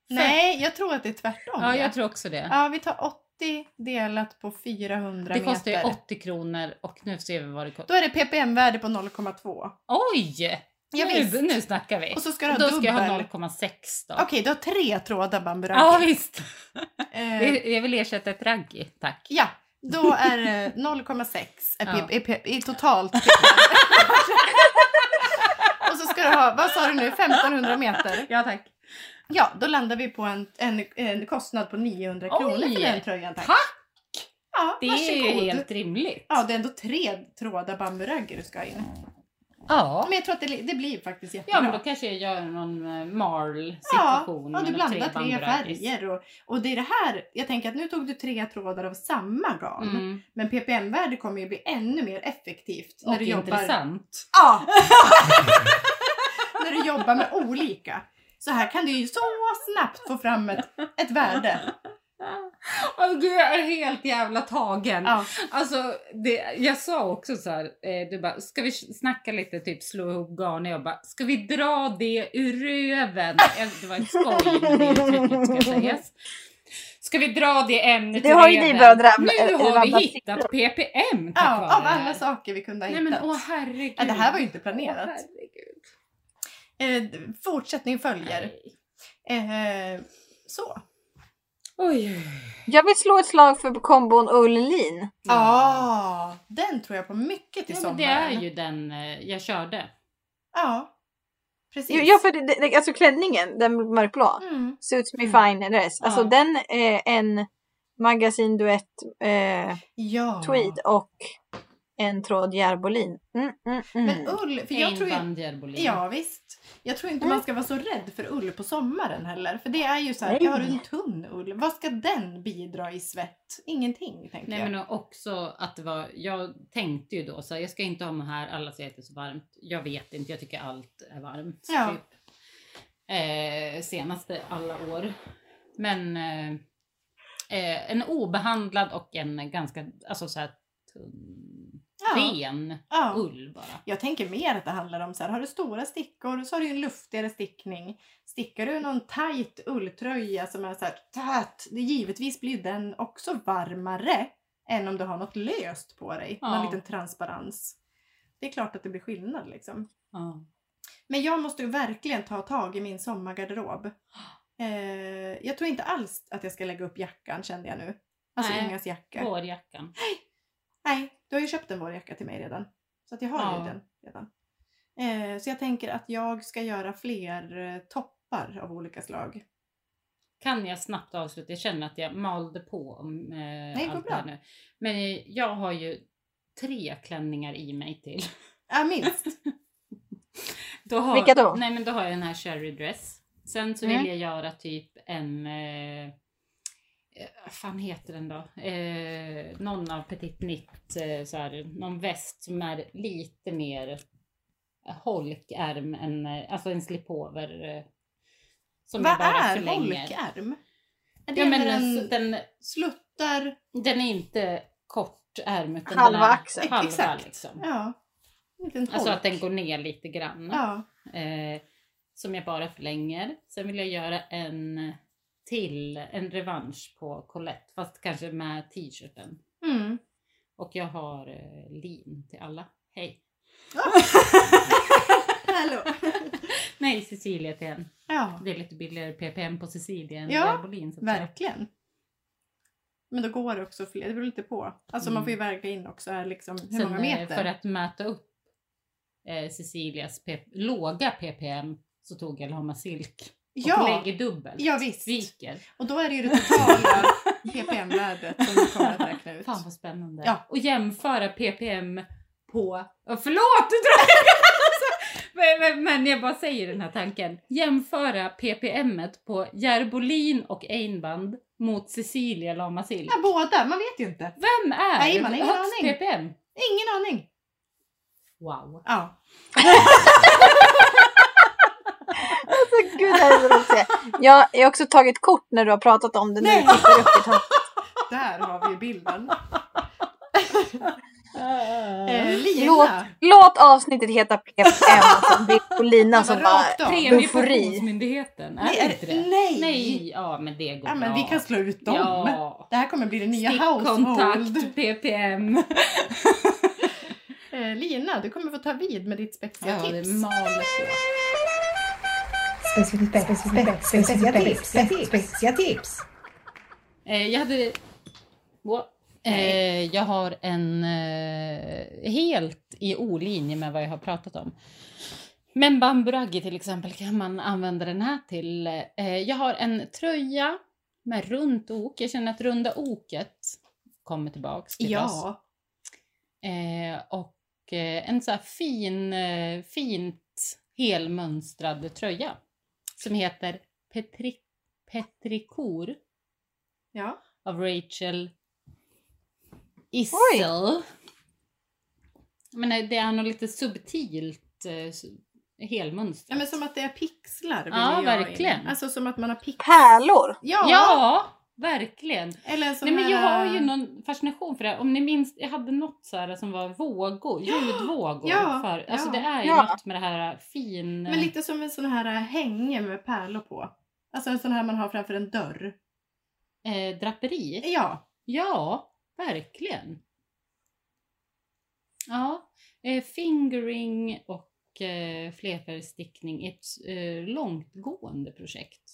[SPEAKER 2] Nej, jag tror att det är tvärtom.
[SPEAKER 3] Ja, jag tror också det.
[SPEAKER 2] ja, vi tar 80 delat på 400
[SPEAKER 3] Det kostar ju
[SPEAKER 2] meter.
[SPEAKER 3] 80 kronor och nu ser vi vad det kostar.
[SPEAKER 2] Då är det ppm-värde på 0,2.
[SPEAKER 3] Oj!
[SPEAKER 2] Ja,
[SPEAKER 3] nu,
[SPEAKER 2] visst.
[SPEAKER 3] nu snackar vi.
[SPEAKER 2] Och så ska du ha
[SPEAKER 3] då
[SPEAKER 2] dubbel.
[SPEAKER 3] ska jag ha 0,6 då.
[SPEAKER 2] Okej, du har tre trådar bamburaki.
[SPEAKER 3] Ja visst.
[SPEAKER 2] eh,
[SPEAKER 3] Jag- Jag vill ersätta ett raggi, tack.
[SPEAKER 2] ja, då är det 0,6 är
[SPEAKER 3] Ja.
[SPEAKER 2] pp- är pp- i totalt ppm. Och så ska du ha, vad sa du nu, 1500 meter?
[SPEAKER 3] Ja tack.
[SPEAKER 2] Ja, då landar vi på en, en, en kostnad på 900
[SPEAKER 3] Oj!
[SPEAKER 2] kronor för den tröjan. Tack!
[SPEAKER 3] Tack!
[SPEAKER 2] Ja,
[SPEAKER 3] Det är
[SPEAKER 2] varsågod.
[SPEAKER 3] ju helt rimligt.
[SPEAKER 2] Ja, det är ändå tre trådar bamburagger du ska ha in. Ja,
[SPEAKER 3] Ja.
[SPEAKER 2] men jag tror att det, det blir faktiskt jättebra.
[SPEAKER 3] Ja men då kanske jag gör någon eh,
[SPEAKER 2] Ja,
[SPEAKER 3] marl-situation.
[SPEAKER 2] ja,
[SPEAKER 3] med
[SPEAKER 2] du
[SPEAKER 3] de
[SPEAKER 2] blandar tre,
[SPEAKER 3] bamburagis.
[SPEAKER 2] färger och, och det är det här, jag tänker att nu tog du tre trådar av samma garn.
[SPEAKER 3] Mm.
[SPEAKER 2] Men ppm-värde kommer ju bli ännu mer effektivt när
[SPEAKER 3] Och
[SPEAKER 2] du jobbar.
[SPEAKER 3] intressant.
[SPEAKER 2] Ja! när du jobbar med olika. Så här kan du ju så snabbt få fram ett, ett värde.
[SPEAKER 3] Åh gud, jag är helt jävla tagen.
[SPEAKER 2] Ja.
[SPEAKER 3] Alltså, det, jag sa också så här, eh, du bara, ska vi snacka lite, typ slå ihop garn? Och jag bara, ska vi dra det ur röven? Eh, Det var ett skoj med det uttrycket ska sägas. Ska vi dra det ämnet
[SPEAKER 1] Det
[SPEAKER 3] ur
[SPEAKER 1] har ju ni
[SPEAKER 3] röven?
[SPEAKER 1] börjat eh, rabbla-
[SPEAKER 3] Nu har vi
[SPEAKER 1] rabbla
[SPEAKER 3] hittat PPM tack
[SPEAKER 2] Ja,
[SPEAKER 3] vare
[SPEAKER 2] av
[SPEAKER 3] det här.
[SPEAKER 2] alla saker vi kunde ha
[SPEAKER 3] Nej
[SPEAKER 2] hittat.
[SPEAKER 3] men åh herregud.
[SPEAKER 2] ja, det här var ju inte
[SPEAKER 3] Åh,
[SPEAKER 2] planerat.
[SPEAKER 3] herregud.
[SPEAKER 2] eh, fortsättning följer.
[SPEAKER 3] Nej.
[SPEAKER 2] Eh, så.
[SPEAKER 3] Oj, oj.
[SPEAKER 1] Jag vill slå ett slag för kombon ull-lin.
[SPEAKER 2] Ja, den tror jag på mycket i
[SPEAKER 3] Ja, men
[SPEAKER 2] sommaren.
[SPEAKER 3] det är ju den eh, jag körde.
[SPEAKER 2] Ja, precis.
[SPEAKER 1] Jo, Ja, för det, det, alltså klänningen, den mörkblå.
[SPEAKER 2] mm.
[SPEAKER 1] Suits me
[SPEAKER 3] Mm.
[SPEAKER 1] fine dress. Alltså
[SPEAKER 3] Ja.
[SPEAKER 1] den är en magasinduett eh,
[SPEAKER 2] ja.
[SPEAKER 1] tweed och en tråd järbolin. Mm, mm, mm.
[SPEAKER 2] Men ull, för jag tror ju...
[SPEAKER 3] ju...
[SPEAKER 2] Ja, visst. Jag tror inte
[SPEAKER 1] Mm.
[SPEAKER 2] man ska vara så rädd för ull på sommaren heller. För det är ju så här,
[SPEAKER 1] Nej.
[SPEAKER 2] har du en tunn ull, vad ska den bidra i svett? Ingenting, tänker
[SPEAKER 3] Nej
[SPEAKER 2] jag.
[SPEAKER 3] men också att det var, jag tänkte ju då så här, jag ska inte ha de här, alla säger att det är så varmt. Jag vet inte, jag tycker allt är varmt.
[SPEAKER 2] Ja.
[SPEAKER 3] Typ. Eh, senaste alla år. Men eh, eh, en obehandlad och en ganska, alltså så här tunn,
[SPEAKER 2] Ja,
[SPEAKER 3] ren
[SPEAKER 2] ja.
[SPEAKER 3] ull bara.
[SPEAKER 2] Jag tänker mer att det handlar om så här, har du stora stickor så har du ju en luftigare stickning. Stickar du någon tajt ulltröja som är så här tät, det givetvis blir ju den också varmare än om du har något löst på dig.
[SPEAKER 3] Ja.
[SPEAKER 2] Någon liten transparens. Det är klart att det blir skillnad liksom.
[SPEAKER 3] Ja.
[SPEAKER 2] Men jag måste ju verkligen ta tag i min sommargarderob. Eh, jag tror inte alls att jag ska lägga upp jackan kände jag nu. Alltså
[SPEAKER 3] Nej.
[SPEAKER 2] Ingas jacka.
[SPEAKER 3] Vårjackan.
[SPEAKER 2] Nej, du har ju köpt en vårjacka till mig redan. Så att jag har
[SPEAKER 3] Ja.
[SPEAKER 2] ju den redan. Eh, så jag tänker att jag ska göra fler eh, toppar av olika slag.
[SPEAKER 3] Kan jag snabbt avsluta? Jag känner att jag malde på om eh,
[SPEAKER 2] det går
[SPEAKER 3] allt det
[SPEAKER 2] bra.
[SPEAKER 3] här nu. Men jag har ju tre klänningar i mig till.
[SPEAKER 2] Ja, Äh, minst.
[SPEAKER 3] Då har,
[SPEAKER 1] Vilka då?
[SPEAKER 3] Nej men då har jag den här cherry dress. Sen så
[SPEAKER 1] Mm.
[SPEAKER 3] vill jag göra typ en, eh, eh, vad fan heter den då? Eh, någon av Petit Nitt, eh, så här, någon väst som är lite mer eh, holkärm än, eh, alltså en slipover. Eh, som
[SPEAKER 2] Vad
[SPEAKER 3] jag bara
[SPEAKER 2] är
[SPEAKER 3] förlänger.
[SPEAKER 2] holkärm? Är det
[SPEAKER 3] Ja men
[SPEAKER 2] när den
[SPEAKER 3] den, den,
[SPEAKER 2] sluttar?
[SPEAKER 3] den är inte kortärm utan
[SPEAKER 1] Halva
[SPEAKER 3] den är
[SPEAKER 1] axeln.
[SPEAKER 3] halva
[SPEAKER 2] Exakt.
[SPEAKER 3] liksom.
[SPEAKER 2] Ja. En liten holk.
[SPEAKER 3] Alltså att den går ner lite grann.
[SPEAKER 2] Ja.
[SPEAKER 3] eh, som jag bara förlänger. Sen vill jag göra en till, en revansch på Colette, fast kanske med t-shirten.
[SPEAKER 2] Mm.
[SPEAKER 3] Och jag har eh, lin till alla. Hej!
[SPEAKER 2] Hallå.
[SPEAKER 3] Nej, Cecilia till en.
[SPEAKER 2] Ja,
[SPEAKER 3] Det är lite billigare ppm på Cecilia än
[SPEAKER 2] Ja,
[SPEAKER 3] ja, Bolin. Så att säga.
[SPEAKER 2] verkligen. Men då går det också fler, det beror lite på. Alltså man
[SPEAKER 3] Mm.
[SPEAKER 2] får ju väga in också här liksom, hur
[SPEAKER 3] Sen,
[SPEAKER 2] många
[SPEAKER 3] eh,
[SPEAKER 2] meter.
[SPEAKER 3] För att möta upp eh, Cecilias p- låga ppm så tog jag Lama Silk och
[SPEAKER 2] ja,
[SPEAKER 3] lägger dubbelt.
[SPEAKER 2] ja, visst.
[SPEAKER 3] Viker.
[SPEAKER 2] Och då är det ju det totala ppm-värdet som du kommer att räkna ut.
[SPEAKER 3] Fan vad spännande.
[SPEAKER 2] Ja.
[SPEAKER 3] Och jämföra ppm på... Ja, Förlåt! Du drar alltså, men- men- Men jag bara säger den här tanken. Jämföra ppmet på Järbolin och Einband mot Cecilia Lamasil.
[SPEAKER 2] Ja, båda, man vet ju inte.
[SPEAKER 3] Vem är
[SPEAKER 2] Nej, man har ingen
[SPEAKER 3] högst
[SPEAKER 2] aning.
[SPEAKER 3] ppm?
[SPEAKER 2] Ingen aning.
[SPEAKER 3] Wow.
[SPEAKER 2] Ja.
[SPEAKER 1] Alltså, gud, det är så roligt att se. jag, jag har också tagit kort när du har pratat om det.
[SPEAKER 2] Nej.
[SPEAKER 1] Nu sitter det uppe i toppen.
[SPEAKER 2] Där har vi ju bilden. Eh,
[SPEAKER 1] Låt,
[SPEAKER 2] Lina.
[SPEAKER 1] låt avsnittet heta PPM. Alltså, bild på Lina som
[SPEAKER 2] var
[SPEAKER 1] bara...
[SPEAKER 2] rakt av.
[SPEAKER 3] Premiepensionsmyndigheten, är
[SPEAKER 2] Nej,
[SPEAKER 3] det inte det?
[SPEAKER 2] Nej.
[SPEAKER 3] Nej, ja men det går
[SPEAKER 2] Ja, men vi
[SPEAKER 3] bra.
[SPEAKER 2] kan slå ut dem.
[SPEAKER 3] Ja.
[SPEAKER 2] Det här kommer bli det nya household.
[SPEAKER 3] Stickkontakt, ppm.
[SPEAKER 2] Eh, Lina, du kommer få ta vid med ditt spexiga
[SPEAKER 3] Ja, det
[SPEAKER 2] tips.
[SPEAKER 3] maler på.
[SPEAKER 4] Specifica tips, specifica tips.
[SPEAKER 3] Eh, jag hade... Wow. Eh, jag har en eh, helt i olinje med vad jag har pratat om. Men bamburaggi till exempel kan man använda den här till. Eh, jag har en tröja med runt ok. Jag känner att runda oket kommer tillbaks till oss.
[SPEAKER 2] Ja.
[SPEAKER 3] Eh, och eh, en så här fin, eh, fint helmönstrad tröja som heter Petri, Petricor
[SPEAKER 2] ja.
[SPEAKER 3] av Rachel Issel. Men eh, det är nog lite subtilt eh, s- helmönstrat.
[SPEAKER 2] Ja, men som att det är pixlar. vill
[SPEAKER 3] Ja,
[SPEAKER 2] jag in.
[SPEAKER 3] verkligen.
[SPEAKER 2] Alltså som att man har pixlar.
[SPEAKER 1] Pärlor.
[SPEAKER 2] Ja.
[SPEAKER 3] ja, verkligen.
[SPEAKER 2] Eller en sån
[SPEAKER 3] Nej, men jag
[SPEAKER 2] här... eh,
[SPEAKER 3] har ju någon fascination för det. Om ni minns, jag hade något så här som var vågor, ljudvågor.
[SPEAKER 2] Ja,
[SPEAKER 3] för, alltså
[SPEAKER 2] ja,
[SPEAKER 3] det är ju
[SPEAKER 1] ja.
[SPEAKER 3] något med det här fin...
[SPEAKER 2] eh, Men lite som en sån här äh, hänge med pärlor på. Alltså en sån här man har framför en dörr.
[SPEAKER 3] eh, draperi.
[SPEAKER 2] Ja.
[SPEAKER 3] Ja, verkligen. Ja, eh, fingering och eh, flerfärgstickning är ett eh, långtgående projekt.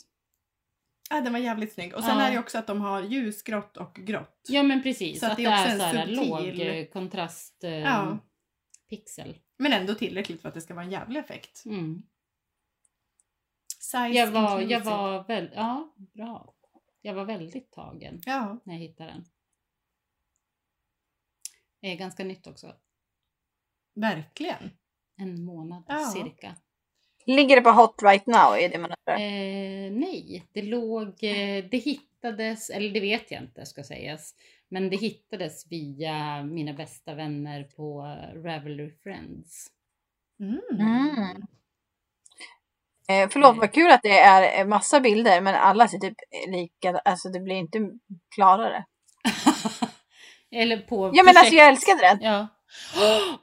[SPEAKER 2] Ah, den var jävligt snygg. Och sen
[SPEAKER 3] Ja.
[SPEAKER 2] är det också att de har ljusgrått och grått.
[SPEAKER 3] Ja men precis,
[SPEAKER 2] Så
[SPEAKER 3] att, det är,
[SPEAKER 2] också en
[SPEAKER 3] så här
[SPEAKER 2] subtil-
[SPEAKER 3] låg eh, kontrast eh,
[SPEAKER 2] Ja.
[SPEAKER 3] pixel.
[SPEAKER 2] Men ändå tillräckligt för att det ska vara en jävlig effekt.
[SPEAKER 3] Mm.
[SPEAKER 2] Size typ.
[SPEAKER 3] Jag var, jag
[SPEAKER 2] inclusive.
[SPEAKER 3] var väl, ja, bra. Jag var väldigt tagen
[SPEAKER 2] Ja.
[SPEAKER 3] när jag hittade den. Det är ganska nytt också.
[SPEAKER 2] Verkligen.
[SPEAKER 3] En månad
[SPEAKER 2] Ja.
[SPEAKER 3] cirka.
[SPEAKER 1] Ligger det på hot right now? Är det man undrar.
[SPEAKER 3] Eh, nej, det låg, eh, det hittades, eller det vet jag inte ska sägas. Men det hittades via mina bästa vänner på Ravelry Friends.
[SPEAKER 2] Mm.
[SPEAKER 1] Mm. Eh, förlåt, vad kul att det är eh, massa bilder, men alla ser typ lika, alltså det blir inte klarare.
[SPEAKER 3] eller på
[SPEAKER 1] Ja men alltså
[SPEAKER 3] projekt-
[SPEAKER 1] jag älskade den.
[SPEAKER 3] Ja.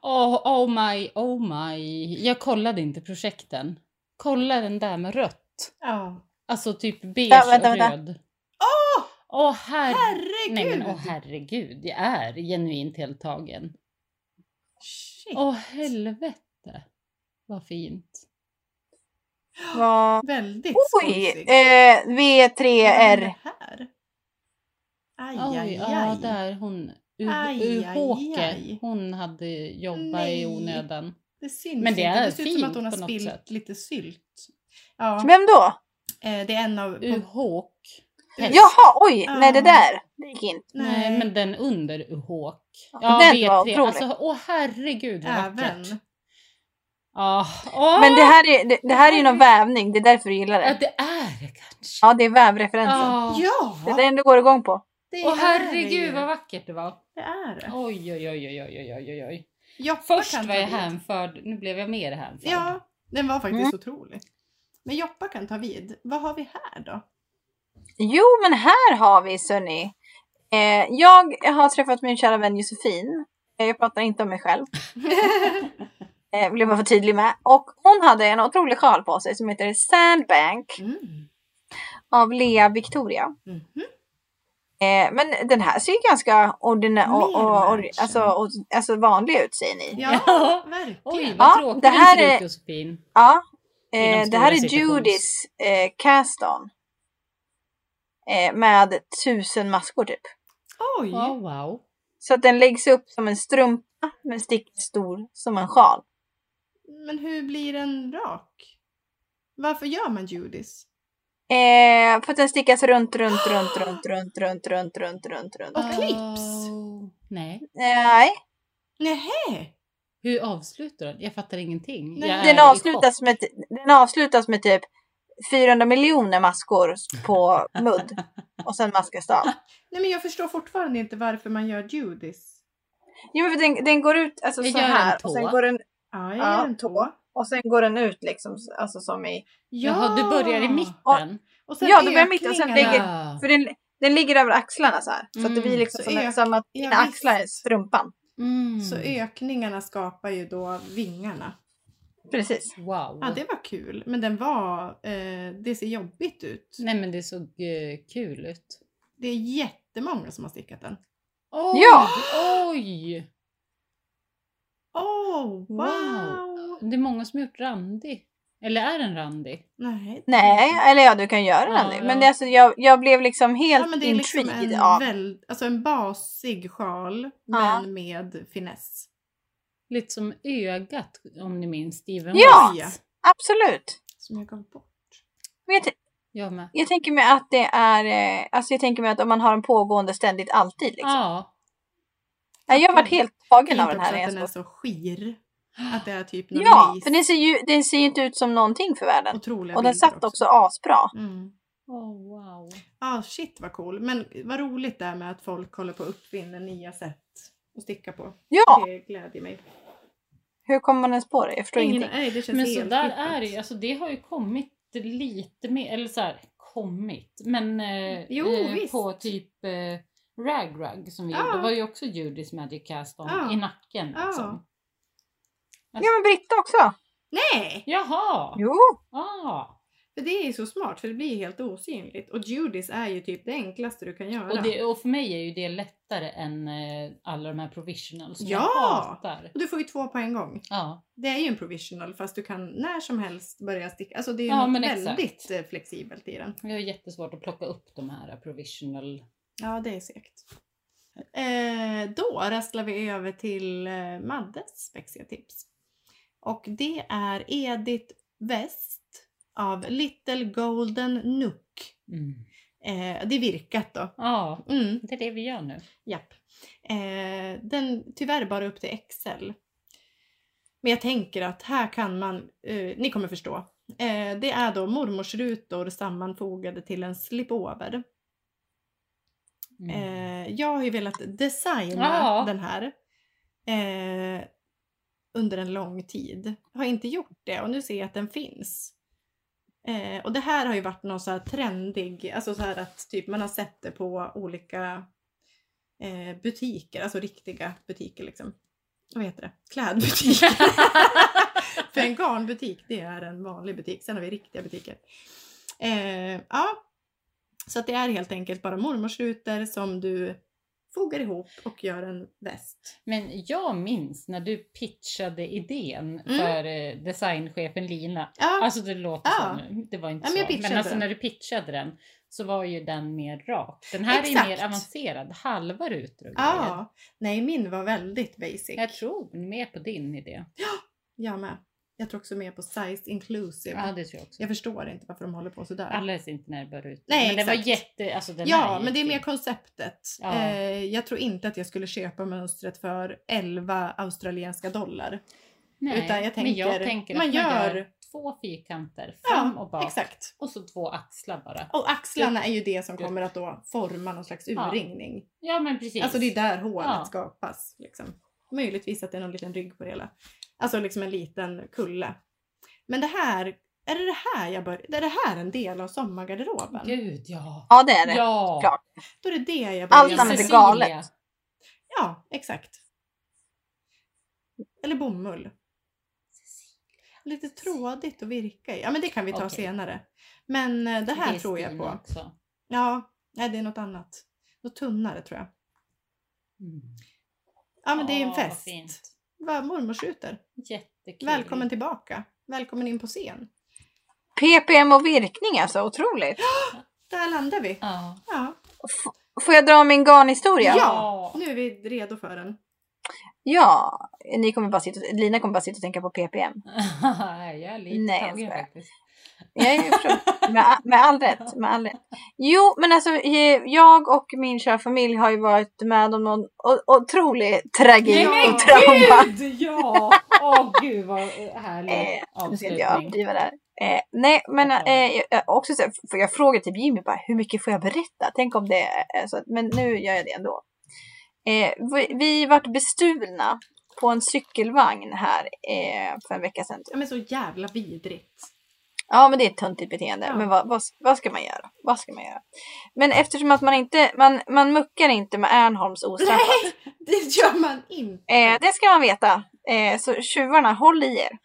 [SPEAKER 3] Oh, oh my, oh my. Jag kollade inte projekten. Kolla den där med rött.
[SPEAKER 2] Ja.
[SPEAKER 3] Alltså typ beige
[SPEAKER 1] Ja, vänta,
[SPEAKER 3] och
[SPEAKER 1] vänta.
[SPEAKER 3] röd.
[SPEAKER 2] Åh!
[SPEAKER 3] Åh oh, herregud!
[SPEAKER 2] herregud!
[SPEAKER 3] Nej men åh herregud, jag är genuint helt tagen.
[SPEAKER 2] Shit.
[SPEAKER 3] Åh helvete vad fint.
[SPEAKER 1] Vad-
[SPEAKER 2] Väldigt
[SPEAKER 1] Oj!
[SPEAKER 2] skojsigt.
[SPEAKER 1] Eh,
[SPEAKER 2] Vad
[SPEAKER 1] V3R.
[SPEAKER 2] är det här? Aj,
[SPEAKER 3] Oj,
[SPEAKER 2] aj,
[SPEAKER 3] ja
[SPEAKER 2] aj.
[SPEAKER 3] där hon
[SPEAKER 2] Aj, aj,
[SPEAKER 3] Uhåke,
[SPEAKER 2] aj.
[SPEAKER 3] hon hade jobbat
[SPEAKER 2] Nej.
[SPEAKER 3] i onödan.
[SPEAKER 2] Det syns
[SPEAKER 3] Men det
[SPEAKER 2] inte.
[SPEAKER 3] är
[SPEAKER 2] Det ser ut som att
[SPEAKER 3] fint
[SPEAKER 2] hon har
[SPEAKER 3] på något
[SPEAKER 2] spillt
[SPEAKER 3] sätt.
[SPEAKER 2] lite sylt. Ja,
[SPEAKER 1] Vem då?
[SPEAKER 2] eh, det är en av...
[SPEAKER 3] Uhåk. Pest.
[SPEAKER 1] Jaha, oj,
[SPEAKER 2] Ja.
[SPEAKER 1] nej det där det gick inte.
[SPEAKER 3] Nej, men den under Uhåk.
[SPEAKER 1] Ja,
[SPEAKER 3] Ja,
[SPEAKER 1] den
[SPEAKER 3] vet
[SPEAKER 1] var
[SPEAKER 3] vi.
[SPEAKER 1] otrolig.
[SPEAKER 3] Alltså, åh herregud vad
[SPEAKER 2] Även.
[SPEAKER 3] vackert. Ja. Åh,
[SPEAKER 1] Men det här är, det, det här är ju någon vävning, det är därför du gillar
[SPEAKER 3] ja,
[SPEAKER 1] det.
[SPEAKER 3] det är det kanske.
[SPEAKER 1] Ja, det är vävreferensen.
[SPEAKER 3] Ja.
[SPEAKER 2] Ja!
[SPEAKER 1] Det är den du går igång på.
[SPEAKER 2] det
[SPEAKER 3] Åh
[SPEAKER 2] är det ju.
[SPEAKER 3] herregud vad vackert det var.
[SPEAKER 2] Det är det.
[SPEAKER 3] Oj, oj, oj, oj, oj, oj, oj, oj.
[SPEAKER 2] Joppa
[SPEAKER 3] Först
[SPEAKER 2] kan
[SPEAKER 3] var
[SPEAKER 2] ta
[SPEAKER 3] jag
[SPEAKER 2] vid.
[SPEAKER 3] hänförd, nu blev jag mer hänförd.
[SPEAKER 2] Ja, den var
[SPEAKER 1] Mm.
[SPEAKER 2] faktiskt otrolig. Men Joppa kan ta vid. Vad har vi här då?
[SPEAKER 1] Jo, men här har vi Sunny. Eh, jag har träffat min kära vän Josefin. Eh, Jag pratar inte om mig själv. eh, vill jag bara vara tydlig med. Och hon hade en otrolig sjal på sig som heter Sandbank
[SPEAKER 2] Mm.
[SPEAKER 1] av Lea Victoria.
[SPEAKER 2] Mhm.
[SPEAKER 1] Eh, men den här ser ju ganska ordinär och, och, och,
[SPEAKER 2] Mer
[SPEAKER 1] alltså, och, alltså vanlig ut säger ni. Ja,
[SPEAKER 2] Ja,
[SPEAKER 3] Ja.
[SPEAKER 2] verkligen.
[SPEAKER 3] Oj, vad
[SPEAKER 1] Ja,
[SPEAKER 3] tråkigt
[SPEAKER 1] det här
[SPEAKER 3] det ser
[SPEAKER 1] är-
[SPEAKER 3] ut Josefin. Inom
[SPEAKER 1] eh, det
[SPEAKER 3] stora
[SPEAKER 1] här är
[SPEAKER 3] situations-
[SPEAKER 1] Judys eh, cast on. Eh, med tusen maskor typ.
[SPEAKER 2] Oj!
[SPEAKER 3] Wow, wow.
[SPEAKER 1] Så att den läggs upp som en strumpa men sticker stor som en sjal.
[SPEAKER 2] Men hur blir den rak? Varför gör man Judis?
[SPEAKER 1] Eh, för att den stickas runt, runt, runt, runt, runt, runt, runt, runt, runt, runt. Eh,
[SPEAKER 2] Och clips.
[SPEAKER 3] Oh, Nej.
[SPEAKER 1] Nej,
[SPEAKER 2] Nähä!
[SPEAKER 3] Hur avslutar den? Jag fattar ingenting.
[SPEAKER 2] Nej,
[SPEAKER 3] jag
[SPEAKER 1] den
[SPEAKER 3] är i chock.
[SPEAKER 1] avslutas, med, den avslutas med typ 400 miljoner maskor på mudd. Och sen maskas det av.
[SPEAKER 2] Nej men jag förstår fortfarande inte varför man gör Judis.
[SPEAKER 1] Jo, men för den, den går ut alltså,
[SPEAKER 3] Jag
[SPEAKER 1] så
[SPEAKER 3] gör en
[SPEAKER 1] här.
[SPEAKER 3] tå.
[SPEAKER 1] Och sen, går den,
[SPEAKER 2] Ja, jag
[SPEAKER 1] Ja,
[SPEAKER 2] gör en tå.
[SPEAKER 1] och sen går den ut liksom. Alltså som i...
[SPEAKER 3] Jaha, du börjar i mitten.
[SPEAKER 2] Och sen
[SPEAKER 1] Ja, då börjar jag mitt och sen
[SPEAKER 2] ökningarna.
[SPEAKER 1] lägger-
[SPEAKER 3] Ah.
[SPEAKER 1] För den, den ligger över axlarna så här. Så att det
[SPEAKER 3] Mm,
[SPEAKER 1] blir liksom
[SPEAKER 2] så
[SPEAKER 1] som,
[SPEAKER 2] är-
[SPEAKER 1] som att
[SPEAKER 2] ja,
[SPEAKER 1] dina
[SPEAKER 2] visst.
[SPEAKER 1] axlar är strumpan.
[SPEAKER 3] Mm.
[SPEAKER 2] Så ökningarna skapar ju då vingarna.
[SPEAKER 1] Precis.
[SPEAKER 3] Wow.
[SPEAKER 2] Ja, det var kul. Men den var... Eh, det ser jobbigt ut.
[SPEAKER 3] Nej men det såg eh, kul ut.
[SPEAKER 2] Det är jättemånga som har stickat den.
[SPEAKER 3] Oj,
[SPEAKER 1] Ja!
[SPEAKER 3] Oj!
[SPEAKER 2] Åh, wow!
[SPEAKER 3] Wow. Det är många som har gjort randig. Eller är den randig?
[SPEAKER 2] Nej.
[SPEAKER 1] Nej, eller ja, du kan göra
[SPEAKER 3] Ja,
[SPEAKER 1] den. det. Men
[SPEAKER 3] ja.
[SPEAKER 1] det, är alltså, jag, jag blev liksom helt
[SPEAKER 2] Ja, men det är liksom
[SPEAKER 1] intrigued
[SPEAKER 2] en,
[SPEAKER 1] av...
[SPEAKER 2] väl, alltså en basig sjal,
[SPEAKER 1] Ja.
[SPEAKER 2] men med finess.
[SPEAKER 3] Lite som ögat om ni minns Steven
[SPEAKER 1] Ja!
[SPEAKER 3] Wright.
[SPEAKER 1] Absolut.
[SPEAKER 2] Som jag gav bort.
[SPEAKER 1] Men jag, t-
[SPEAKER 3] Jag med.
[SPEAKER 1] jag tänker mig att det är... eh, Alltså jag tänker mig att om man har en pågående ständigt alltid liksom.
[SPEAKER 3] Ja.
[SPEAKER 1] Nej, jag har varit helt tagen av
[SPEAKER 2] Tänk
[SPEAKER 1] den här.
[SPEAKER 2] också att
[SPEAKER 1] när jag
[SPEAKER 2] den är
[SPEAKER 1] såg.
[SPEAKER 2] så skir. Att det är typ någon
[SPEAKER 1] Ja,
[SPEAKER 2] gris.
[SPEAKER 1] för den ser ju den ser ju inte ut som någonting för världen.
[SPEAKER 2] Otroliga
[SPEAKER 1] Och den
[SPEAKER 2] bilder
[SPEAKER 1] satt också asbra.
[SPEAKER 2] Mm.
[SPEAKER 3] Oh, wow.
[SPEAKER 2] Ah, shit vad cool. Men vad roligt det är med att folk håller på att uppfinna nya sätt att sticka på.
[SPEAKER 1] Ja,
[SPEAKER 2] Det gläder mig.
[SPEAKER 1] hur kommer man ens på det? Jag förstår ingenting.
[SPEAKER 2] nej, det känns
[SPEAKER 3] Men
[SPEAKER 2] helt
[SPEAKER 3] så där
[SPEAKER 2] hittat.
[SPEAKER 3] är det ju. Alltså det har ju kommit lite mer, eller så här, kommit. Men eh,
[SPEAKER 2] Jo,
[SPEAKER 3] eh,
[SPEAKER 2] visst.
[SPEAKER 3] på typ eh, Rag Rag som vi
[SPEAKER 2] Ja.
[SPEAKER 3] gjorde var ju också Judys Magic Cast on
[SPEAKER 2] Ja.
[SPEAKER 3] i nacken.
[SPEAKER 2] Ja.
[SPEAKER 3] Liksom.
[SPEAKER 1] Ja, men Britta också.
[SPEAKER 2] Nej!
[SPEAKER 3] Jaha!
[SPEAKER 1] Jo,
[SPEAKER 3] Ah.
[SPEAKER 2] För det är ju så smart för det blir helt osynligt. Och Judis är ju typ det enklaste du kan göra.
[SPEAKER 3] Och, det, och för mig är ju det lättare än eh, alla de här provisionals som
[SPEAKER 2] Ja!
[SPEAKER 3] jag hatar.
[SPEAKER 2] Och du får ju två på en gång.
[SPEAKER 3] Ja,
[SPEAKER 2] Det är ju en provisional fast du kan när som helst börja sticka. Alltså det är ju
[SPEAKER 3] Ja,
[SPEAKER 2] något
[SPEAKER 3] men exakt.
[SPEAKER 2] väldigt eh, flexibelt i den.
[SPEAKER 3] jag har jättesvårt att plocka upp de här provisional.
[SPEAKER 2] Ja, det är segt. Eh, då rasslar vi över till eh, Maddes spexiga tips. Och det är Edith West av Little Golden Nook.
[SPEAKER 3] Mm.
[SPEAKER 2] Eh, det är virkat då.
[SPEAKER 3] Ja,
[SPEAKER 2] Mm,
[SPEAKER 3] det är det vi gör nu.
[SPEAKER 2] japp. Eh, den tyvärr bara upp till XL. Men jag tänker att här kan man, eh, ni kommer förstå. Eh, det är då mormorsrutor sammanfogade till en slipover.
[SPEAKER 3] Mm.
[SPEAKER 2] Eh, jag har ju velat designa
[SPEAKER 3] Ja.
[SPEAKER 2] den här eh, under en lång tid. Har inte gjort det och nu ser jag att den finns. Eh, och det här har ju varit någon så här trendig, alltså så här att typ man har sett det på olika eh, butiker, alltså riktiga butiker liksom. Vad heter det? Klädbutiker. För en garnbutik, det är en vanlig butik. Sen har vi riktiga butiker. Eh, ja, så att det är helt enkelt bara mormorsrutor som du fogar ihop och gör en väst.
[SPEAKER 3] Men jag minns när du pitchade idén
[SPEAKER 2] Mm.
[SPEAKER 3] för eh, designchefen Lina.
[SPEAKER 2] Ja,
[SPEAKER 3] Alltså det låter
[SPEAKER 2] Ja.
[SPEAKER 3] så nu, det var inte
[SPEAKER 2] Ja, men jag
[SPEAKER 3] så.
[SPEAKER 2] pitchade
[SPEAKER 3] Men alltså
[SPEAKER 2] den.
[SPEAKER 3] när du pitchade den så var ju den mer rak. Den här är
[SPEAKER 2] Exakt.
[SPEAKER 3] ju mer avancerad, halva rutor och grejer.
[SPEAKER 2] ja. Nej, min var väldigt basic.
[SPEAKER 3] Jag tror mer på din idé.
[SPEAKER 2] Jag med. Jag tror också mer på size inclusive.
[SPEAKER 3] Ja, det tror jag också.
[SPEAKER 2] Jag förstår inte varför de håller på sådär.
[SPEAKER 3] Alldeles inte när det börjar ut.
[SPEAKER 2] Nej,
[SPEAKER 3] men det var
[SPEAKER 2] exakt.
[SPEAKER 3] jätte... Alltså, den
[SPEAKER 2] ja,
[SPEAKER 3] här
[SPEAKER 2] men det är
[SPEAKER 3] ju-
[SPEAKER 2] mer konceptet.
[SPEAKER 3] Ja.
[SPEAKER 2] Eh, jag tror inte att jag skulle köpa mönstret för 11 australienska dollar.
[SPEAKER 3] Nej,
[SPEAKER 2] utan jag
[SPEAKER 3] men jag
[SPEAKER 2] tänker-
[SPEAKER 3] tänker
[SPEAKER 2] man
[SPEAKER 3] att man gör,
[SPEAKER 2] gör-
[SPEAKER 3] två fyrkanter fram
[SPEAKER 2] Ja,
[SPEAKER 3] och bak.
[SPEAKER 2] exakt.
[SPEAKER 3] Och så två axlar bara.
[SPEAKER 2] Och axlarna är ju det som
[SPEAKER 3] Gud.
[SPEAKER 2] kommer att då forma någon slags
[SPEAKER 3] Ja,
[SPEAKER 2] urringning.
[SPEAKER 3] Ja, men precis.
[SPEAKER 2] Alltså det är där hålet
[SPEAKER 3] Ja.
[SPEAKER 2] skapas. Liksom. Möjligtvis att det är någon liten rygg på det hela. Alltså liksom en liten kulle. Men det här, är det det här jag bör, är det här en del av sommargarderoben?
[SPEAKER 3] Gud, ja.
[SPEAKER 1] Ja, det är det.
[SPEAKER 3] Ja.
[SPEAKER 1] Klart.
[SPEAKER 2] Då är det det jag börjar
[SPEAKER 1] Allt
[SPEAKER 3] Lilla
[SPEAKER 1] annat är
[SPEAKER 3] Cecilia.
[SPEAKER 1] galet.
[SPEAKER 2] Ja, exakt. Eller bomull. Lite trådigt att virka i. Ja, men det kan vi ta
[SPEAKER 3] Okej.
[SPEAKER 2] senare. Men eh, det här
[SPEAKER 3] är
[SPEAKER 2] tror jag
[SPEAKER 3] Stina
[SPEAKER 2] på.
[SPEAKER 3] Också.
[SPEAKER 2] Ja, nej, det är något annat. Något tunnare tror jag.
[SPEAKER 3] Mm.
[SPEAKER 2] Ja, men det är en
[SPEAKER 3] Åh, vad
[SPEAKER 2] fest.
[SPEAKER 3] fint.
[SPEAKER 2] Vad mormor skjuter.
[SPEAKER 3] Jättekul.
[SPEAKER 2] Välkommen tillbaka. Välkommen in på scen.
[SPEAKER 1] PPM och virkning alltså, otroligt.
[SPEAKER 2] Där landar vi.
[SPEAKER 3] Ja.
[SPEAKER 2] Ja,
[SPEAKER 1] Får jag dra min garnhistoria?
[SPEAKER 2] Ja. nu är vi redo för den.
[SPEAKER 1] Ja, ni kommer bara sitta, Lina kommer bara sitta och tänka på PPM.
[SPEAKER 3] jag är lite
[SPEAKER 1] Nej, jag
[SPEAKER 3] tagen
[SPEAKER 1] skojar.
[SPEAKER 3] faktiskt.
[SPEAKER 1] Jag är ju pro- med, med, all rätt, med all rätt. Jo, men alltså eh, jag och min kära familj har ju varit med om någon o- otrolig tragik
[SPEAKER 2] Nej, men
[SPEAKER 1] och trauma.
[SPEAKER 3] Gud, ja! Åh gud vad härlig
[SPEAKER 1] Eh, Nu ska inte jag
[SPEAKER 3] avslutning.
[SPEAKER 1] överdriva det här. Eh, nej, men
[SPEAKER 3] Ja.
[SPEAKER 1] eh, jag- jag- också så, här, för jag frågar typ Jimmy bara, hur mycket får jag berätta? Tänk om det är eh, så, att- men nu gör jag det ändå. Eh, vi, vi vart bestulna på en cykelvagn här eh, för en vecka sedan.
[SPEAKER 2] Ja, men så jävla vidrigt.
[SPEAKER 1] Ja, men det är ett töntigt beteende.
[SPEAKER 2] Ja.
[SPEAKER 1] Men vad, vad, vad ska man göra? Vad ska man göra? Men eftersom att man inte, man, man muckar inte med Ernholms ostraffat.
[SPEAKER 2] Nej, det gör man inte.
[SPEAKER 1] Eh, det ska man veta. Eh, så tjuvarna, håll i er.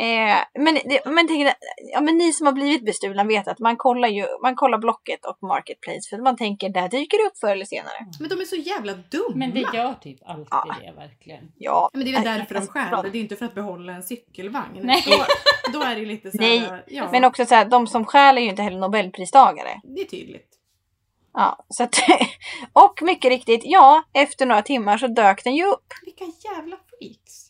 [SPEAKER 1] Eh, men, det, men, tänk, ja, men ni som har blivit bestulna vet att man kollar ju, man kollar Blocket och Marketplace för man tänker där dyker det upp förr eller senare.
[SPEAKER 2] Men de är så jävla dumma.
[SPEAKER 3] Men det gör typ alltid
[SPEAKER 1] Ja.
[SPEAKER 3] det verkligen.
[SPEAKER 1] Ja,
[SPEAKER 2] Ja, Men det är väl
[SPEAKER 1] Nej,
[SPEAKER 2] därför de
[SPEAKER 1] alltså,
[SPEAKER 2] stjäl
[SPEAKER 1] bra.
[SPEAKER 2] det. Det är inte för att behålla en cykelvagn.
[SPEAKER 3] Nej.
[SPEAKER 2] Då, då är det lite så
[SPEAKER 1] Nej,
[SPEAKER 2] här, ja,
[SPEAKER 1] men också så här, de som stjäl är ju inte heller nobelpristagare.
[SPEAKER 2] det är tydligt.
[SPEAKER 1] Ja, så att, och mycket riktigt, ja, efter några timmar så dök den ju upp.
[SPEAKER 2] Vilka jävla freaks.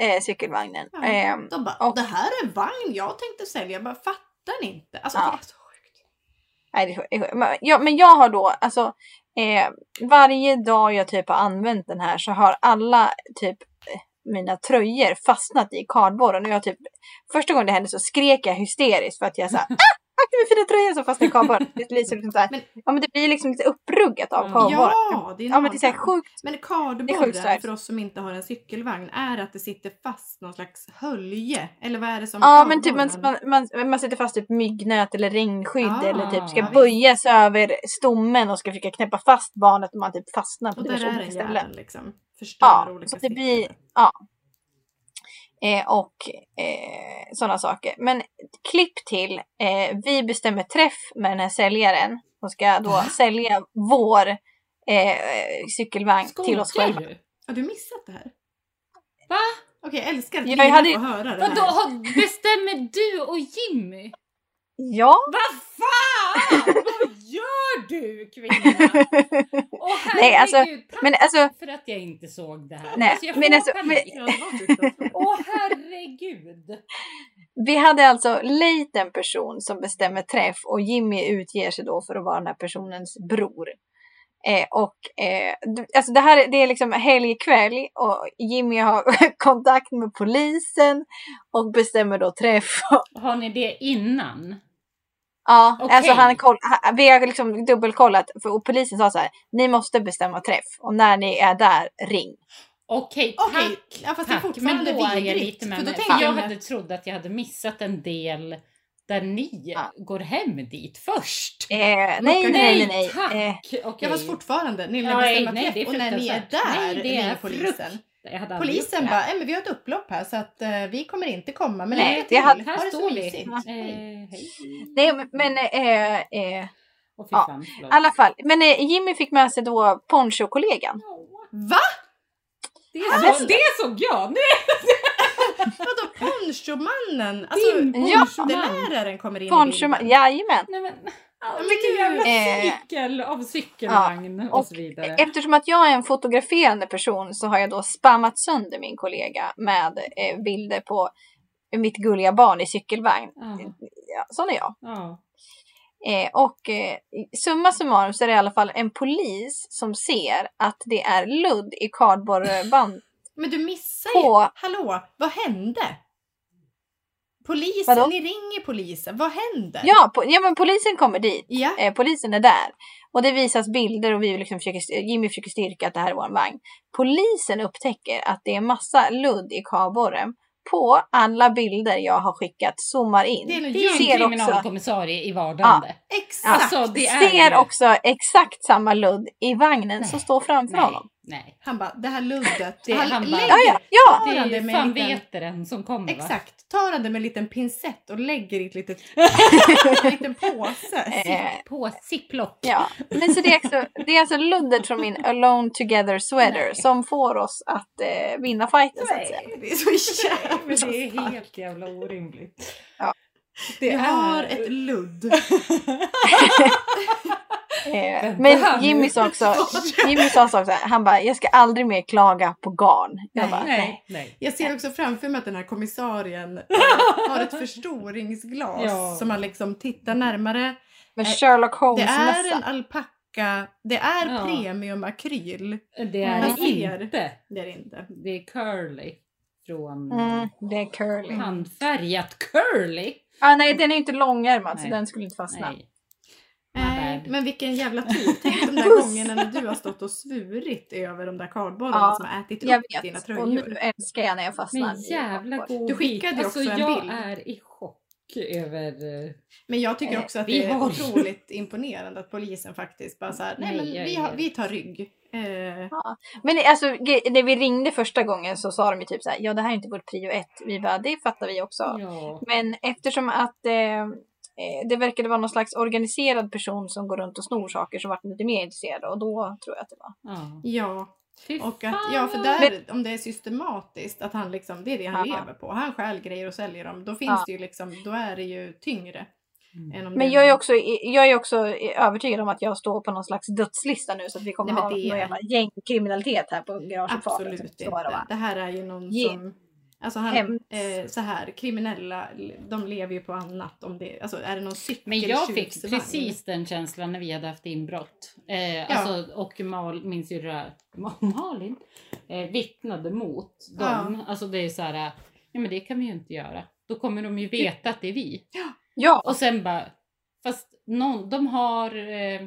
[SPEAKER 1] eh, cykelvagnen.
[SPEAKER 2] Ja.
[SPEAKER 1] Eh,
[SPEAKER 2] De bara,
[SPEAKER 1] Och-
[SPEAKER 2] det här är en vagn jag tänkte sälja. Jag bara, fattar ni inte? Alltså
[SPEAKER 1] Ja.
[SPEAKER 2] det är så sjukt.
[SPEAKER 1] nej, det är sjukt, det är sjukt. Men jag- men jag har då, alltså eh, varje dag jag typ har använt den här så har alla typ eh, mina tröjor fastnat i kardborren och jag typ första gången det hände så skrek jag hysteriskt för att jag såhär ah, akta min fina tröja som fastnar i kardborren. Det blir liksom så här,
[SPEAKER 2] Men-
[SPEAKER 1] ja men det blir liksom lite uppruggat av
[SPEAKER 3] Ja.
[SPEAKER 1] kardborren.
[SPEAKER 2] Ja, det är,
[SPEAKER 1] Ja men det är såhär
[SPEAKER 2] nageln.
[SPEAKER 1] sjukt.
[SPEAKER 2] Men
[SPEAKER 1] Det är sjukt
[SPEAKER 2] kardborren
[SPEAKER 1] starkt.
[SPEAKER 2] för oss som inte har en cykelvagn är att det sitter fast någon slags hölje. Eller vad är det som
[SPEAKER 1] Ja men typ man,
[SPEAKER 2] kardborren-
[SPEAKER 1] man, man, man sätter fast typ myggnät eller regnskydd
[SPEAKER 2] Ah,
[SPEAKER 1] eller typ ska
[SPEAKER 3] ja, visst.
[SPEAKER 1] böja sig över stommen och ska försöka knäppa fast barnet och man typ fastnar på
[SPEAKER 2] Och där
[SPEAKER 1] diverse
[SPEAKER 2] är
[SPEAKER 1] olika
[SPEAKER 2] den
[SPEAKER 1] ställen.
[SPEAKER 2] jäveln liksom. Förstör
[SPEAKER 1] Ja,
[SPEAKER 2] olika
[SPEAKER 1] så det
[SPEAKER 2] sitter.
[SPEAKER 1] blir, ja. Eh, och eh, sådana saker. Men klipp till, eh, vi bestämmer träff med den här säljaren som ska då sälja vår eh, cykelvagn till oss
[SPEAKER 3] Skojar
[SPEAKER 1] själva.
[SPEAKER 3] du?
[SPEAKER 2] Har du missat det här?
[SPEAKER 3] Va?
[SPEAKER 2] Okej, jag älskar att
[SPEAKER 1] Jag
[SPEAKER 2] Lina
[SPEAKER 1] hade-
[SPEAKER 2] får höra det
[SPEAKER 3] Vadå,
[SPEAKER 2] här.
[SPEAKER 3] har- bestämmer du och Jimmy?
[SPEAKER 1] Ja,
[SPEAKER 3] Vad fan! Vad gör du kvinna? Åh
[SPEAKER 1] Nej, alltså,
[SPEAKER 3] herregud, tack
[SPEAKER 1] men alltså,
[SPEAKER 3] för att jag inte såg det här.
[SPEAKER 1] Nej,
[SPEAKER 3] alltså, jag
[SPEAKER 1] men
[SPEAKER 3] får
[SPEAKER 1] alltså,
[SPEAKER 3] panik.
[SPEAKER 2] Ja, det var fruktansvärt.
[SPEAKER 3] Åh herregud!
[SPEAKER 1] vi hade alltså lejt en person som bestämmer träff och Jimmy utger sig då för att vara den här personens bror. Eh, och eh, d- alltså det här är- det är liksom helgkväll och Jimmy har kontakt med polisen och bestämmer då träff.
[SPEAKER 3] Har ni det innan?
[SPEAKER 1] Ja,
[SPEAKER 3] Okej.
[SPEAKER 1] alltså han koll, han, vi har liksom dubbelkollat för, och polisen sa så här, ni måste bestämma träff och när ni är där, ring.
[SPEAKER 3] Okej,
[SPEAKER 2] Okej,
[SPEAKER 3] tack!
[SPEAKER 2] ja, fast det är
[SPEAKER 3] tack. Men
[SPEAKER 2] fortfarande
[SPEAKER 3] då är jag
[SPEAKER 2] vidrigt,
[SPEAKER 3] lite med
[SPEAKER 2] för då
[SPEAKER 3] mig.
[SPEAKER 2] tänker
[SPEAKER 3] Fan,
[SPEAKER 2] jag
[SPEAKER 3] jag
[SPEAKER 2] med-
[SPEAKER 3] hade trott att jag hade missat en del där ni
[SPEAKER 1] Ja.
[SPEAKER 3] går hem dit först.
[SPEAKER 1] Eh, nej, nej, nej, nej.
[SPEAKER 3] tack!
[SPEAKER 1] Eh,
[SPEAKER 3] Okej.
[SPEAKER 2] Jag var fortfarande, ni
[SPEAKER 3] Ja,
[SPEAKER 2] lär bestämma
[SPEAKER 3] nej, det är
[SPEAKER 2] träff och när ni är
[SPEAKER 3] fruktansvärt.
[SPEAKER 2] där
[SPEAKER 3] Nej, det
[SPEAKER 2] ringer
[SPEAKER 3] är
[SPEAKER 2] polisen.
[SPEAKER 3] frukt. Jag hade aldrig gjort
[SPEAKER 2] Polisen
[SPEAKER 3] det.
[SPEAKER 2] bara, "Nej, men vi har ett upplopp här så att eh, vi kommer inte komma men
[SPEAKER 1] Nej,
[SPEAKER 2] lycka
[SPEAKER 1] det
[SPEAKER 2] till.
[SPEAKER 1] hade-
[SPEAKER 2] Ha
[SPEAKER 3] Här
[SPEAKER 2] det så
[SPEAKER 3] står vi.
[SPEAKER 2] mysigt. Hej.
[SPEAKER 3] Eh, hej.
[SPEAKER 1] nej, men- men eh, eh,
[SPEAKER 3] Åh, fy
[SPEAKER 1] ja,
[SPEAKER 3] fan, förlåt.
[SPEAKER 1] i alla fall. Men eh, Jimmy fick med sig då ponchokollegan.
[SPEAKER 3] Ja,
[SPEAKER 2] Va?
[SPEAKER 3] Det,
[SPEAKER 1] Ja,
[SPEAKER 3] så, det såg jag! Nu.
[SPEAKER 2] Vadå ponchomannen? Alltså
[SPEAKER 3] Din
[SPEAKER 2] poncholäraren kommer in i
[SPEAKER 1] Poncho,
[SPEAKER 2] bilden.
[SPEAKER 1] jajamän.
[SPEAKER 3] Nej, men,
[SPEAKER 2] men
[SPEAKER 3] vilken
[SPEAKER 2] gud.
[SPEAKER 3] jävla
[SPEAKER 1] Eh,
[SPEAKER 3] cykel av cykelvagn och,
[SPEAKER 1] och
[SPEAKER 3] så vidare.
[SPEAKER 1] Eftersom att jag är en fotograferande person så har jag då spammat sönder min kollega med eh, bilder på mitt gulliga barn i cykelvagn.
[SPEAKER 3] Ja.
[SPEAKER 1] Ja, sån är jag.
[SPEAKER 3] Ja.
[SPEAKER 1] Eh, och eh, summa summarum så är det i alla fall en polis som ser att det är ludd i kardborreband.
[SPEAKER 2] Men du missar ju!
[SPEAKER 1] På,
[SPEAKER 2] Hallå, vad hände? Polisen,
[SPEAKER 1] Vadå?
[SPEAKER 2] ni ringer polisen. Vad händer?
[SPEAKER 1] ja, po- ja, men polisen kommer dit.
[SPEAKER 2] Ja.
[SPEAKER 1] Eh, polisen är där. Och det visas bilder och vi liksom försöker, Jimmy försöker styrka att det här är vår vagn. Polisen upptäcker att det är massa ludd i kardborren. På alla bilder jag har skickat zoomar in.
[SPEAKER 2] Det är en
[SPEAKER 3] Det är ju en
[SPEAKER 1] ser också,
[SPEAKER 3] kriminalkommissarie i vardande.
[SPEAKER 2] Exakt!
[SPEAKER 3] Alltså det är ju-
[SPEAKER 1] ser också exakt samma ludd i vagnen
[SPEAKER 3] Nej.
[SPEAKER 1] som står framför
[SPEAKER 3] nej,
[SPEAKER 1] honom.
[SPEAKER 3] Nej.
[SPEAKER 2] Han bara, det här luddet.
[SPEAKER 3] Det-
[SPEAKER 2] han,
[SPEAKER 3] han bara-
[SPEAKER 2] lägger,
[SPEAKER 1] Ja, ja, ja!
[SPEAKER 3] Det är
[SPEAKER 2] Tar han det
[SPEAKER 3] ju
[SPEAKER 2] med en
[SPEAKER 3] fan
[SPEAKER 2] liten-
[SPEAKER 3] veteren som kommer va?
[SPEAKER 2] Exakt. Tar han det med en liten pincett och lägger i ett litet, en liten påse.
[SPEAKER 1] Eh,
[SPEAKER 3] På ziplock.
[SPEAKER 1] Ja, men så det är alltså, det är alltså luddet från min Alone Together sweater
[SPEAKER 3] Nej.
[SPEAKER 1] som får oss att eh, vinna fighten så att säga.
[SPEAKER 2] Det är så
[SPEAKER 3] Men
[SPEAKER 2] jävla...
[SPEAKER 3] det är helt jävla orimligt.
[SPEAKER 1] Ja.
[SPEAKER 3] Det
[SPEAKER 2] Vi har
[SPEAKER 3] är-
[SPEAKER 2] ett ludd.
[SPEAKER 1] Eh,
[SPEAKER 3] Vänta
[SPEAKER 1] men
[SPEAKER 3] nu.
[SPEAKER 1] Jimmy sa också, Jimmy sa också, han bara, jag ska aldrig mer klaga på garn. Jag
[SPEAKER 2] Nej.
[SPEAKER 1] bara,
[SPEAKER 3] Nej, nej.
[SPEAKER 2] Jag ser också framför mig att den här kommissarien eh, har ett förstoringsglas
[SPEAKER 3] Ja.
[SPEAKER 2] som man liksom tittar närmare.
[SPEAKER 1] men
[SPEAKER 2] Nej,
[SPEAKER 1] Sherlock
[SPEAKER 2] Det är en
[SPEAKER 1] Holmes-mössa.
[SPEAKER 2] alpacka, det är
[SPEAKER 3] Ja.
[SPEAKER 2] premiumakryl.
[SPEAKER 3] Det är
[SPEAKER 2] Man ser.
[SPEAKER 3] inte.
[SPEAKER 2] Det är det inte.
[SPEAKER 3] Det är curly. Från
[SPEAKER 1] Mm, det är curly.
[SPEAKER 3] handfärgat curly.
[SPEAKER 1] Ah, nej, den är ju inte långärmad så
[SPEAKER 3] Nej.
[SPEAKER 1] den skulle inte fastna.
[SPEAKER 3] Nej. My
[SPEAKER 2] Nej,
[SPEAKER 3] bad.
[SPEAKER 2] men vilken jävla tur. Tänk de där gångerna när du har stått och svurit över de där kardborrarna
[SPEAKER 1] Ja,
[SPEAKER 2] som har ätit
[SPEAKER 1] Jag
[SPEAKER 2] upp dina
[SPEAKER 1] vet, och nu
[SPEAKER 2] tröjor.
[SPEAKER 1] älskar jag när jag fastnar.
[SPEAKER 3] Men
[SPEAKER 1] i
[SPEAKER 2] Alltså,
[SPEAKER 3] jävla
[SPEAKER 1] kakor.
[SPEAKER 3] god
[SPEAKER 2] Du skickade ju
[SPEAKER 3] bit. Alltså,
[SPEAKER 2] också en
[SPEAKER 3] jag
[SPEAKER 2] bild.
[SPEAKER 3] är i chock över... eh,
[SPEAKER 2] Men jag tycker också att
[SPEAKER 3] vi
[SPEAKER 2] det är
[SPEAKER 3] har-
[SPEAKER 2] otroligt imponerande att polisen faktiskt bara såhär, nej men
[SPEAKER 3] Nej, jag
[SPEAKER 2] vi,
[SPEAKER 3] är-
[SPEAKER 2] har, vi tar rygg. Eh,
[SPEAKER 1] Men det- alltså, gre- när vi ringde första gången så sa de ju typ så här, ja det här är inte vårt prio ett. Vi bara, det fattar vi också.
[SPEAKER 3] Ja.
[SPEAKER 1] Men eftersom att eh, eh, det verkade vara någon slags organiserad person som går runt och snor saker så vart de lite mer intresserade och då tror jag att det var.
[SPEAKER 3] ja.
[SPEAKER 2] ja,
[SPEAKER 3] Fy
[SPEAKER 2] Och att,
[SPEAKER 3] fan,
[SPEAKER 2] ja, för
[SPEAKER 3] vad-
[SPEAKER 2] där, om det är systematiskt, att han liksom, det är det han
[SPEAKER 1] Ja.
[SPEAKER 2] lever på. Han stjäl grejer och säljer dem. Då finns
[SPEAKER 1] Ja.
[SPEAKER 2] det ju liksom, då är det ju tyngre.
[SPEAKER 3] Mm.
[SPEAKER 2] Än om
[SPEAKER 1] Men
[SPEAKER 2] det
[SPEAKER 1] jag är också, jag är också övertygad om att jag står på någon slags dödslista nu så att vi kommer
[SPEAKER 2] Nej, men
[SPEAKER 1] ha någon
[SPEAKER 2] det-
[SPEAKER 1] jävla gängkriminalitet här på garaget.
[SPEAKER 2] Absolut inte. Det här är ju någon
[SPEAKER 1] Ge-
[SPEAKER 2] som... Alltså han,
[SPEAKER 1] Hämnd.
[SPEAKER 2] eh, så här, kriminella, de lever ju på annat. Om det, alltså är det någon
[SPEAKER 3] Men jag fick
[SPEAKER 2] cykeltjuvsvagn?
[SPEAKER 3] precis den känslan när vi hade haft inbrott. Eh, alltså, och Mal, min syrra Ma- Malin eh, vittnade mot dem. Alltså det är så här, eh, nej men det kan vi ju inte göra. Då kommer de ju veta att det är vi.
[SPEAKER 1] Ja,
[SPEAKER 3] Och sen bara, fast någon, de har eh,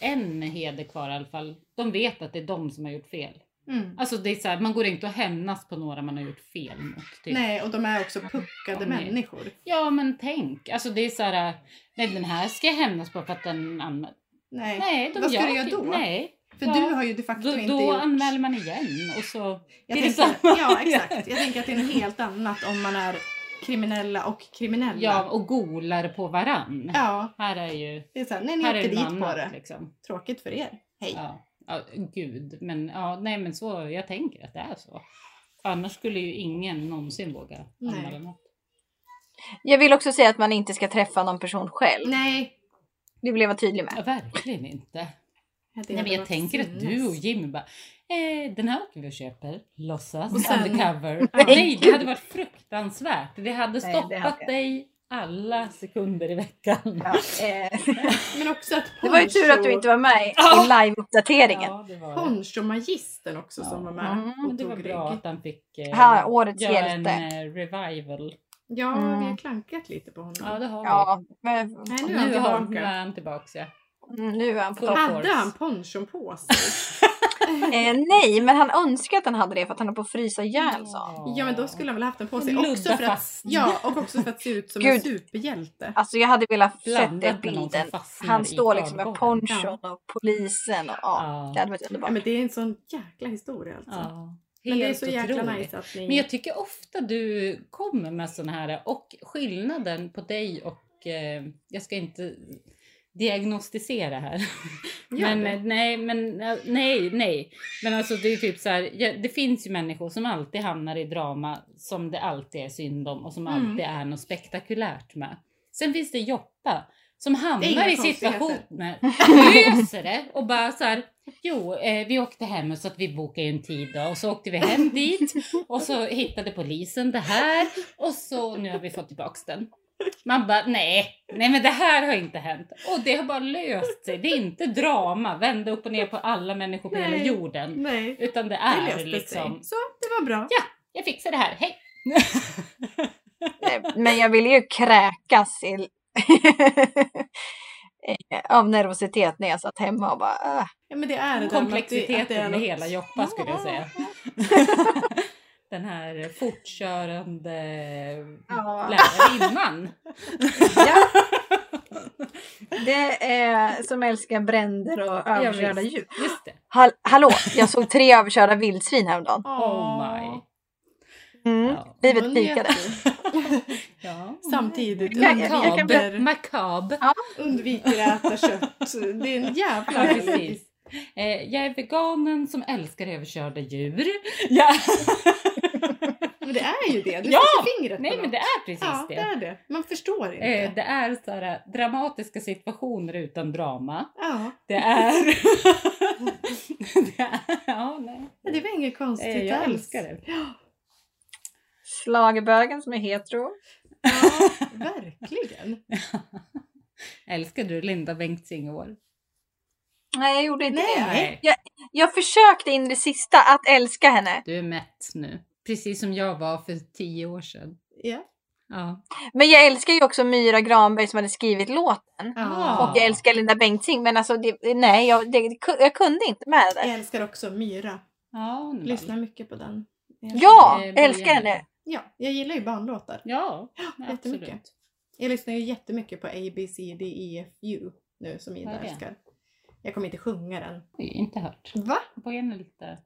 [SPEAKER 3] en heder kvar i alla fall. De vet att det är de som har gjort fel.
[SPEAKER 2] Mm.
[SPEAKER 3] Alltså det är så här, man går inte och hämnas på några man har gjort fel mot. Typ.
[SPEAKER 2] Nej, och de är också puckade
[SPEAKER 3] Ja, nej.
[SPEAKER 2] människor.
[SPEAKER 3] Ja men tänk, alltså det är så här, eh, nej den här ska jag hämnas på för att den använder
[SPEAKER 2] Nej.
[SPEAKER 3] Nej, de
[SPEAKER 2] Vad ska
[SPEAKER 3] gör typ-
[SPEAKER 2] du göra då?
[SPEAKER 3] Nej,
[SPEAKER 2] För
[SPEAKER 3] ja.
[SPEAKER 2] du har ju de facto
[SPEAKER 3] då,
[SPEAKER 2] inte
[SPEAKER 3] då
[SPEAKER 2] gjort...
[SPEAKER 3] anmäler man igen och så...
[SPEAKER 2] Jag
[SPEAKER 3] Det är
[SPEAKER 2] tänker,
[SPEAKER 3] detsamma.
[SPEAKER 2] ja, exakt. Jag tänker att det är något helt annat om man är kriminella och kriminella.
[SPEAKER 3] Ja, och golar på varann.
[SPEAKER 2] ja
[SPEAKER 3] Här är ju...
[SPEAKER 2] Det är så här, nej ni
[SPEAKER 3] Här
[SPEAKER 2] åkte
[SPEAKER 3] är
[SPEAKER 2] dit på
[SPEAKER 3] något
[SPEAKER 2] det.
[SPEAKER 3] annat liksom.
[SPEAKER 2] Tråkigt för er. Hej.
[SPEAKER 3] Ja. ja, gud. Men ja, nej men så, jag tänker att det är så. Annars skulle ju ingen någonsin våga
[SPEAKER 2] Nej.
[SPEAKER 3] anmäla något.
[SPEAKER 1] jag vill också säga att man inte ska träffa någon person själv.
[SPEAKER 2] Nej.
[SPEAKER 1] Det vill jag vara tydlig med.
[SPEAKER 3] Ja, verkligen inte.
[SPEAKER 2] Det
[SPEAKER 3] Nej, men
[SPEAKER 2] hade
[SPEAKER 3] jag
[SPEAKER 2] varit
[SPEAKER 3] tänker att du och
[SPEAKER 2] sinnes.
[SPEAKER 3] Jimmy bara, eh, den här åker vi och köper, låtsas,
[SPEAKER 2] Och sen-
[SPEAKER 3] undercover.
[SPEAKER 2] Nej,
[SPEAKER 3] Nej, det hade varit fruktansvärt. Det hade
[SPEAKER 1] Nej, det
[SPEAKER 3] stoppat
[SPEAKER 1] hade-
[SPEAKER 3] dig alla sekunder i veckan.
[SPEAKER 1] Ja, eh,
[SPEAKER 2] Men också att
[SPEAKER 1] det var ju tur att du
[SPEAKER 2] poncho-
[SPEAKER 1] inte var med i
[SPEAKER 3] Ja.
[SPEAKER 1] live-uppdateringen.
[SPEAKER 3] Ja, det var det.
[SPEAKER 2] Poncho-magistern också
[SPEAKER 3] Ja.
[SPEAKER 2] som var med
[SPEAKER 1] Mm,
[SPEAKER 2] och
[SPEAKER 3] Men det var
[SPEAKER 2] tog
[SPEAKER 3] bra
[SPEAKER 2] rygg.
[SPEAKER 3] att han fick eh,
[SPEAKER 1] Ha, årets
[SPEAKER 3] göra en
[SPEAKER 1] hjälte.
[SPEAKER 3] eh, revival.
[SPEAKER 2] Ja,
[SPEAKER 1] Mm.
[SPEAKER 2] vi har klankat lite på honom.
[SPEAKER 3] Ja, det har
[SPEAKER 1] Ja, men
[SPEAKER 2] Nej,
[SPEAKER 3] vi.
[SPEAKER 2] nu
[SPEAKER 3] Nu
[SPEAKER 2] är han
[SPEAKER 3] har nu är
[SPEAKER 2] tillbaka.
[SPEAKER 3] han tillbaka. Ja.
[SPEAKER 1] mm, nu är han på
[SPEAKER 3] Full
[SPEAKER 1] topp.
[SPEAKER 2] Hade
[SPEAKER 3] force.
[SPEAKER 2] han ponchon på sig?
[SPEAKER 1] Eh, nej, men han önskar att han hade det för att han är på att frysa ihjäl sa han.
[SPEAKER 2] ja, men då skulle han väl haft den på sig.
[SPEAKER 3] Ludda
[SPEAKER 2] Också för att,
[SPEAKER 3] fast.
[SPEAKER 2] ja, och också för att se ut som en
[SPEAKER 1] Gud.
[SPEAKER 2] superhjälte.
[SPEAKER 1] Alltså jag hade velat
[SPEAKER 3] Blandat
[SPEAKER 1] sett
[SPEAKER 3] med någon som
[SPEAKER 1] bilden.
[SPEAKER 3] fastnar i
[SPEAKER 1] Han står liksom med
[SPEAKER 3] kardborren.
[SPEAKER 1] ponchon och polisen och ja,
[SPEAKER 3] Ja.
[SPEAKER 1] det hade varit
[SPEAKER 2] Ja,
[SPEAKER 1] underbart.
[SPEAKER 2] men det är en sån jäkla historia alltså.
[SPEAKER 3] Ja.
[SPEAKER 2] Men det är
[SPEAKER 3] Helt
[SPEAKER 2] så jäkla
[SPEAKER 3] otroligt.
[SPEAKER 2] nice att ni...
[SPEAKER 3] Men jag tycker ofta du kommer med sådana här och skillnaden på dig och eh, jag ska inte diagnostisera här.
[SPEAKER 2] Gör
[SPEAKER 3] men
[SPEAKER 2] det.
[SPEAKER 3] eh, nej, men eh, nej, nej. Men alltså det är typ så här, ja, det finns ju människor som alltid hamnar i drama som det alltid är synd om och som
[SPEAKER 2] Mm.
[SPEAKER 3] alltid är något spektakulärt med. Sen finns det Joppa Som
[SPEAKER 2] inga
[SPEAKER 3] hamnar i
[SPEAKER 2] konstigheter.
[SPEAKER 3] situationer, löser det och bara så här, jo eh, vi åkte hem och så att vi bokade en tid då och så åkte vi hem dit och så hittade polisen det här och så nu har vi fått tillbaks den. Man bara nej, nej men det här har inte hänt och det har bara löst sig. Det är inte drama, vända upp och ner på alla människor på hela
[SPEAKER 2] Nej.
[SPEAKER 3] jorden.
[SPEAKER 2] Nej.
[SPEAKER 3] Utan det
[SPEAKER 2] Det
[SPEAKER 3] är
[SPEAKER 2] löste
[SPEAKER 3] liksom,
[SPEAKER 2] sig. Så, det var bra.
[SPEAKER 3] jag fixar det här, hej!
[SPEAKER 1] Nej, Eh, Men jag ville ju kräkas i... eh, av nervositet när jag satt hemma och bara... "Äh."
[SPEAKER 2] Ja, men det är det där med att det- att det är
[SPEAKER 3] Komplexiteten i
[SPEAKER 2] något-
[SPEAKER 3] hela Joppa skulle jag säga. Den här fortkörande
[SPEAKER 1] Ja,
[SPEAKER 3] lärarinnan.
[SPEAKER 1] ja. Det är som älskar bränder och
[SPEAKER 3] Ja,
[SPEAKER 1] överkörda
[SPEAKER 3] visst.
[SPEAKER 1] djur.
[SPEAKER 3] Just det.
[SPEAKER 1] Hall- hallå, jag såg tre överkörda vildsvin häromdagen.
[SPEAKER 3] Oh my.
[SPEAKER 1] Mm.
[SPEAKER 3] Ja.
[SPEAKER 1] Livet
[SPEAKER 2] Mun
[SPEAKER 1] pikade.
[SPEAKER 2] jätte-
[SPEAKER 3] Ja.
[SPEAKER 2] Samtidigt.
[SPEAKER 1] Jag- jag- jag kan
[SPEAKER 2] Makaber.
[SPEAKER 3] Makab. Makab.
[SPEAKER 2] Undviker att äta kött. Det är en
[SPEAKER 3] Ja,
[SPEAKER 2] jävla
[SPEAKER 3] precis. Eh, jag är veganen som älskar överkörda djur. Ja.
[SPEAKER 2] Men det är ju det. Du
[SPEAKER 3] Ja!
[SPEAKER 2] sätter fingret
[SPEAKER 3] Nej
[SPEAKER 2] på
[SPEAKER 3] men
[SPEAKER 2] något.
[SPEAKER 3] det är precis
[SPEAKER 2] Ja, det
[SPEAKER 3] det.
[SPEAKER 2] är det. Man förstår inte.
[SPEAKER 3] Eh, det är så här, dramatiska situationer utan drama.
[SPEAKER 2] Ja,
[SPEAKER 3] Det är... det är... Ja, nej.
[SPEAKER 2] men det var inget konstigt
[SPEAKER 3] Eh, jag
[SPEAKER 2] alls.
[SPEAKER 3] älskar det.
[SPEAKER 1] Schlagerbögen som är hetero.
[SPEAKER 2] Ja, verkligen.
[SPEAKER 3] Älskar du Linda Bengtzing i år?
[SPEAKER 1] Nej, jag gjorde inte det.
[SPEAKER 3] Nej.
[SPEAKER 1] Jag försökte in i det sista att älska henne.
[SPEAKER 3] Du är mätt nu. Precis som jag var för tio år sedan.
[SPEAKER 2] Ja.
[SPEAKER 3] Ja.
[SPEAKER 1] Men jag älskar ju också Myra Granberg som hade skrivit
[SPEAKER 3] Ah.
[SPEAKER 1] låten.
[SPEAKER 3] Ja.
[SPEAKER 1] Och jag älskar Linda Bengtzing, men alltså det, nej, jag, det, det ku- jag kunde inte med det.
[SPEAKER 2] Jag
[SPEAKER 1] där.
[SPEAKER 2] älskar också Myra.
[SPEAKER 3] Ja, hon är
[SPEAKER 2] Lyssnar
[SPEAKER 3] väl.
[SPEAKER 2] mycket på den.
[SPEAKER 1] Ja,
[SPEAKER 3] Eh,
[SPEAKER 1] jag älskar
[SPEAKER 3] Bojan.
[SPEAKER 1] henne.
[SPEAKER 2] Ja, jag gillar ju barnlåtar.
[SPEAKER 3] Ja, absolut.
[SPEAKER 2] jättemycket. Jag lyssnar ju jättemycket på A, B, C, D, E, F, U nu som Ida
[SPEAKER 3] Vad är det?
[SPEAKER 2] älskar. Jag kommer inte sjunga den.
[SPEAKER 3] Oj, inte hört.
[SPEAKER 2] Va?
[SPEAKER 3] Bojan är lite...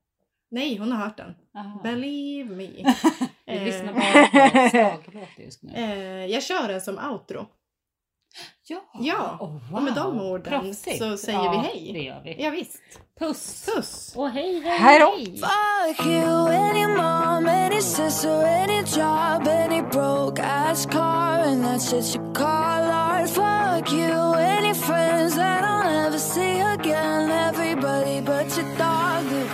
[SPEAKER 2] Nej, hon har hört den.
[SPEAKER 3] Aha.
[SPEAKER 2] Believe me.
[SPEAKER 3] Ah. Vi
[SPEAKER 2] eh,
[SPEAKER 3] lyssnar bara på slaglåt just nu.
[SPEAKER 2] Eh, jag kör den som outro.
[SPEAKER 3] Ja,
[SPEAKER 2] ja.
[SPEAKER 3] Oh,
[SPEAKER 2] Och med de orden så säger
[SPEAKER 3] ja,
[SPEAKER 2] vi hej.
[SPEAKER 3] det gör vi.
[SPEAKER 2] Ja, visst.
[SPEAKER 3] Puss!
[SPEAKER 2] Puss!
[SPEAKER 3] Och hej, hej,
[SPEAKER 1] Hej då.
[SPEAKER 3] hej!
[SPEAKER 5] Fuck you, any mom, any sister, any job, any broke ass car, and that shit you call art. Fuck you, any friends that I'll never see again, everybody but your dog. You